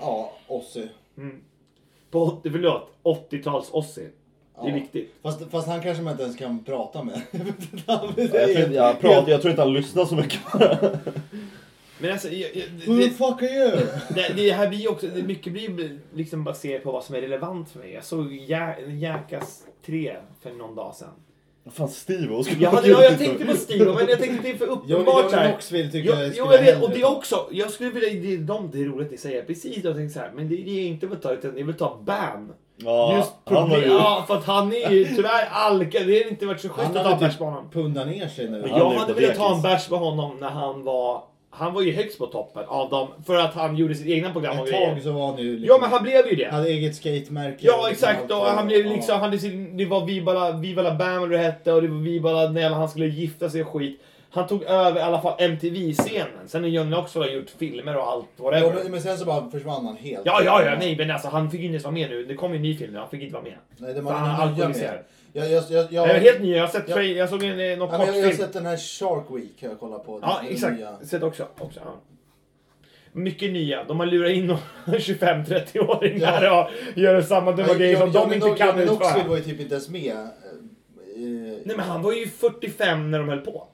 Speaker 2: Ja, Ossi.
Speaker 3: På, 80 förlåt, 80-tals Ossi. Det är
Speaker 2: Ja.
Speaker 3: viktigt.
Speaker 2: Fast, fast han kanske man inte ens kan prata med. [laughs] Han är
Speaker 1: Jag tror,
Speaker 2: helt-
Speaker 1: inte- jag, pratar, jag tror inte han lyssnar så mycket. [laughs]
Speaker 3: Men alltså, jag, jag,
Speaker 2: Who the
Speaker 3: det,
Speaker 2: fuck are you?
Speaker 3: det, det här blir ju också, det, mycket blir ju liksom baserat på vad som är relevant för mig. Jag såg Jä- Jackass 3 för någon dag sedan.
Speaker 1: Fan, Steve skulle
Speaker 3: Jag, hade, ja, jag tänkte på Steve, men jag tänkte att det är för
Speaker 2: Johnny
Speaker 3: uppenbart så
Speaker 2: Johnny
Speaker 3: här.
Speaker 2: Knoxville tycker
Speaker 3: Jo,
Speaker 2: jag
Speaker 3: jo
Speaker 2: skulle
Speaker 3: jag vet,
Speaker 2: hellre
Speaker 3: och det
Speaker 2: ta.
Speaker 3: också. Jag skulle vilja, det är de det är roligt att säga precis jag tänkte så här, men det, det är inte vad ta utan det är väl ta BAM.
Speaker 1: Ja,
Speaker 3: Just
Speaker 1: han var
Speaker 3: problem,
Speaker 1: ju...
Speaker 3: ja, för att han är ju tyvärr alka, det har inte varit så schysst
Speaker 2: Han
Speaker 3: att ta en
Speaker 2: hade
Speaker 3: bärs
Speaker 2: typ
Speaker 3: med honom.
Speaker 2: pundat ner sig nu.
Speaker 1: Men
Speaker 3: Jag
Speaker 1: är ju
Speaker 3: hade
Speaker 1: på
Speaker 3: velat ta
Speaker 1: dekis.
Speaker 3: en bärs med honom när han var, han var ju högst på toppen av dem för att han gjorde sitt egna program och
Speaker 2: Ett
Speaker 3: grejer.
Speaker 2: tag så var han ju liksom-
Speaker 3: Ja men han blev ju det.
Speaker 2: hade eget skatemärke.
Speaker 3: Ja exakt och
Speaker 2: Allt.
Speaker 3: han blev liksom,
Speaker 2: Ja.
Speaker 3: han hade sin, det var Vibala, Vibala Bam eller det hette och det var Vibala när han skulle gifta sig och skit. Han tog över i alla fall MTV-scenen. Sen har Johnny Knoxville har gjort filmer och allt
Speaker 2: Ja,
Speaker 3: whatever.
Speaker 2: men, men sen så bara försvann han helt.
Speaker 3: Ja, ja, ja, nej men alltså han fick ju inte ens vara med nu. Det kom ju en ny film nu, han fick inte vara med.
Speaker 2: Nej, det var
Speaker 3: Fan,
Speaker 2: den nya
Speaker 3: alkoholiserad.
Speaker 2: med. Jag, jag, jag, jag,
Speaker 3: Det var helt ny, jag har sett
Speaker 2: Ja.
Speaker 3: tra- jag såg en, eh, någon
Speaker 2: ja, men jag, jag har
Speaker 3: kortfilm.
Speaker 2: sett den här Shark Week har jag kollat på.
Speaker 3: Ja,
Speaker 2: Den
Speaker 3: exakt.
Speaker 2: nya.
Speaker 3: Sett också. också ja. Mycket nya. De har lurat [laughs] in några 25-30-åringar och gör samma dumma
Speaker 2: Nej,
Speaker 3: grejer
Speaker 2: jag-
Speaker 3: som
Speaker 2: jag-
Speaker 3: de inte
Speaker 2: jag-
Speaker 3: kan
Speaker 2: jag-
Speaker 3: utföra.
Speaker 2: Knoxville var ju typ inte ens med. eh, i-
Speaker 3: Nej men han var ju 45 när de höll på.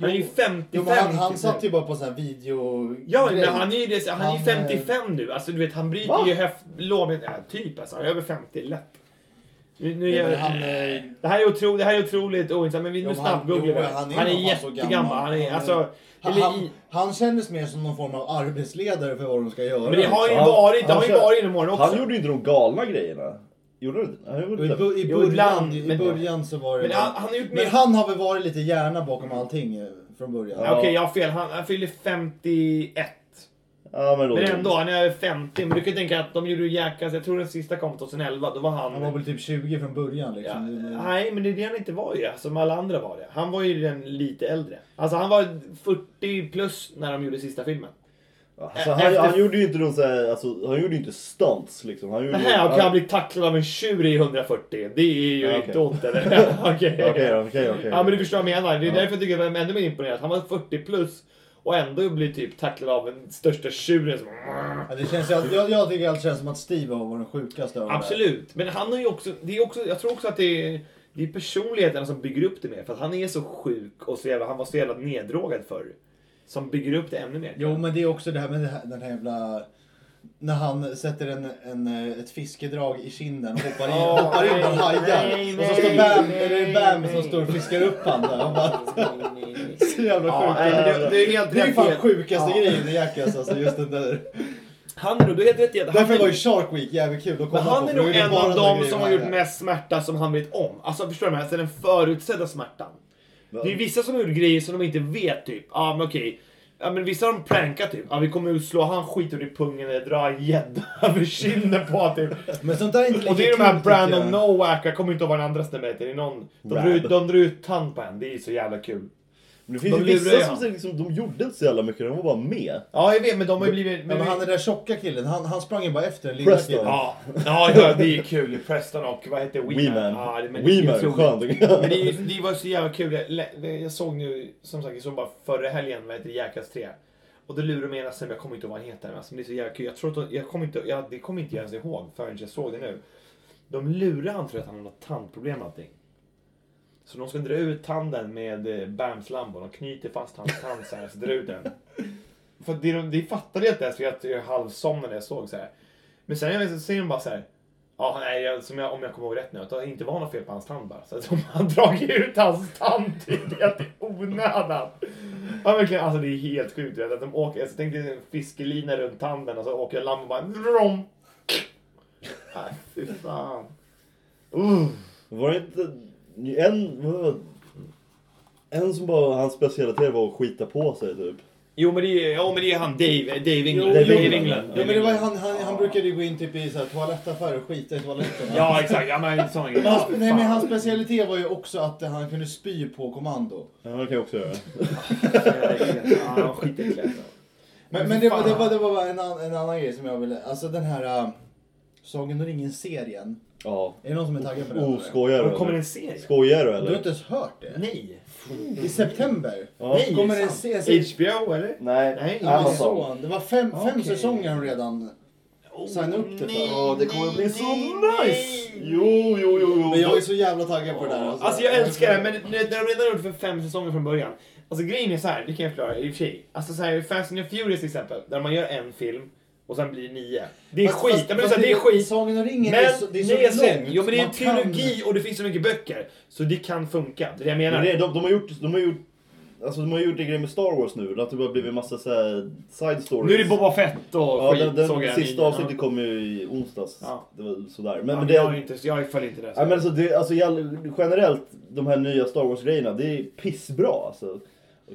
Speaker 3: Han är ju 55
Speaker 2: Jo, men han, han
Speaker 3: typ
Speaker 2: satt
Speaker 3: nu.
Speaker 2: ju bara på sån här video...
Speaker 3: Ja,
Speaker 2: grej.
Speaker 3: men han är ju det- han är ju
Speaker 2: Han, eh,
Speaker 3: 55 nu. Alltså du vet, han bryter
Speaker 1: Va?
Speaker 3: ju höft... Låben, ja, typ alltså. Han är över 50, lätt. Nu, nu
Speaker 2: Nej,
Speaker 3: gör,
Speaker 2: men han, eh,
Speaker 3: det, här är otro, det här är otroligt ointressant, men vi
Speaker 2: Jo,
Speaker 3: nu
Speaker 2: men han-
Speaker 3: snabbgooglar vi.
Speaker 2: jo, han
Speaker 3: Han
Speaker 2: är
Speaker 3: är,
Speaker 2: nog fan så
Speaker 3: jättegammal. Han är,
Speaker 2: gammal.
Speaker 3: alltså,
Speaker 2: Han,
Speaker 3: eller
Speaker 2: han,
Speaker 3: i,
Speaker 2: han kändes mer som någon form av arbetsledare för vad de ska göra.
Speaker 3: men det har ju
Speaker 1: Han-
Speaker 3: varit, det
Speaker 1: han
Speaker 3: har ju
Speaker 1: kör-
Speaker 3: varit inom åren också.
Speaker 1: Han gjorde ju inte de galna grejerna. Gjorde han inte? Han gjorde
Speaker 2: Och I,
Speaker 1: inte.
Speaker 2: bu- i,
Speaker 3: Jo,
Speaker 2: början,
Speaker 3: ibland,
Speaker 2: I
Speaker 3: men-
Speaker 2: början så var det...
Speaker 3: Men han, han har gjort mer...
Speaker 2: men han har väl varit lite hjärna bakom allting eh, från början.
Speaker 1: Ja.
Speaker 3: Okej, jag har fel. Han, han fyller 51.
Speaker 1: Ja, men då...
Speaker 3: Men ändå, han är över 50. Men du kan ju tänka att de gjorde ju Jackass, jag tror den sista kom 2011, då var han...
Speaker 2: Han var väl typ 20 från början
Speaker 3: ja,
Speaker 2: liksom. Det-
Speaker 3: nej, men det är det han inte var ju, Alltså, som alla andra var det. Han var ju den lite äldre. Alltså han var 40 plus när de gjorde sista filmen.
Speaker 1: Alltså, han,
Speaker 3: Efter-
Speaker 1: han gjorde ju inte någon så här, alltså, han gjorde ju inte stunts liksom. Han gjorde...
Speaker 3: Nähä, okej han blir tacklad av en tjur i 140. Det är ju
Speaker 1: Ja,
Speaker 3: inte
Speaker 1: okej.
Speaker 3: ont eller? [laughs] Okej.
Speaker 1: Okej, då, okej, okej.
Speaker 3: Ja men du förstår vad jag menar. Det är därför jag tycker att jag är ännu mer imponerad. Han var 40 plus och ändå blir typ tacklad av den största tjuren som...
Speaker 2: Ja, det känns, ju all- jag, jag tycker allt känns som att Steve har varit den sjukaste av dem där.
Speaker 3: Absolut, men han har ju också, det är också, jag tror också att det är, det är personligheten som bygger upp det mer. För att han är så sjuk och så jävla, han var så jävla neddrogad förr. Som bygger upp det ännu mer.
Speaker 2: Jo, men det är också det här med det här- den här jävla... När han sätter en, en, eh, ett fiskedrag i kinden och hoppar in,
Speaker 3: Åh,
Speaker 2: hoppar in
Speaker 3: nej,
Speaker 2: bland
Speaker 3: nej,
Speaker 2: hajar. Och så står
Speaker 3: nej,
Speaker 2: Bam,
Speaker 3: nej,
Speaker 2: eller Bam
Speaker 3: nej.
Speaker 2: som står och fiskar upp han där. Han bara,
Speaker 3: Nej, nej, nej.
Speaker 2: så jävla
Speaker 3: Ja,
Speaker 2: sjukt.
Speaker 3: nej, men det, det är helt
Speaker 2: det är
Speaker 3: rätt
Speaker 2: fan
Speaker 3: i att-
Speaker 2: sjukaste
Speaker 3: ja.
Speaker 2: grejen i Jackass alltså, just den där.
Speaker 3: Han är nog, du är helt rätt i att han
Speaker 2: Därför
Speaker 3: är-
Speaker 2: var ju Shark Week jävligt kul att kolla
Speaker 3: Men han
Speaker 2: på,
Speaker 3: är
Speaker 2: för
Speaker 3: nog
Speaker 2: det
Speaker 3: en
Speaker 2: bara
Speaker 3: av
Speaker 2: sådana
Speaker 3: dem
Speaker 2: grejer
Speaker 3: som
Speaker 2: man
Speaker 3: har gjort
Speaker 2: gör.
Speaker 3: mest smärta som han vet om. Alltså förstår du? Alltså den förutsedda smärtan. Det är ju vissa som har gjort grejer som de inte vet typ. Ja ah, men okej. Ja men vissa har de prankat typ. Ja ah, vi kommer att slå han skiter i pungen eller dra en [laughs] gädda över kinden på honom typ.
Speaker 2: Men sånt där är inte lika
Speaker 3: Och det är de här
Speaker 2: kul, tycker jag.
Speaker 3: Brandon Nowak, jag kommer inte ihåg vad den andra snubben heter. Det är någon- De drar
Speaker 1: Brad.
Speaker 3: ut- de drar ut tand på en, det är så jävla kul.
Speaker 1: Men det finns
Speaker 3: de
Speaker 1: ju
Speaker 3: lurar ju
Speaker 1: vissa som
Speaker 3: han.
Speaker 1: säger liksom, de gjorde inte så jävla mycket, de var bara med.
Speaker 3: Ja jag vet men de har ju
Speaker 2: Ja,
Speaker 3: blivit... Men
Speaker 2: men han
Speaker 3: han
Speaker 2: den där tjocka killen, han, han sprang ju bara efter den lilla
Speaker 1: Preston.
Speaker 2: killen.
Speaker 3: Ja, ja, ja det är kul. Preston och vad heter
Speaker 1: Weeman.
Speaker 3: Weeman? Ja, det- men det är
Speaker 1: Weeman,
Speaker 3: otroligt.
Speaker 1: [laughs] skönt.
Speaker 3: Men det, det var så jävla kul. Jag, lä- jag såg nu, som sagt, jag såg bara förra helgen, vad heter det, Jackass 3. Och då lurade de ena snubben, jag kommer inte ihåg vad han heter. men Alltså, men det är så jävla kul. Jag tror att de, jag kommer inte, jag, det kommer inte jag ens ihåg förrän jag såg det nu. De lurade han tror att han hade något tandproblem eller någonting. Så de ska dra ut tanden med eh, Bams Lambo. De knyter fast hans tand så här, så drar ut den. För det, liksom- de- det fattade jag inte ens, för jag, jag halvsomnade när jag såg så här. Men sen jag, så säger de bara så här. Ja, nej, jag, som jag, om jag kommer ihåg rätt nu, att det inte var något fel på hans tand bara. Så att de har [laughs] dragit ut hans tand tidigare i onödan. Ja, verkligen, alltså det är helt sjukt. vet du, Att de åker, alltså, tänk dig en fiskelina runt tanden och så åker lammen och bara... Vrom! Nej, fy fan. Uh.
Speaker 1: Var det inte en... vad- En som bara, hans specialitet var att skita på sig typ.
Speaker 7: Jo men det är, ja, men det är han Dave, Dave England.
Speaker 1: Dave
Speaker 7: Dave
Speaker 1: England.
Speaker 7: England.
Speaker 1: Ja,
Speaker 2: Ja, men det var, ju han, han, han brukade ju gå in typ i så här, toalettaffärer och skita i toaletten.
Speaker 7: Ja exakt, ja men sådana
Speaker 2: Men
Speaker 7: grejer.
Speaker 2: hans, nej, men hans specialitet var ju också att eh, han kunde spy på kommando.
Speaker 1: Ja, det kan jag också göra.
Speaker 3: Ja, skitäckligt. alltså.
Speaker 2: Men, men det, var, det, var, det var bara en, an, en annan grej som jag ville... Alltså den här uh, Sagan om ringen-serien.
Speaker 1: Ja.
Speaker 2: Är det någon som är taggad på den?
Speaker 1: Oh, skojar du
Speaker 3: Och kommer
Speaker 1: eller?
Speaker 3: en serie?
Speaker 1: Skojar du
Speaker 2: du har
Speaker 1: eller?
Speaker 2: inte ens hört det?
Speaker 3: Nej.
Speaker 2: I september?
Speaker 1: Ja.
Speaker 3: Nej,
Speaker 2: Kommer
Speaker 3: det
Speaker 2: det
Speaker 3: är
Speaker 2: en
Speaker 3: sant.
Speaker 2: serie? serie-
Speaker 3: HBO eller?
Speaker 1: Nej,
Speaker 3: Nej,
Speaker 1: Amazon.
Speaker 2: Amazon. Det var fem, fem
Speaker 3: Okej.
Speaker 2: säsonger han redan signade upp det för.
Speaker 1: Ja, det kommer bli så
Speaker 3: Nej,
Speaker 1: nice!
Speaker 3: nej.
Speaker 1: Jo, jo, jo, jo.
Speaker 2: Men jag är så jävla taggad på det där.
Speaker 3: Alltså jag älskar det, men när när de redan gjort för fem säsonger från början. Alltså grejen är så här, det kan jag förklara i och för sig. Alltså så här, i Fast and the Furious till exempel, där man gör en film och sen blir det nio. Det är
Speaker 2: Fast-
Speaker 3: skit,
Speaker 2: fast-
Speaker 3: jag menar
Speaker 2: fast
Speaker 3: så här, det är skit.
Speaker 2: Sagan om ringen
Speaker 3: Men
Speaker 2: är så, det är så
Speaker 3: nej, jag
Speaker 2: långt.
Speaker 3: ser- jo men det är en
Speaker 2: Man kan-
Speaker 3: trilogi och det finns så mycket böcker. Så det kan funka, det är det jag menar.
Speaker 1: Men det, de, de har gjort, de har gjort, alltså de har gjort en grej med Star Wars nu. Att det bara blivit en massa så här side stories.
Speaker 7: Nu är det Boba Fett och
Speaker 1: Ja,
Speaker 7: skit
Speaker 1: den, den
Speaker 7: såg jag
Speaker 1: sista
Speaker 7: i-
Speaker 1: avsnittet kom ju i onsdags.
Speaker 7: Ja.
Speaker 1: Det var sådär. Men,
Speaker 7: Ja,
Speaker 1: men
Speaker 7: men
Speaker 1: det...
Speaker 7: jag, är inte, jag följer inte det.
Speaker 1: Ja, men alltså, det, alltså, i all- generellt, de här nya Star Wars-grejerna, det är pissbra alltså.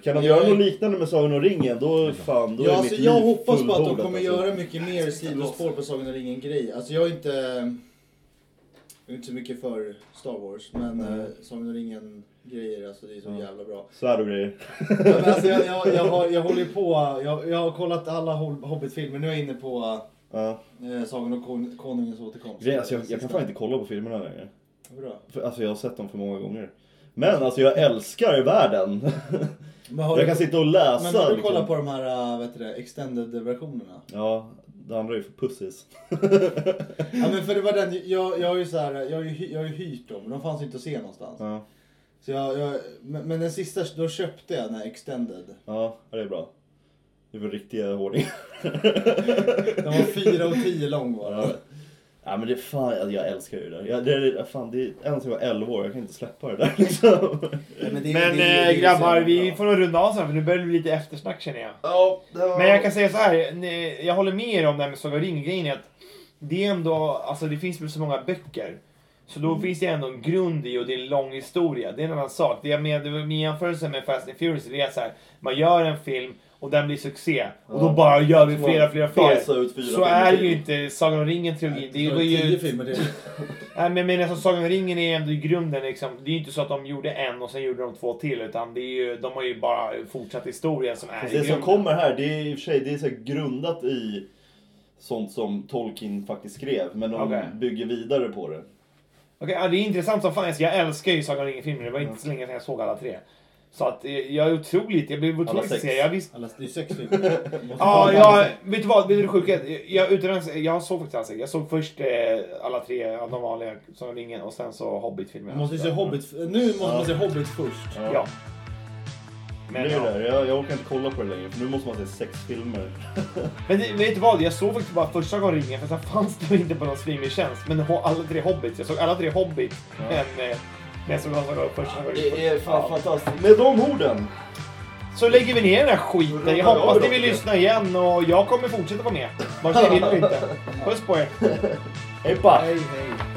Speaker 1: Kan de
Speaker 2: Jag
Speaker 1: göra
Speaker 2: är-
Speaker 1: något liknande med Sagan om ringen, då fan, då
Speaker 2: Ja,
Speaker 1: är
Speaker 2: alltså,
Speaker 1: mitt
Speaker 2: jag
Speaker 1: liv
Speaker 2: hoppas på att de
Speaker 1: fullbordat,
Speaker 2: kommer
Speaker 1: alltså.
Speaker 2: göra mycket mer sidospår på Sagan om ringen-grej. Alltså jag är inte... Jag är inte så mycket för Star Wars, men eh, Sagan om ringen-grejer, alltså det är så
Speaker 1: Mm.
Speaker 2: jävla bra.
Speaker 1: Svärd och grejer.
Speaker 2: Ja, men alltså, jag, jag, jag, har, jag håller ju på, jag, jag har kollat alla Hol- Hobbit-filmer, nu är jag inne på
Speaker 1: Ja.
Speaker 2: eh, Sagan om kon, Konungens återkomst.
Speaker 1: Grejen, alltså, jag, jag kan fan inte kolla på filmerna längre.
Speaker 2: Bra.
Speaker 1: För, alltså jag har sett dem för många gånger. Men alltså jag älskar världen.
Speaker 2: Men [laughs] har
Speaker 1: jag kan
Speaker 2: du,
Speaker 1: sitta och läsa.
Speaker 2: men har du
Speaker 1: liksom.
Speaker 2: kollat på de här, eh, vad heter det, extended-versionerna?
Speaker 1: Ja, det andra är ju för pussies.
Speaker 2: Ja men för det var den, jag, jag har ju så här, jag har ju, hy- jag har ju hyrt dem, de fanns ju inte att se någonstans.
Speaker 1: [laughs] Ja,
Speaker 2: Så jag, jag, men, men den sista, då köpte jag den här extended.
Speaker 1: ja det är bra. Det är väl riktiga hårdingar.
Speaker 2: Den var 4 och 10 lång var
Speaker 1: [laughs] Ja.
Speaker 2: den.
Speaker 1: ja men det fan, alltså, jag, jag älskar ju det där. Jag, det, det, fan, det är en som var 11 år, jag kan inte släppa det där [laughs] liksom.
Speaker 2: Men, det är-
Speaker 3: Men
Speaker 2: det är- det är
Speaker 3: eh,
Speaker 2: ju
Speaker 3: grabbar,
Speaker 2: så
Speaker 3: vi
Speaker 2: jävla
Speaker 3: får nog runda av sen för nu börjar det bli lite eftersnack känner jag.
Speaker 1: Ja,
Speaker 3: Men jag kan säga så här, ni- jag håller med er om det här med Sagan om ringen-grejen. att Det är ändå, alltså det finns väl så många böcker. Så
Speaker 1: Mm.
Speaker 3: då finns det ändå en grund i och det är en lång historia. Det är en annan sak. Det jag menar, det var min jämförelse med Fast and Furious det är så här, man gör en film och den blir succé. Och då
Speaker 1: Ja.
Speaker 3: bara gör vi flera, flera,
Speaker 1: Fasa ut
Speaker 3: fler.
Speaker 1: fyra
Speaker 3: Så
Speaker 1: filmer
Speaker 3: är det
Speaker 1: till.
Speaker 3: ju inte Sagan om ringen-trilogin. Det
Speaker 2: bra.
Speaker 3: var
Speaker 2: tio
Speaker 3: ju...
Speaker 2: filmer till.
Speaker 3: Nej men jag menar så Sagan om ringen är ändå i grunden liksom. Det är ju inte så att de gjorde en och sen gjorde de två till. Utan det är ju, de har ju bara fortsatt historien som är i
Speaker 1: Det som
Speaker 3: grunden.
Speaker 1: kommer här, det är i och för sig det är så här grundat i sånt som Tolkien faktiskt skrev. Men de
Speaker 3: Okej.
Speaker 1: bygger vidare på det.
Speaker 3: Okej, ja, det är intressant som fan. Alltså, Jag älskar ju Sagan om ringen-filmer. Det var inte så länge sedan jag såg alla tre. Så att eh, jag är otroligt, jag blev
Speaker 1: Alla
Speaker 3: otroligt
Speaker 1: sex.
Speaker 3: intresserad. Jag visste...
Speaker 2: Alla, det är sex [laughs] filmer. Måste
Speaker 3: Ja,
Speaker 2: kolla alla
Speaker 3: jag,
Speaker 2: sex.
Speaker 3: vet du vad? Vet du det sjuka? Jag, utan, ens- jag såg faktiskt alla sex. Jag såg först eh, alla tre av de vanliga Sagan om ringen och sen så
Speaker 2: Man
Speaker 3: Hobbit-filmerna.
Speaker 2: måste ju se Hobbit, nu måste man se Hobbit först.
Speaker 3: Ja. Men,
Speaker 1: Men det är
Speaker 3: ja.
Speaker 1: det där. Jag, jag orkar inte kolla på det längre för nu måste man se sex filmer.
Speaker 3: Men det- vet du vad? Jag såg faktiskt bara första gången ringen för sen fanns det inte på någon streamingtjänst. Men ho- alla tre Hobbits. Jag såg alla tre Hobbit. Men, eh, men jag såg alla tre första gången. Ja.
Speaker 1: fantastiskt. Med de orden.
Speaker 3: Så lägger vi ner den här skiten. Jag hoppas ni vill
Speaker 1: Ja.
Speaker 3: lyssna igen och jag kommer fortsätta vara med. Vare sig ni vill eller inte. Puss på er.
Speaker 1: Hej pa!
Speaker 2: Hej hej.